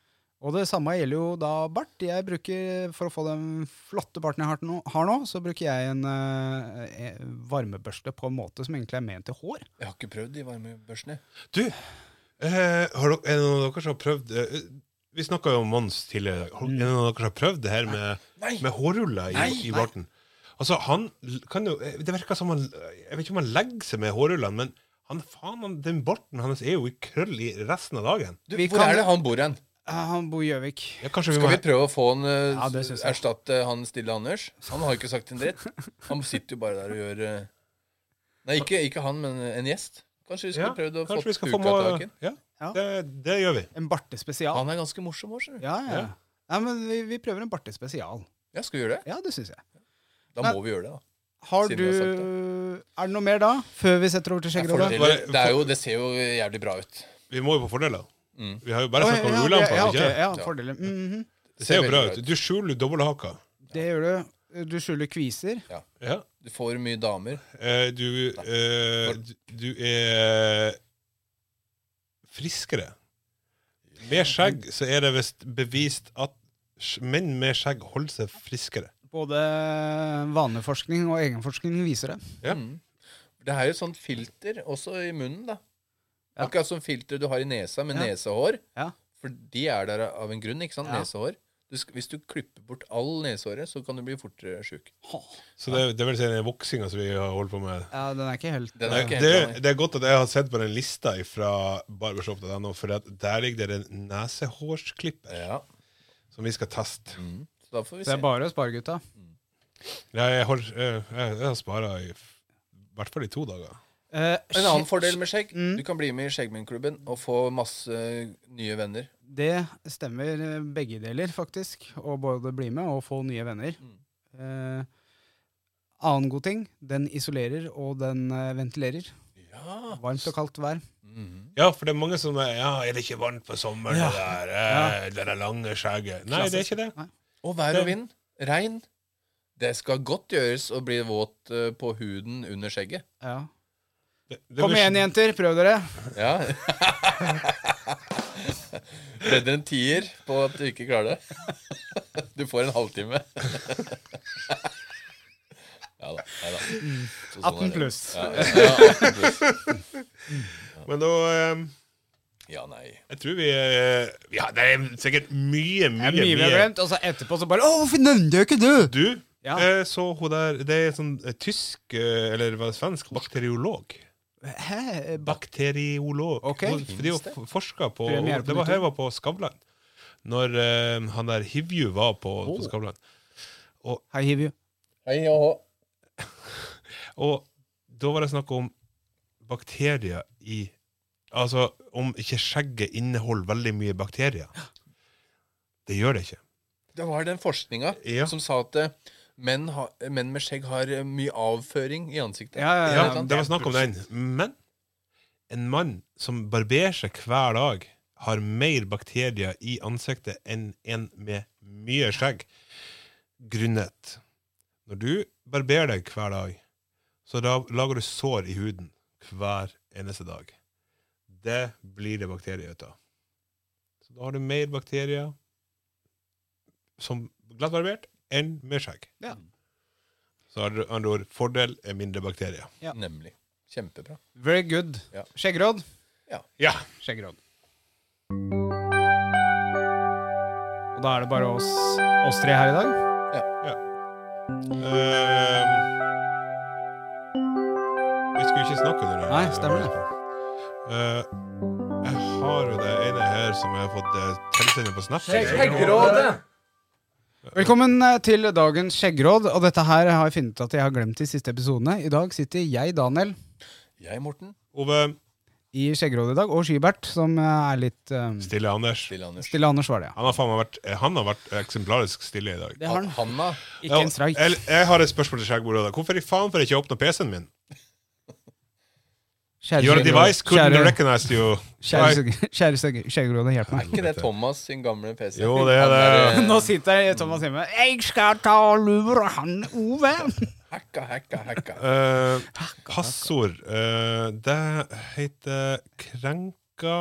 Speaker 1: Og det samme gjelder jo da bart. Jeg bruker, For å få den flotte barten jeg har nå, har nå så bruker jeg en eh, eh, varmebørste på en måte som egentlig er ment til hår.
Speaker 3: Jeg har ikke prøvd de varmebørsene.
Speaker 2: Du, eh, har dere, er det noen av dere som har prøvd eh, Vi snakka jo om Mons tidligere. i dag. Har- Er det noen av dere som har prøvd det her med,
Speaker 3: Mm. Nei!
Speaker 2: med hårruller i,
Speaker 3: Nei,
Speaker 2: i
Speaker 3: nei.
Speaker 2: barten? Altså, han l- kan jo eh, Det virker som han Jeg vet ikke om han legger seg med hårrullene, men han, faen, han, den barten hans er jo i krøll i resten av dagen.
Speaker 3: Du,
Speaker 1: Vi
Speaker 3: hvor
Speaker 1: kan-
Speaker 3: er det han bor hen?
Speaker 1: Eh, Han bor i Gjøvik.
Speaker 2: Ja, kanskje vi
Speaker 3: Skal
Speaker 2: må
Speaker 3: vi prøve å få han eh,
Speaker 1: Ja, det synes jeg.
Speaker 3: erstatte han Stille Anders? Han har jo ikke sagt en dritt. Han sitter jo bare der og gjør eh, Nei, ikke, ikke han, men en gjest. Kanskje vi skulle
Speaker 2: Ja,
Speaker 3: prøvd å få
Speaker 2: Kanskje vi skal få
Speaker 3: uka
Speaker 2: med
Speaker 3: taken?
Speaker 2: Ja,
Speaker 1: Ja.
Speaker 2: det, det gjør vi.
Speaker 1: En bartespesial.
Speaker 3: Han er ganske morsom òg, skjønner du.
Speaker 1: Ja, ja.
Speaker 2: Ja.
Speaker 1: Nei, men vi, vi prøver en bartespesial.
Speaker 3: Ja, skal vi gjøre det?
Speaker 1: Ja, det syns jeg.
Speaker 3: Da må vi gjøre det, da.
Speaker 1: Har
Speaker 3: Siden
Speaker 1: du
Speaker 3: vi har sagt
Speaker 1: Er det noe mer da? Før vi setter over til
Speaker 3: Det er
Speaker 1: skjeggerådet?
Speaker 3: fordeler. Det, er jo, det ser jo jævlig bra ut.
Speaker 2: Vi må jo på fordeler.
Speaker 3: Mm.
Speaker 2: Vi har jo bare
Speaker 1: Å,
Speaker 2: snakka om
Speaker 1: ja,
Speaker 2: ulemper.
Speaker 1: ja, ja,
Speaker 2: ikke
Speaker 1: ok,
Speaker 2: det?
Speaker 1: ja,
Speaker 3: Ja.
Speaker 1: fordeler. Mhm.
Speaker 2: Det ser jo
Speaker 3: veldig
Speaker 2: bra
Speaker 3: bra
Speaker 2: ut.
Speaker 3: ut.
Speaker 2: Du skjuler jo dobbelthaka.
Speaker 1: Det gjør du. Du skjuler kviser.
Speaker 2: Ja.
Speaker 3: Du får mye damer.
Speaker 2: Eh, du, eh, du- du er friskere. Med skjegg så er det visst bevist at sj- menn med skjegg holder seg friskere.
Speaker 1: Både vaneforskning og egenforskning viser det.
Speaker 2: Ja.
Speaker 3: Mm. Det er jo et sånt filter også i munnen, da.
Speaker 1: Ja.
Speaker 3: Akkurat som filter du har i nesa med
Speaker 1: Ja.
Speaker 3: nesehår.
Speaker 1: Ja.
Speaker 3: For de er der av en grunn, ikke sant?
Speaker 1: Ja.
Speaker 3: Nesehår. Du sk hvis du klipper bort all nesehåret, så kan du bli fortere sjuk.
Speaker 2: Så det, det vil si den voksinga som vi har holdt på med.
Speaker 1: Ja, den er ikke helt
Speaker 3: Den er
Speaker 2: Det,
Speaker 3: ikke helt
Speaker 2: det,
Speaker 3: vanlig.
Speaker 2: det er godt at jeg har sett på den lista fra barbershop.no, for at der ligger det en nesehårsklipper
Speaker 3: Ja.
Speaker 2: som vi skal teste.
Speaker 3: Mm. Så da får vi
Speaker 1: Det
Speaker 3: se.
Speaker 1: er bare å spare, gutta.
Speaker 2: Ja, jeg, har, jeg, jeg, jeg har spara i f- i hvert fall i to dager.
Speaker 1: Eh,
Speaker 3: En annen fordel med skjegg,
Speaker 1: Mm.
Speaker 3: du kan bli med i Skjeggmennklubben og få masse nye venner.
Speaker 1: Det stemmer eh, begge deler, faktisk. Å både bli med og få nye venner.
Speaker 3: Mm.
Speaker 1: Eh, annen god ting, den isolerer og den eh, ventilerer.
Speaker 3: Ja.
Speaker 1: Varmt og kaldt vær.
Speaker 3: Mm.
Speaker 2: Ja, for det er mange som er Ja, er det ikke varmt på sommeren? Det der, eh, det der lange skjegget Nei, det er ikke det.
Speaker 3: Og vær og vind. Regn. Det skal godt gjøres å bli våt eh, på huden under skjegget.
Speaker 1: Ja.
Speaker 2: det, det
Speaker 1: Kom
Speaker 2: blir-
Speaker 1: igjen, jenter. Prøv dere.
Speaker 3: Ja. Bedre enn tier på at du ikke klarer det. Du får en halvtime. Ja da. Ja da. Så sånn er
Speaker 1: 18
Speaker 3: det.
Speaker 1: pluss.
Speaker 3: Ja, ja, ja, 18 pluss.
Speaker 2: Men da eh,
Speaker 3: ja nei.
Speaker 2: Jeg tror vi eh, ja, Det er sikkert mye,
Speaker 1: Det
Speaker 2: mye,
Speaker 1: er mye vi
Speaker 2: mye.
Speaker 1: har glemt. Og så etterpå så bare Å, hvorfor nevnte jeg ikke det?
Speaker 2: Du,
Speaker 1: Ja.
Speaker 2: eh, så hun der Det er sånn eh, tysk, eh, eller hva er det, svensk, bakteriolog.
Speaker 1: Hæ? Bak-
Speaker 2: Bakteriolog.
Speaker 1: Ok.
Speaker 2: Hun- for De har forska på
Speaker 1: Premiere på
Speaker 2: Det var
Speaker 1: nytt.
Speaker 2: her var på Skavlan. Når eh, han der Hivju var på,
Speaker 1: Oh.
Speaker 2: på Skavlan.
Speaker 1: Hei, Hivju.
Speaker 3: Hei, ja.
Speaker 2: Og da var det snakk om bakterier i Altså om ikke skjegget inneholder veldig mye bakterier. Det gjør det ikke.
Speaker 3: Det var den forskninga
Speaker 2: Ja.
Speaker 3: som sa at eh, menn, ha, menn med skjegg har eh, mye avføring i ansiktet.
Speaker 1: Ja, ja,
Speaker 2: Ja,
Speaker 1: ja.
Speaker 2: det var snakk om den. Men en mann som barberer seg hver dag, har mer bakterier i ansiktet enn en med mye skjegg. Grunnet Når du barberer deg hver dag, så da lager du sår i huden hver eneste dag. Det blir det bakterier ut av. Så da har du mer bakterier som glattbarbert enn med skjegg.
Speaker 1: Ja.
Speaker 2: Så andre andre ord, fordel er mindre bakterier.
Speaker 3: Nemlig. Kjempebra.
Speaker 1: Very good.
Speaker 3: Ja.
Speaker 1: Skjeggråd.
Speaker 2: Ja.
Speaker 1: Skjeggråd. Og da er det bare oss, oss tre her i dag.
Speaker 2: Ehm, vi skulle ikke snakke om det.
Speaker 1: Nei, stemmer det.
Speaker 2: Eh, jeg har jo det ene her som jeg har fått uh, tilsendt på Snap.
Speaker 1: Velkommen eh, til dagens skjeggråd. Og dette her har jeg funnet ut at jeg har glemt de siste episodene. I dag sitter jeg, Daniel,
Speaker 3: Jeg, Morten.
Speaker 2: Ove,
Speaker 1: i skjeggrådet i dag, og Skybert, som eh, er litt eh,
Speaker 2: stille Anders.
Speaker 3: Stille Anders.
Speaker 1: Stille Anders var det, ja.
Speaker 2: Han har, faen meg vært, eh, han har vært eksemplarisk stille i dag.
Speaker 1: Det har han.
Speaker 3: Hanna.
Speaker 1: Ikke en streik.
Speaker 2: Jeg, jeg har et spørsmål til skjeggbordet. Hvorfor i faen får jeg ikke åpna PC-en min?
Speaker 1: Kjære
Speaker 2: Your
Speaker 1: skjeggråd.
Speaker 2: device couldn't
Speaker 1: Kjære-
Speaker 2: recognize you.
Speaker 1: Kjære, skjegg- kjære skjegg- skjeggrådet, hjelp
Speaker 3: Er
Speaker 1: meg.
Speaker 3: ikke det Thomas sin gamle PC?
Speaker 2: Jo, det er
Speaker 3: Han
Speaker 2: det.
Speaker 3: er, eh,
Speaker 1: Nå sitter jeg i Thomas hjemme. Jeg skal ta og lure han Ove.
Speaker 3: Hacka, hacka, hacka.
Speaker 2: Eh, passord eh, Det heter krenka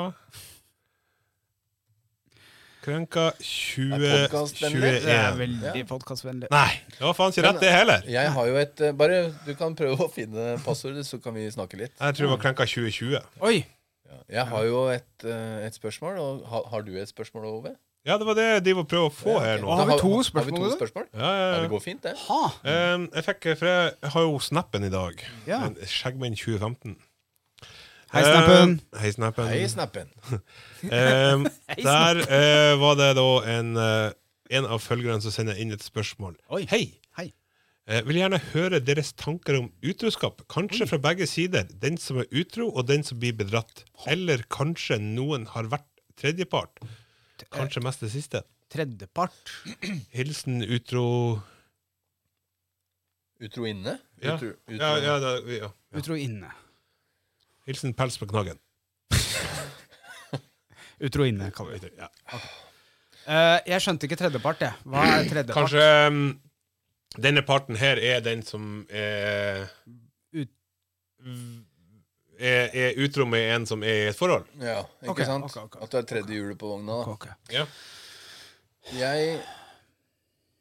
Speaker 2: Krenka
Speaker 3: Det er podcastvennlig.
Speaker 1: Det er
Speaker 2: 2021.
Speaker 1: veldig podkastvennlig.
Speaker 2: Nei, det var faen ikke rett, det heller.
Speaker 3: Jeg har jo et eh, Bare du kan prøve å finne passordet, så kan vi snakke litt.
Speaker 2: Jeg tror det var krenka 2020.
Speaker 1: Oi!
Speaker 3: Jeg har jo et, eh, et spørsmål, og har, har du et spørsmål, Ove?
Speaker 2: Ja, det var det de var prøve å få her
Speaker 3: Da
Speaker 2: nå.
Speaker 1: Eh, har vi to
Speaker 3: Har vi
Speaker 1: spørsmål,
Speaker 3: to
Speaker 1: da?
Speaker 3: spørsmål?
Speaker 2: Ja,
Speaker 3: Ja,
Speaker 2: ja,
Speaker 3: det
Speaker 2: ja.
Speaker 3: går fint, det.
Speaker 1: Ha!
Speaker 2: Eh, jeg fikk, for jeg har jo snappen i dag.
Speaker 1: Ja.
Speaker 2: En Skjeggmenn 2015.
Speaker 1: Hei, Snappen.
Speaker 2: Eh, Hei, snappen.
Speaker 3: Hei, Snappen.
Speaker 2: Ehm, der eh, var det da en, eh, en av følgerne som sender inn et spørsmål.
Speaker 1: Oi.
Speaker 2: Hei!
Speaker 1: Hei.
Speaker 2: Eh, vil gjerne høre deres tanker om utroskap. Kanskje fra begge sider. Den som er utro, og den som blir bedratt. Eller kanskje noen har vært tredjepart. Kanskje mest det siste.
Speaker 1: Tredjepart.
Speaker 2: Hilsen utro
Speaker 3: Utro inne?
Speaker 2: Ja,
Speaker 3: Utro, utro.
Speaker 2: ja, ja, da, ja.
Speaker 1: Utro inne.
Speaker 2: Hilsen pels på knaggen.
Speaker 1: Utro inne, kaller vi det.
Speaker 2: Ja.
Speaker 1: Eh, jeg skjønte ikke tredjepart, jeg. Hva er tredjepart?
Speaker 2: Kanskje mm, denne parten her er den som er
Speaker 1: Ut-
Speaker 2: er, er utro med en som er i et forhold.
Speaker 3: Ja, ikke
Speaker 1: Ok,
Speaker 3: sant?
Speaker 1: ok, ok.
Speaker 3: At du er tredje hjulet på vogna. da.
Speaker 1: Ok.
Speaker 2: Ja.
Speaker 3: Jeg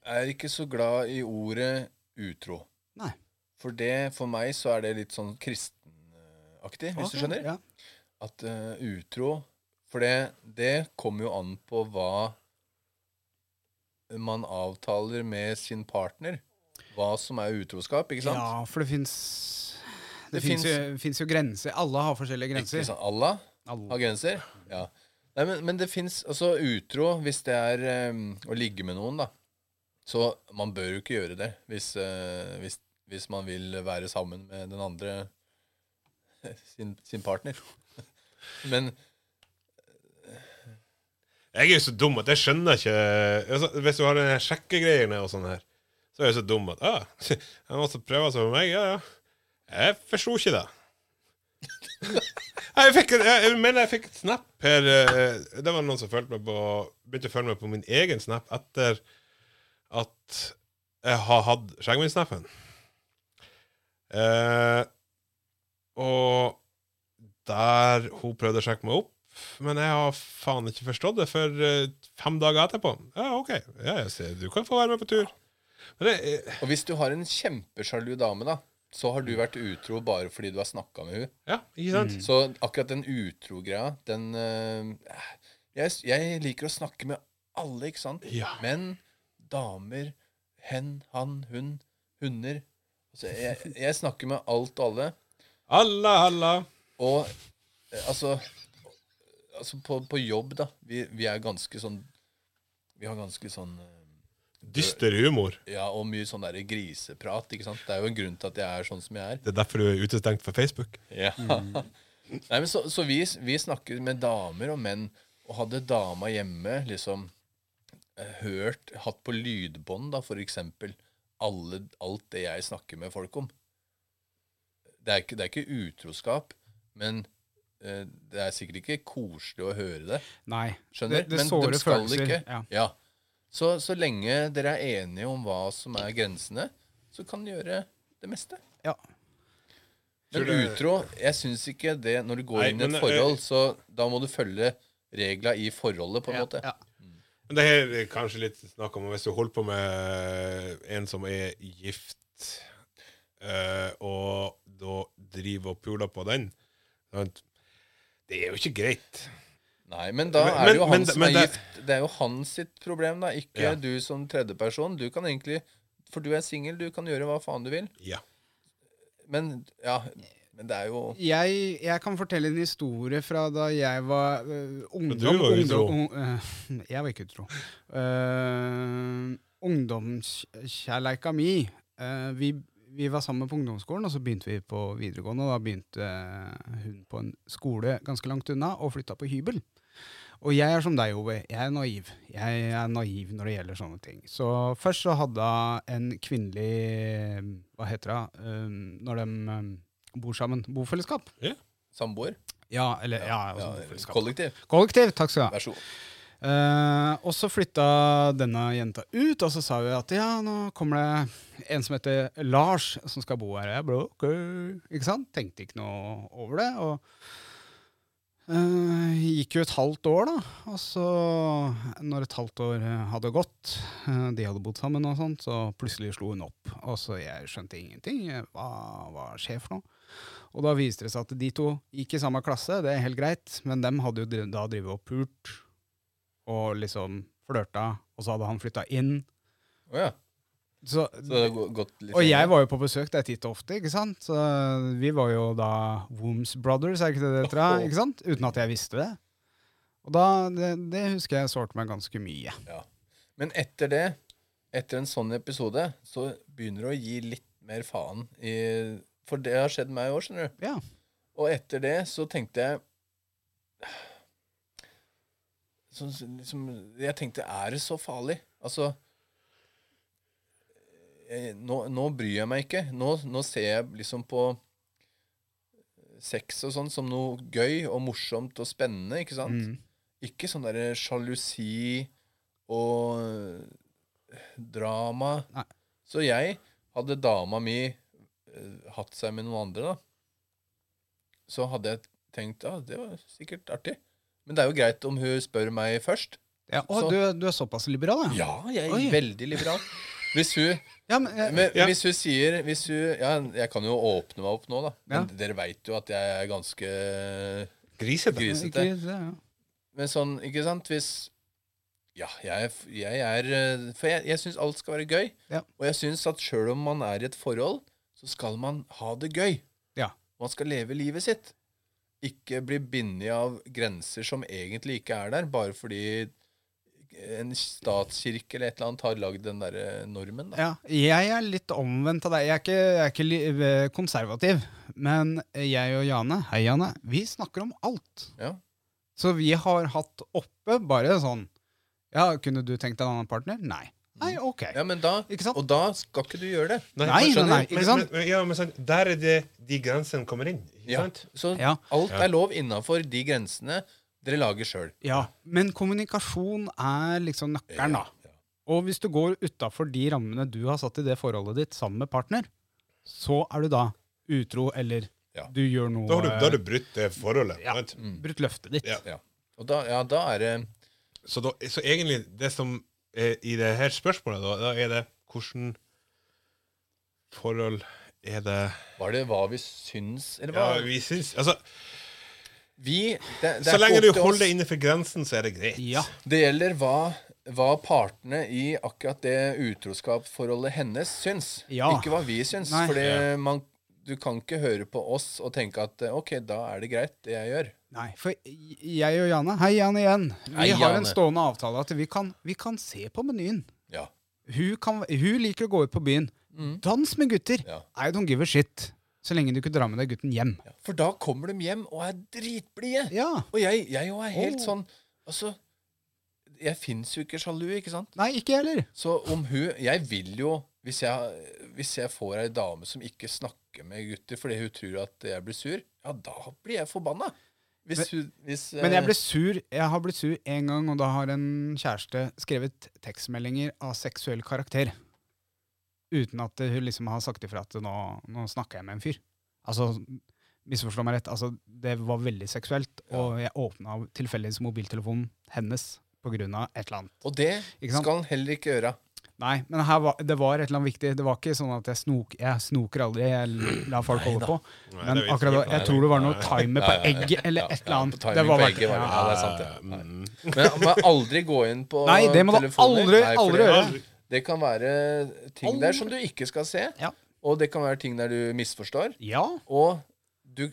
Speaker 3: er ikke så glad i ordet utro.
Speaker 1: Nei.
Speaker 3: For det, for meg så er det litt sånn kristenaktig, hvis
Speaker 1: Ok,
Speaker 3: du skjønner.
Speaker 1: Ja.
Speaker 3: At eh, utro For det, det kommer jo an på hva man avtaler med sin partner. Hva som er utroskap, ikke sant?
Speaker 1: ja, for det fins Det,
Speaker 3: Det
Speaker 1: finnes
Speaker 3: finnes-
Speaker 1: jo, finnes jo grenser. Alle har forskjellige
Speaker 3: Ikke
Speaker 1: grenser.
Speaker 3: sant? Allah
Speaker 1: Alle.
Speaker 3: har grenser. Ja. Nei, men, men det fins altså utro hvis det er eh, å ligge med noen, da. Så man bør jo ikke gjøre det hvis, eh, hvis, hvis man vil være sammen med den andre sin, sin partner. Men
Speaker 2: Jeg er jo så dum at jeg skjønner ikke altså, Hvis du har den her sjekkegreiene og sånn her, så er jeg så dum at ah, Han måtte prøve seg på meg. Ja, ja. Jeg forsto ikke det. Nei, Jeg, fikk, jeg, jeg mener jeg fikk et snap her eh, Det var noen som følte meg på begynte å følge meg på min egen snap etter at jeg har hatt Skjeggvin-snappen. Eh, og der hun prøvde å sjekke meg opp, men jeg har faen ikke forstått det før eh, fem dager etterpå. Ja, OK. Ja, jeg ser, du kan få være med på tur. Men det, eh,
Speaker 3: Og hvis du har en kjempesjalu dame, da, så har du vært utro bare fordi du har snakka med hun
Speaker 2: ja, ikke sant?
Speaker 3: Så akkurat den utro-greia, den eh, jeg, jeg liker å snakke med alle, ikke sant?
Speaker 2: Ja.
Speaker 3: Menn, damer, hen, han, hun, hunder. Altså, jeg, jeg snakker med alt og alle.
Speaker 2: Halla, halla.
Speaker 3: Og eh, altså, altså på, på jobb, da. Vi, vi er ganske sånn Vi har ganske sånn eh,
Speaker 2: Dyster humor.
Speaker 3: Ja, og mye sånn der griseprat, ikke sant. Det er jo en grunn til at jeg er sånn som jeg er.
Speaker 2: Det er derfor du er utestengt fra Facebook.
Speaker 3: Ja.
Speaker 1: Mm.
Speaker 3: Nei, men så, så vi, vi snakket med damer og menn, og hadde dama hjemme liksom eh, hørt, hatt på lydbånd da, for eksempel, alle, alt det jeg snakker med folk om. Det er ikke, det er ikke utroskap, men eh, det er sikkert ikke koselig å høre det.
Speaker 1: Nei.
Speaker 3: Skjønner?
Speaker 1: Det, det
Speaker 3: men
Speaker 1: sårer
Speaker 3: de skal
Speaker 1: følelser.
Speaker 3: ikke.
Speaker 1: Ja.
Speaker 3: Ja. Så, så lenge dere er enige om hva som er grensene, så kan dere gjøre det meste.
Speaker 1: Ja.
Speaker 3: Men utro, jeg syns ikke det Når du går
Speaker 2: Nei,
Speaker 3: inn i
Speaker 2: men, eh,
Speaker 3: et forhold, så da må du følge regla i forholdet, på en måte.
Speaker 1: Ja.
Speaker 2: Men det her er kanskje litt snakk om hvis du holder på med en som er gift, eh, og da driver og puler på den sant? Det er jo ikke greit.
Speaker 3: Nei, men da
Speaker 2: Men-
Speaker 3: er det jo
Speaker 2: men-
Speaker 3: han
Speaker 2: men-
Speaker 3: som
Speaker 2: men
Speaker 3: er
Speaker 2: det-
Speaker 3: gift. Det er jo han sitt problem, da, ikke
Speaker 2: Ja.
Speaker 3: du som tredjeperson. Du kan egentlig For du er singel, du kan gjøre hva faen du vil.
Speaker 2: Ja.
Speaker 3: Men ja, men det er jo
Speaker 1: Jeg, jeg kan fortelle en historie fra da jeg var øh, ungdom.
Speaker 2: du var utro.
Speaker 1: ungdom- ung- øh, jeg var ikke utro. Uh, Ungdomskjærleika mi øh, vi, vi var sammen på ungdomsskolen, og så begynte vi på videregående. Og da begynte øh, hun på en skole ganske langt unna og flytta på hybel. Og jeg er som deg, Ove. Jeg er naiv. Jeg er naiv når det gjelder sånne ting. Så først så hadde hun en kvinnelig Hva heter det? Um, når de um, bor sammen. Bofellesskap.
Speaker 3: samboer.
Speaker 1: Ja, eller ja,
Speaker 3: Ja,
Speaker 1: altså bofellesskap.
Speaker 3: kollektiv.
Speaker 1: Kollektiv, takk skal du ha.
Speaker 3: Vær så god.
Speaker 1: Eh, og så flytta denne jenta ut, og så sa hun at ja, nå kommer det en som heter Lars, som skal bo her. Jeg bare, ok. Ikke sant? Tenkte ikke noe over det. Og eh, gikk jo et halvt år, da. Og så, når et halvt år eh, hadde gått, eh, de hadde bodd sammen og sånt, så plutselig slo hun opp. Og så jeg skjønte ingenting. Eh, Hva, hva skjer for noe? Og da viste det seg at de to gikk i samme klasse, det er helt greit, men dem hadde jo dri- da drevet og pult og liksom flørta, og så hadde han flytta inn.
Speaker 3: Å ja.
Speaker 1: Så,
Speaker 3: Så det har gå- gått litt
Speaker 1: og
Speaker 3: lenger.
Speaker 1: jeg var jo på besøk der titt og ofte, ikke sant? Så vi var jo da Wooms Brothers, er ikke det det heter? Ikke sant? Uten at jeg visste det. Og da, det, det husker jeg sårte meg ganske mye.
Speaker 3: Men etter det, etter en sånn episode, så begynner du å gi litt mer faen i For det har skjedd meg i år, skjønner du.
Speaker 1: Ja.
Speaker 3: Og etter det så tenkte jeg så, liksom, Jeg tenkte, er det så farlig? Altså eh, nå, nå bryr jeg meg ikke. Nå, nå ser jeg liksom på sex og sånn som noe gøy og morsomt og spennende, ikke sant?
Speaker 1: Mm.
Speaker 3: Ikke sånn derre sjalusi og øh, drama.
Speaker 1: Nei.
Speaker 3: Så jeg hadde dama mi øh, hatt seg med noen andre, da. Så hadde jeg tenkt ja, det var sikkert artig. Men det er jo greit om hun spør meg først.
Speaker 1: Ja, og
Speaker 3: Så-
Speaker 1: du, du er såpass liberal, ja?
Speaker 3: Ja, jeg er
Speaker 1: Oi.
Speaker 3: veldig liberal. Hvis hun,
Speaker 1: Ja, men, eh,
Speaker 3: men,
Speaker 2: Ja.
Speaker 3: hvis hun sier hvis hun, ja, Jeg kan jo åpne meg opp nå, da. Men
Speaker 1: Ja.
Speaker 3: dere veit jo at jeg er ganske
Speaker 2: Grisete.
Speaker 3: grisete.
Speaker 1: ikke, det, ja.
Speaker 3: Men sånn, ikke sant, hvis Ja, jeg, er- jeg er eh, For jeg, jeg syns alt skal være gøy.
Speaker 1: Ja.
Speaker 3: Og jeg syns at sjøl om man er i et forhold, så skal man ha det gøy.
Speaker 1: Ja.
Speaker 3: Man skal leve livet sitt. Ikke bli bindet av grenser som egentlig ikke er der, bare fordi en statskirke eller et eller annet har lagd den derre normen, da.
Speaker 1: Ja, jeg er litt omvendt av deg. Jeg er ikke, jeg er ikke li eh, konservativ. Men jeg og Jane, hei Jane, vi snakker om alt.
Speaker 3: Ja.
Speaker 1: Så vi har hatt oppe bare sånn Ja, kunne du tenkt deg en annen partner? Nei. Nei,
Speaker 2: Mm.
Speaker 1: ok.
Speaker 3: Ja, men da,
Speaker 1: Ikke sant?
Speaker 3: Og da skal ikke du gjøre det.
Speaker 1: Nei, nei, nei, ikke sant?
Speaker 2: Men, men, ja, men sant, der er det de grensene kommer inn. Ikke
Speaker 3: Ja.
Speaker 2: sant?
Speaker 3: Så
Speaker 1: Ja.
Speaker 3: alt er lov innafor de grensene dere lager sjøl.
Speaker 1: Ja, men kommunikasjon er liksom nøkkelen, da. Og hvis du går utafor de rammene du har satt i det forholdet ditt sammen med partner, så er du da utro, eller
Speaker 3: Ja.
Speaker 1: du gjør noe
Speaker 2: Da har du, da
Speaker 3: Eh,
Speaker 2: har du brutt det forholdet. Mm. sant?
Speaker 1: eh, brutt løftet ditt.
Speaker 2: Ja.
Speaker 3: Ja. Og da, ja, da er det
Speaker 2: Så, da, så egentlig, det som er i det her spørsmålet, da, da er det hvordan forhold er det
Speaker 3: Var det hva vi syns, eller hva?
Speaker 2: Ja, vi syns Altså,
Speaker 3: vi, det, det
Speaker 2: så
Speaker 3: er
Speaker 2: lenge
Speaker 3: ikke
Speaker 2: du
Speaker 3: opp til
Speaker 2: holder
Speaker 3: oss.
Speaker 2: deg innenfor grensen, så er det greit.
Speaker 1: Ja.
Speaker 3: Det gjelder hva, hva partene i akkurat det utroskapsforholdet hennes syns.
Speaker 1: Ja.
Speaker 3: Ikke hva vi syns.
Speaker 1: Nei.
Speaker 3: For
Speaker 2: Ja.
Speaker 3: du kan ikke høre på oss og tenke at eh, OK, da er det greit, det jeg gjør.
Speaker 1: Nei, for jeg og Jane Hei, Jane igjen. Vi
Speaker 3: Hei,
Speaker 1: har
Speaker 3: Jane.
Speaker 1: en stående avtale at vi kan, vi kan se på menyen.
Speaker 3: Ja.
Speaker 1: Hun, kan, hun liker å gå ut på byen. Dans med gutter.
Speaker 3: Mm. Ja.
Speaker 1: I don't give a shit. Så lenge du ikke drar med deg gutten hjem.
Speaker 3: ja. For da kommer de hjem og er dritblide.
Speaker 1: Ja.
Speaker 3: Og jeg, jeg jo er helt
Speaker 1: Oh.
Speaker 3: sånn Altså, jeg fins jo ikke sjalu, ikke sant?
Speaker 1: Nei, ikke jeg heller.
Speaker 3: Så om hun Jeg vil jo hvis jeg, hvis jeg får ei dame som ikke snakker med gutter fordi hun tror at jeg blir sur, ja, da blir jeg forbanna. Hvis hun hvis,
Speaker 1: Men jeg
Speaker 3: eh,
Speaker 1: ble sur Jeg har blitt sur én gang, og da har en kjæreste skrevet tekstmeldinger av seksuell karakter. Uten at det- hun liksom har sagt ifra at nå, nå snakker jeg med en fyr. Altså, Misforstå meg rett, altså, det var veldig seksuelt, og jeg åpna tilfeldigvis mobiltelefonen hennes pga. et eller annet.
Speaker 3: eh, Og det
Speaker 1: Ikke sant?
Speaker 3: skal han heller ikke gjøre.
Speaker 1: Nei, men her var, det var et eller annet viktig. Det var ikke sånn at jeg, snok, jeg snoker aldri, jeg la folk holde på.
Speaker 2: Nei,
Speaker 1: Men
Speaker 2: det er jo
Speaker 1: akkurat da,
Speaker 2: ikke-
Speaker 1: jeg tror det var noe timer
Speaker 3: Nei,
Speaker 1: på
Speaker 3: nei, nei.
Speaker 1: egget eller
Speaker 3: Ja,
Speaker 1: et eller
Speaker 3: ja,
Speaker 1: annet.
Speaker 3: på timing
Speaker 1: Det var
Speaker 3: på
Speaker 1: verdt-
Speaker 3: egget var det.
Speaker 1: ja.
Speaker 3: Ja, det er sant, det. Nei.
Speaker 2: Mm.
Speaker 3: Men man aldri gå inn på
Speaker 1: Nei, det må du
Speaker 3: telefoner.
Speaker 1: aldri-
Speaker 3: for
Speaker 1: aldri
Speaker 3: det-
Speaker 1: gjøre.
Speaker 3: Det kan være ting der som du ikke skal se,
Speaker 1: Ja.
Speaker 3: og det kan være ting der du misforstår.
Speaker 1: Ja.
Speaker 3: Og du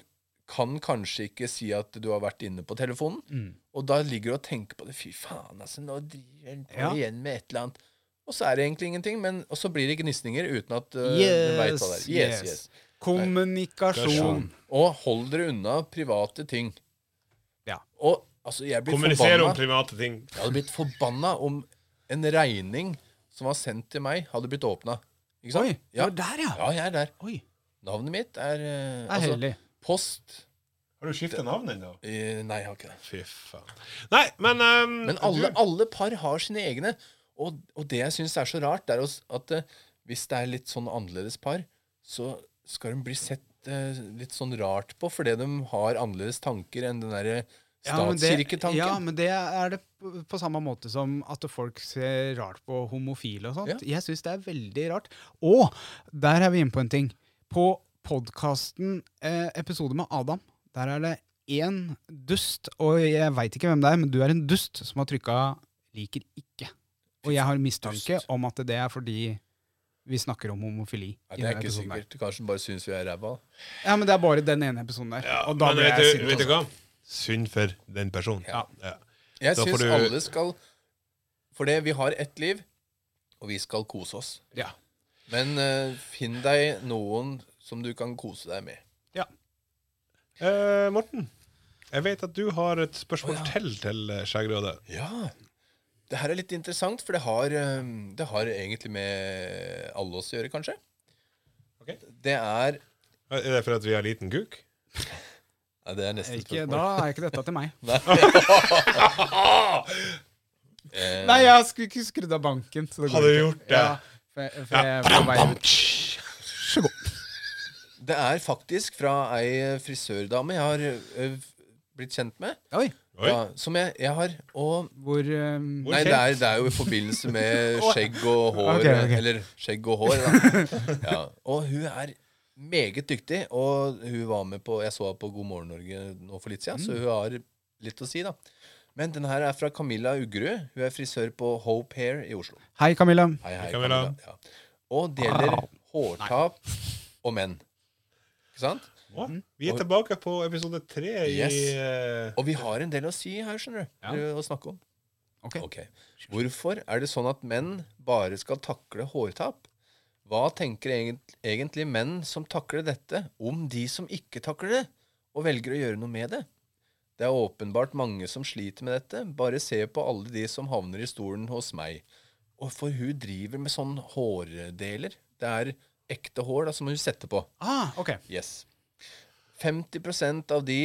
Speaker 3: kan kanskje ikke si at du har vært inne på telefonen.
Speaker 1: Mm.
Speaker 3: Og da ligger du og tenker på det. Fy faen, altså, nå driver jeg på
Speaker 1: Ja.
Speaker 3: igjen med et eller annet. Og så er det egentlig ingenting, men og så blir det gnisninger uten at uh, du veit hva
Speaker 1: Yes,
Speaker 3: det er. Yes, yes.
Speaker 1: Kommunikasjon.
Speaker 2: Kommunikasjon.
Speaker 3: Og hold dere unna private ting.
Speaker 1: Ja.
Speaker 3: Og altså, jeg blir
Speaker 2: Kommunisere om
Speaker 3: forbanna.
Speaker 2: private ting.
Speaker 3: Jeg hadde blitt forbanna om en regning som var sendt til meg, hadde blitt åpna. Ikke sant?
Speaker 1: Oi, det
Speaker 3: ja.
Speaker 1: var der, ja.
Speaker 3: ja, jeg er der.
Speaker 1: Oi,
Speaker 3: Navnet mitt er, eh,
Speaker 1: det er hellig.
Speaker 3: post
Speaker 2: Har du skifta navn ennå?
Speaker 3: eh, Nei, jeg har ikke det.
Speaker 2: Fy faen. Nei, men ehm,
Speaker 3: Men alle,
Speaker 2: du,
Speaker 3: alle par har sine egne. Og, og det jeg syns er så rart, det er også at eh, hvis det er litt sånn annerledes par, så skal de bli sett eh, litt sånn rart på fordi de har annerledes tanker enn den derre
Speaker 1: Ja, men det-
Speaker 3: statskirketanken.
Speaker 1: Ja, men det er det på- på samme måte som at folk ser rart på homofile og sånt. Jeg syns det er veldig rart. Og der er vi inne på en ting. På podkasten eh, episode med Adam, der er det én dust, og jeg veit ikke hvem det er, men du er en dust som har trykka 'liker ikke'. Og jeg har mistanke
Speaker 3: Dust.
Speaker 1: om at det er fordi vi snakker om homofili. i
Speaker 3: Nei, det er
Speaker 1: denne
Speaker 3: ikke
Speaker 1: episoden der.
Speaker 3: sikkert. Kanskje de bare syns vi er ræva.
Speaker 1: Ja, men det er bare den ene episoden der. og da
Speaker 2: men
Speaker 1: ble jeg
Speaker 2: vet, du,
Speaker 1: sint.
Speaker 2: vet du
Speaker 1: altså.
Speaker 2: hva? Synd for den personen.
Speaker 3: Ja.
Speaker 2: Ja.
Speaker 3: Jeg
Speaker 2: Da får
Speaker 3: syns
Speaker 2: du-
Speaker 3: alle skal For det, vi har ett liv, og vi skal kose oss.
Speaker 1: Ja.
Speaker 3: Men eh, finn deg noen som du kan kose deg med.
Speaker 2: Eh, Morten, jeg vet at du har et spørsmål
Speaker 3: Å, ja.
Speaker 2: til til eh, Skjeggrådet.
Speaker 3: Ja. Det her er litt interessant, for det har, eh, det har egentlig med alle oss å gjøre, kanskje.
Speaker 2: Ok.
Speaker 3: Det er
Speaker 2: Er det fordi at vi har liten kuk?
Speaker 3: Nei, det er neste
Speaker 1: Ikke,
Speaker 3: spørsmål.
Speaker 1: da er ikke dette til meg.
Speaker 3: Eh,
Speaker 1: Nei, jeg skulle ikke skrudd av banken. Så det går
Speaker 2: Hadde du
Speaker 1: ikke.
Speaker 2: gjort det?
Speaker 1: Ja, for, for jeg var på vei ut. Så god.
Speaker 3: Det er faktisk fra ei frisørdame jeg har eh, blitt kjent med.
Speaker 1: Oi,
Speaker 2: Oi.
Speaker 3: Ja, som jeg, jeg har. Og
Speaker 1: hvor ehm,
Speaker 2: Hvor
Speaker 3: Nei, det
Speaker 2: kjent?
Speaker 3: er, det er jo i forbindelse med skjegg og hår.
Speaker 1: Ok, ok.
Speaker 3: Eller skjegg og hår, da. Ja. Og hun er meget dyktig, og hun var med på Jeg så henne på God morgen Norge nå for litt siden, så hun har litt å si, da. Men den her er fra Camilla Uggerud. Hun er frisør på Hope Hair i Oslo.
Speaker 1: Hei, Camilla.
Speaker 3: Hei, hei,
Speaker 2: Hei, Camilla.
Speaker 3: Ja. Og det gjelder hårtap og menn. Ikke sant?
Speaker 2: Å, vi er tilbake på episode tre i
Speaker 3: Mhm. Yes.
Speaker 2: eh,
Speaker 3: Og vi har en del å si her, skjønner du. Å snakke om.
Speaker 1: Ok.
Speaker 3: Ok. Hvorfor er det sånn at menn bare skal takle hårtap? Hva tenker egent- egentlig menn som takler dette, om de som ikke takler det, og velger å gjøre noe med det? Det er åpenbart mange som sliter med dette. Bare se på alle de som havner i stolen hos meg. Og for hun driver med sånn hårdeler. Det er ekte hår da, som hun setter på.
Speaker 1: Ah, ok.
Speaker 3: Yes. 50 av de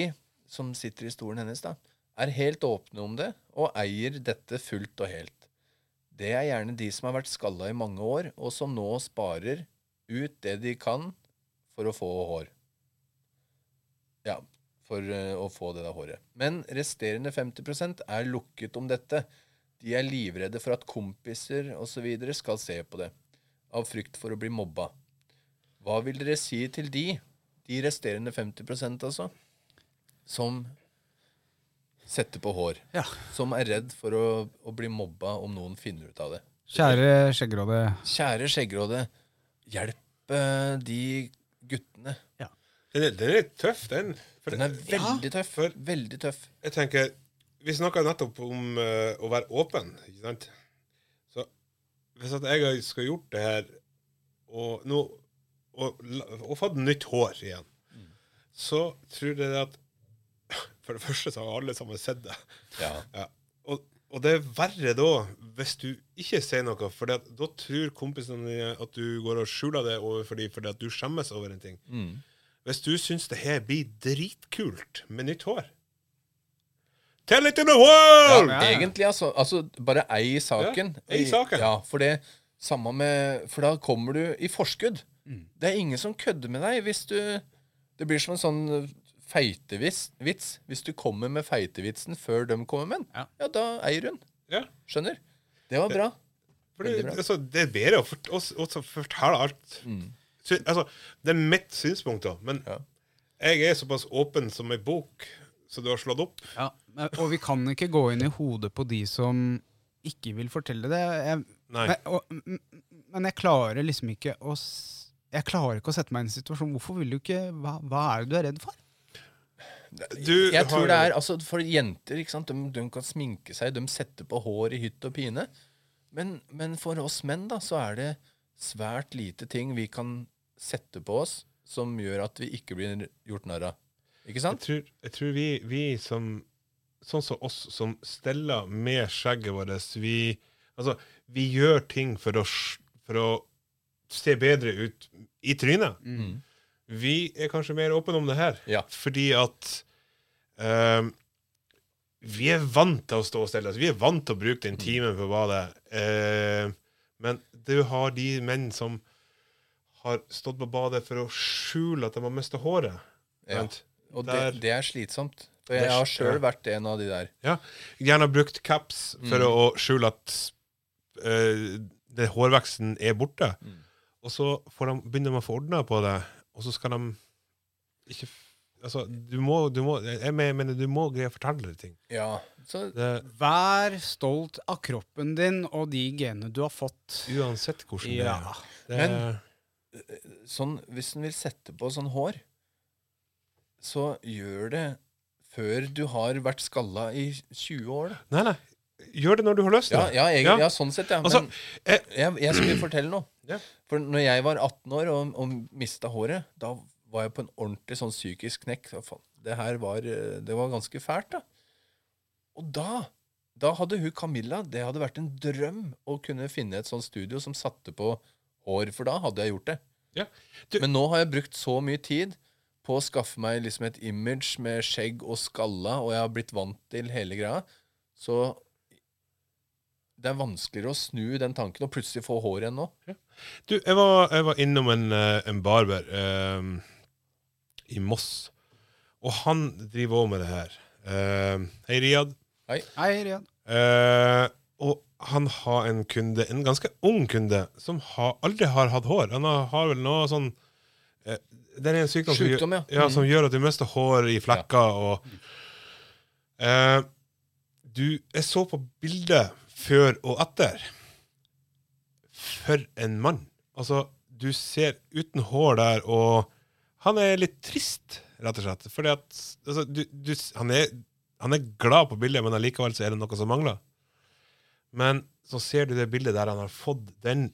Speaker 3: som sitter i stolen hennes, da, er helt åpne om det og eier dette fullt og helt. Det er gjerne de som har vært skalla i mange år, og som nå sparer ut det de kan for å få hår. Ja, for eh, å få det der håret. Men resterende 50 er lukket om dette. De er livredde for at kompiser osv. skal se på det, av frykt for å bli mobba. Hva vil dere si til de, de resterende 50 altså, som setter på hår?
Speaker 1: Ja.
Speaker 3: Som er redd for å, å bli mobba om noen finner ut av det.
Speaker 1: Kjære skjeggråde.
Speaker 3: Kjære skjeggråde, hjelp eh, de guttene.
Speaker 2: Den er, den er tøff, den. For
Speaker 3: Den er
Speaker 2: det-
Speaker 3: veldig tøff.
Speaker 2: for-
Speaker 3: Veldig tøff.
Speaker 2: jeg tenker Vi snakka nettopp om eh, å være åpen, ikke sant? Så hvis at jeg skal gjort det her og nå og, la- og fått nytt hår igjen,
Speaker 3: Mm.
Speaker 2: så tror jeg det at For det første så har alle sammen sett det.
Speaker 3: Ja.
Speaker 2: Ja. Og, og det er verre da hvis du ikke sier noe, for det at, da tror kompisene dine at du går og skjuler det overfor dem fordi at du skjemmes over en ting.
Speaker 3: Mm.
Speaker 2: Hvis du syns det her blir dritkult med nytt hår Tell it to the world!
Speaker 1: Ja,
Speaker 3: Ja,
Speaker 1: ja.
Speaker 3: Egentlig, altså. altså bare ei saken.
Speaker 2: Ja, ei saken.
Speaker 3: Ja, for det samme med For da kommer du i forskudd. Det er ingen som kødder med deg hvis du Det blir som en sånn feitevits. vits. Hvis du kommer med feitevitsen før de kommer med den,
Speaker 1: Ja.
Speaker 3: ja, da eier hun.
Speaker 2: Ja.
Speaker 3: Skjønner? Det var bra.
Speaker 2: For det,
Speaker 3: Veldig bra.
Speaker 2: altså, det er bedre å fort, også, også fortelle alt. Sy- altså, det er mitt synspunkt, da. Men
Speaker 3: Mm. Ja.
Speaker 2: jeg er såpass åpen som ei bok, så du har slått opp.
Speaker 1: Ja. men- Og vi kan ikke gå inn i hodet på de som ikke vil fortelle det. Jeg,
Speaker 2: Nei.
Speaker 1: men, og, m- men jeg klarer liksom ikke å s- Jeg klarer ikke å sette meg i en situasjon. Hvorfor vil du ikke Hva, hva er det du er redd for?
Speaker 2: Du
Speaker 3: jeg tror
Speaker 2: har-
Speaker 3: det er, altså For jenter ikke sant? De, de kan sminke seg, de setter på hår i hytt og pine. Men, men for oss menn da, så er det svært lite ting vi kan sette på oss som gjør at vi ikke blir gjort narr av. Ikke
Speaker 2: Jeg
Speaker 3: sant?
Speaker 2: tror, jeg tror vi, vi som Sånn som oss som steller med skjegget vårt, vi Altså, vi gjør ting for å, s- for å se bedre ut i trynet.
Speaker 3: Mm.
Speaker 2: Vi er kanskje mer åpne om det her,
Speaker 3: Ja.
Speaker 2: fordi at ehm, Vi er vant til å stå og stelle oss. Vi er vant til å bruke den
Speaker 3: Mm.
Speaker 2: timen på badet. Eh, men du har de menn som har stått på badet for å skjule at de har mista håret.
Speaker 3: Ja.
Speaker 2: sant?
Speaker 3: Og det,
Speaker 2: Der-
Speaker 3: det er slitsomt. For
Speaker 2: Det er
Speaker 3: jeg har
Speaker 2: sl-
Speaker 3: sjøl
Speaker 2: ja.
Speaker 3: vært en av de der.
Speaker 2: Ja, gjerne brukt caps for
Speaker 3: Mm.
Speaker 2: å skjule at eh, det, hårveksten er borte.
Speaker 3: Mm.
Speaker 2: Og så får de, begynner de å få ordna på det, og så skal de ikke f- Altså, du må, du må Jeg men- mener, du må greie å fortelle ting.
Speaker 3: Ja, så
Speaker 2: Det,
Speaker 1: Vær stolt av kroppen din og de genene du har fått.
Speaker 2: uansett hvordan
Speaker 1: Ja.
Speaker 2: det er. Det,
Speaker 3: Men- sånn, hvis en vil sette på sånn hår, så gjør det før du har vært skalla i 20 år. da.
Speaker 2: Nei, nei. Gjør det når du har lyst til
Speaker 3: Ja,
Speaker 2: det.
Speaker 3: ja, jeg,
Speaker 2: Ja.
Speaker 3: ja. sånn sett, ja. Men
Speaker 2: Altså, eh,
Speaker 3: jeg, jeg skulle fortelle noe.
Speaker 2: Ja.
Speaker 3: For når jeg var 18 år og, og mista håret, da var jeg på en ordentlig sånn psykisk knekk. Så faen, Det her var, eh, det var ganske fælt, da. Og da da hadde hun Camilla Det hadde vært en drøm å kunne finne et sånt studio som satte på hår, for da hadde jeg gjort det.
Speaker 2: Ja. Du-
Speaker 3: Men nå har jeg brukt så mye tid på å skaffe meg liksom et image med skjegg og skalla, og jeg har blitt vant til hele greia. Så det er vanskeligere å snu den tanken og plutselig få hår igjen nå.
Speaker 2: Du, jeg var, jeg var innom en, eh, en barber ehm, i Moss, og han driver òg med det her. Ehm, hei, Riyad.
Speaker 1: Hei, Rian.
Speaker 2: Eh, og han har en kunde, en ganske ung kunde, som har, aldri har hatt hår. Han har, har vel noe sånn eh, Det er en sykdom, som,
Speaker 3: Sjukdom, ja.
Speaker 2: gjør, ja,
Speaker 3: Mm.
Speaker 2: som gjør at du mister hår i flekker og eh, Du Jeg så på bildet før og etter. For en mann. Altså, du ser uten hår der, og han er litt trist, rett og slett. Fordi at altså, du, du, han, er, han er glad på bildet, men allikevel så er det noe som mangler. Men så ser du det bildet der han har fått den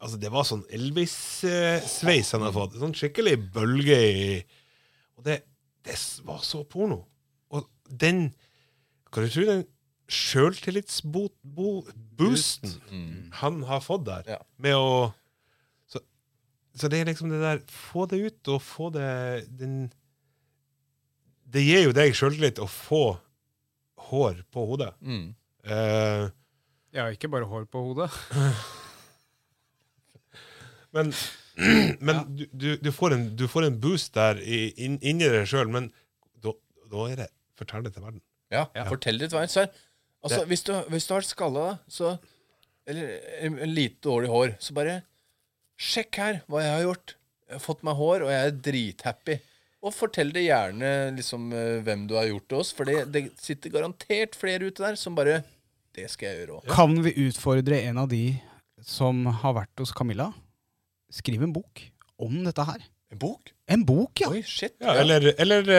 Speaker 2: Altså, det var sånn Elvis-sveis han har fått. Sånn skikkelig bølge i Og det, det s- var så porno. Og den Kan du tro den sjøltillitsboosten
Speaker 3: Mm.
Speaker 2: han har fått der,
Speaker 3: Ja.
Speaker 2: med å så, så det er liksom det der Få det ut, og få det den det gir jo deg sjøltillit å få hår på hodet.
Speaker 3: Mm.
Speaker 2: Eh,
Speaker 1: Jeg har ikke bare hår på hodet.
Speaker 2: men men du, du, du, får en, du får en boost der i, inn, inni deg sjøl, men da, da er det Fortell det til verden.
Speaker 3: Ja,
Speaker 1: Ja.
Speaker 3: fortell litt hva jeg ser. Altså,
Speaker 2: Det-
Speaker 3: hvis du, hvis du har skalla, da, så Eller en- en lite dårlig hår, så bare Sjekk her hva jeg har gjort. Jeg har fått meg hår, og jeg er drithappy. Og fortell det gjerne liksom, eh, hvem du har gjort det hos, for det, det sitter garantert flere ute der som bare Det skal jeg gjøre òg.
Speaker 1: Kan vi utfordre en av de som har vært hos Camilla? Skriv en bok om dette her.
Speaker 3: En bok?
Speaker 1: En bok, ja!
Speaker 3: Oi, shit.
Speaker 2: Ja,
Speaker 3: Ja.
Speaker 2: Eller, eller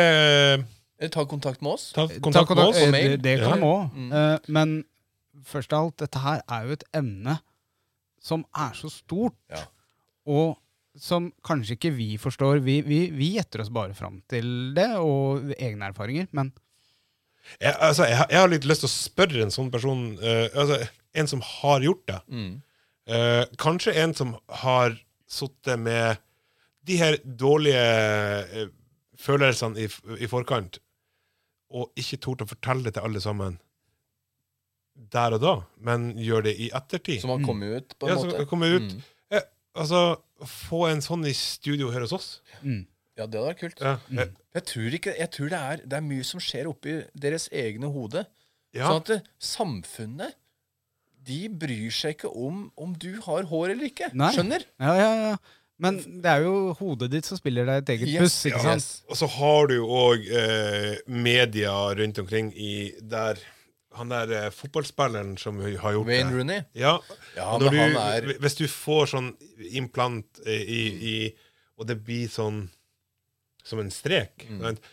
Speaker 2: eh,
Speaker 3: Eller ta kontakt med oss.
Speaker 2: ta
Speaker 1: Ta
Speaker 2: kontakt med
Speaker 1: kontakt-
Speaker 2: oss.
Speaker 3: på
Speaker 1: eh, Det,
Speaker 3: mail.
Speaker 1: det kan de
Speaker 3: Ja.
Speaker 1: òg.
Speaker 3: Mm.
Speaker 1: men først av alt, dette her er jo et emne som er så stort,
Speaker 3: Ja.
Speaker 1: og som kanskje ikke vi forstår. Vi, vi, vi gjetter oss bare fram til det, og egne erfaringer, men
Speaker 2: Jeg, altså, jeg, har- jeg har litt lyst til å spørre en sånn person eh, altså, En som har gjort det.
Speaker 3: Mm.
Speaker 2: Eh, kanskje en som har sittet med de her dårlige eh, følelsene i, f- i forkant, og ikke tort å fortelle det til alle sammen der og da, men gjør det i ettertid.
Speaker 3: Så man kommer jo ut, på en
Speaker 2: ja,
Speaker 3: måte.
Speaker 2: så kommer jeg ut.
Speaker 3: Mm.
Speaker 2: Eh, altså, få en sånn i studio her hos oss.
Speaker 1: mm.
Speaker 3: Ja, det hadde vært kult.
Speaker 2: Ja, eh,
Speaker 3: Jeg tror, ikke, jeg tror det, er, det er mye som skjer oppi deres egne hode.
Speaker 2: ja.
Speaker 3: Sånn at det, samfunnet de bryr seg ikke om om du har hår eller ikke.
Speaker 1: Nei.
Speaker 3: Skjønner?
Speaker 1: Ja, ja, ja. Men det er jo hodet ditt som spiller deg et eget
Speaker 3: Yes,
Speaker 1: puss, ikke
Speaker 3: ja.
Speaker 1: sant?
Speaker 3: Yes.
Speaker 2: Og så har du jo òg eh, media rundt omkring i der Han der eh, fotballspilleren som har gjort
Speaker 3: Wayne
Speaker 2: det.
Speaker 3: Rooney.
Speaker 2: Ja,
Speaker 3: Ja, men
Speaker 2: og når du,
Speaker 3: han er Mm.
Speaker 2: hvis du får sånn implant eh, i, i Og det blir sånn som en strek
Speaker 3: Mm.
Speaker 2: sant?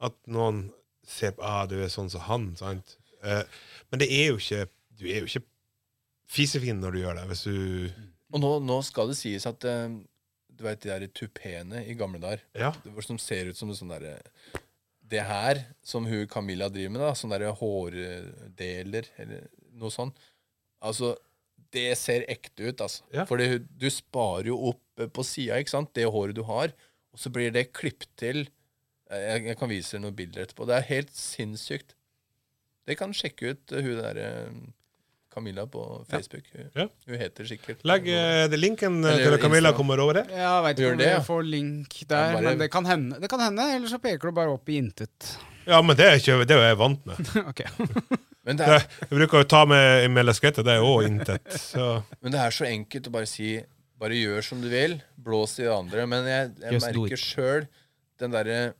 Speaker 2: At noen ser på ah, du er sånn som han. Sant? Eh, men det er jo ikke du er jo ikke fisefin når du gjør det. Hvis du
Speaker 3: Og nå, nå skal det sies at eh, du veit de der tupeene i gamle dager
Speaker 2: Ja.
Speaker 3: det var som ser ut som en sånn derre Det her som hun Camilla driver med, da, sånn derre hårdeler eller noe sånt, altså Det ser ekte ut, altså.
Speaker 2: Ja.
Speaker 3: For du sparer jo opp eh, på sida, ikke sant, det håret du har, og så blir det klippet til Eh, Jeg, jeg kan vise dere noen bilder etterpå. Det er helt sinnssykt. Det kan sjekke ut eh, hun derre Camilla på Facebook. Hun,
Speaker 2: Ja.
Speaker 3: hun heter sikkert
Speaker 2: Legg eh, det linken eh,
Speaker 3: Eller
Speaker 2: til Camilla
Speaker 3: Instagram.
Speaker 2: kommer over her.
Speaker 1: Ja, jeg veit ikke
Speaker 3: Gjør
Speaker 1: om
Speaker 3: det,
Speaker 1: jeg
Speaker 3: ja.
Speaker 1: får link
Speaker 3: Ja,
Speaker 1: der,
Speaker 3: bare-
Speaker 1: men det kan hende. Det kan hende, Eller så peker du bare opp i intet.
Speaker 2: Ja, men det er, ikke, det er jo jeg vant med.
Speaker 1: Ok.
Speaker 3: Men det er,
Speaker 2: Det, jeg bruker jo ta med med lesketter, det er jo intet. Så
Speaker 3: Men det er så enkelt å bare si Bare gjør som du vil, blås i det andre. Men jeg, jeg
Speaker 1: Just do
Speaker 3: merker
Speaker 1: it.
Speaker 3: sjøl den derre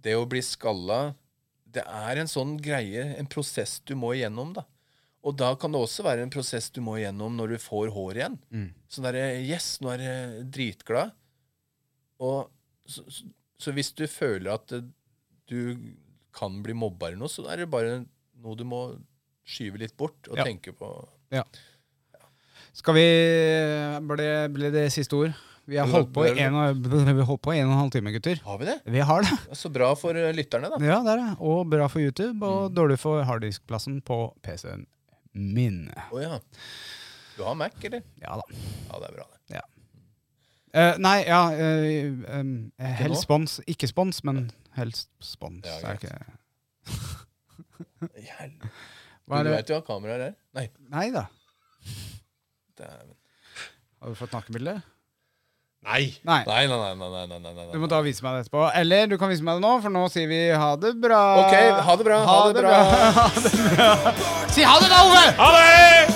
Speaker 3: Det å bli skalla Det er en sånn greie, en prosess du må igjennom, da. Og da kan det også være en prosess du må igjennom når du får hår igjen.
Speaker 1: Mm.
Speaker 3: Sånn derre Yes, nå er jeg dritglad. Og så, så, så hvis du føler at eh, du kan bli mobba eller noe, så er det bare noe du må skyve litt bort og
Speaker 1: Ja.
Speaker 3: tenke på.
Speaker 1: Skal vi Ble, ble det siste ord? Vi har
Speaker 3: Ble-
Speaker 1: holdt på,
Speaker 3: ble
Speaker 1: i
Speaker 3: det-
Speaker 1: en, og- vi har holdt på i en og en halv time, gutter.
Speaker 3: Har vi det?
Speaker 1: Vi har det.
Speaker 3: Ja, Så bra for eh, lytterne, da.
Speaker 1: Ja, det er det. Og bra for YouTube, og
Speaker 3: Mm.
Speaker 1: dårlig for harddiskplassen på PC-en min.
Speaker 3: Å ja. Du har Mac, eller?
Speaker 1: Ja da.
Speaker 3: Ja, det er bra, det.
Speaker 1: Eh, nei, ja eh, em, Helst
Speaker 3: nå?
Speaker 1: spons. Ikke spons, men helst spons.
Speaker 3: Ja,
Speaker 1: er
Speaker 3: greit.
Speaker 1: ikke,
Speaker 3: I helvete.
Speaker 1: hva er
Speaker 3: Du
Speaker 1: det?
Speaker 3: veit jo hva kameraer er? Nei.
Speaker 1: Nei da.
Speaker 3: dæven.
Speaker 1: Har du fått nakenbilde?
Speaker 2: nei.
Speaker 1: Nei.
Speaker 3: Nei, nei, nei. nei, nei, nei, nei, nei.
Speaker 1: Du må ta og vise meg det etterpå. Eller du kan vise meg det nå, for nå sier vi ha det bra.
Speaker 3: OK, ha det bra. Ha, det bra.
Speaker 1: Si ha det, da, Ove!
Speaker 2: Ha det!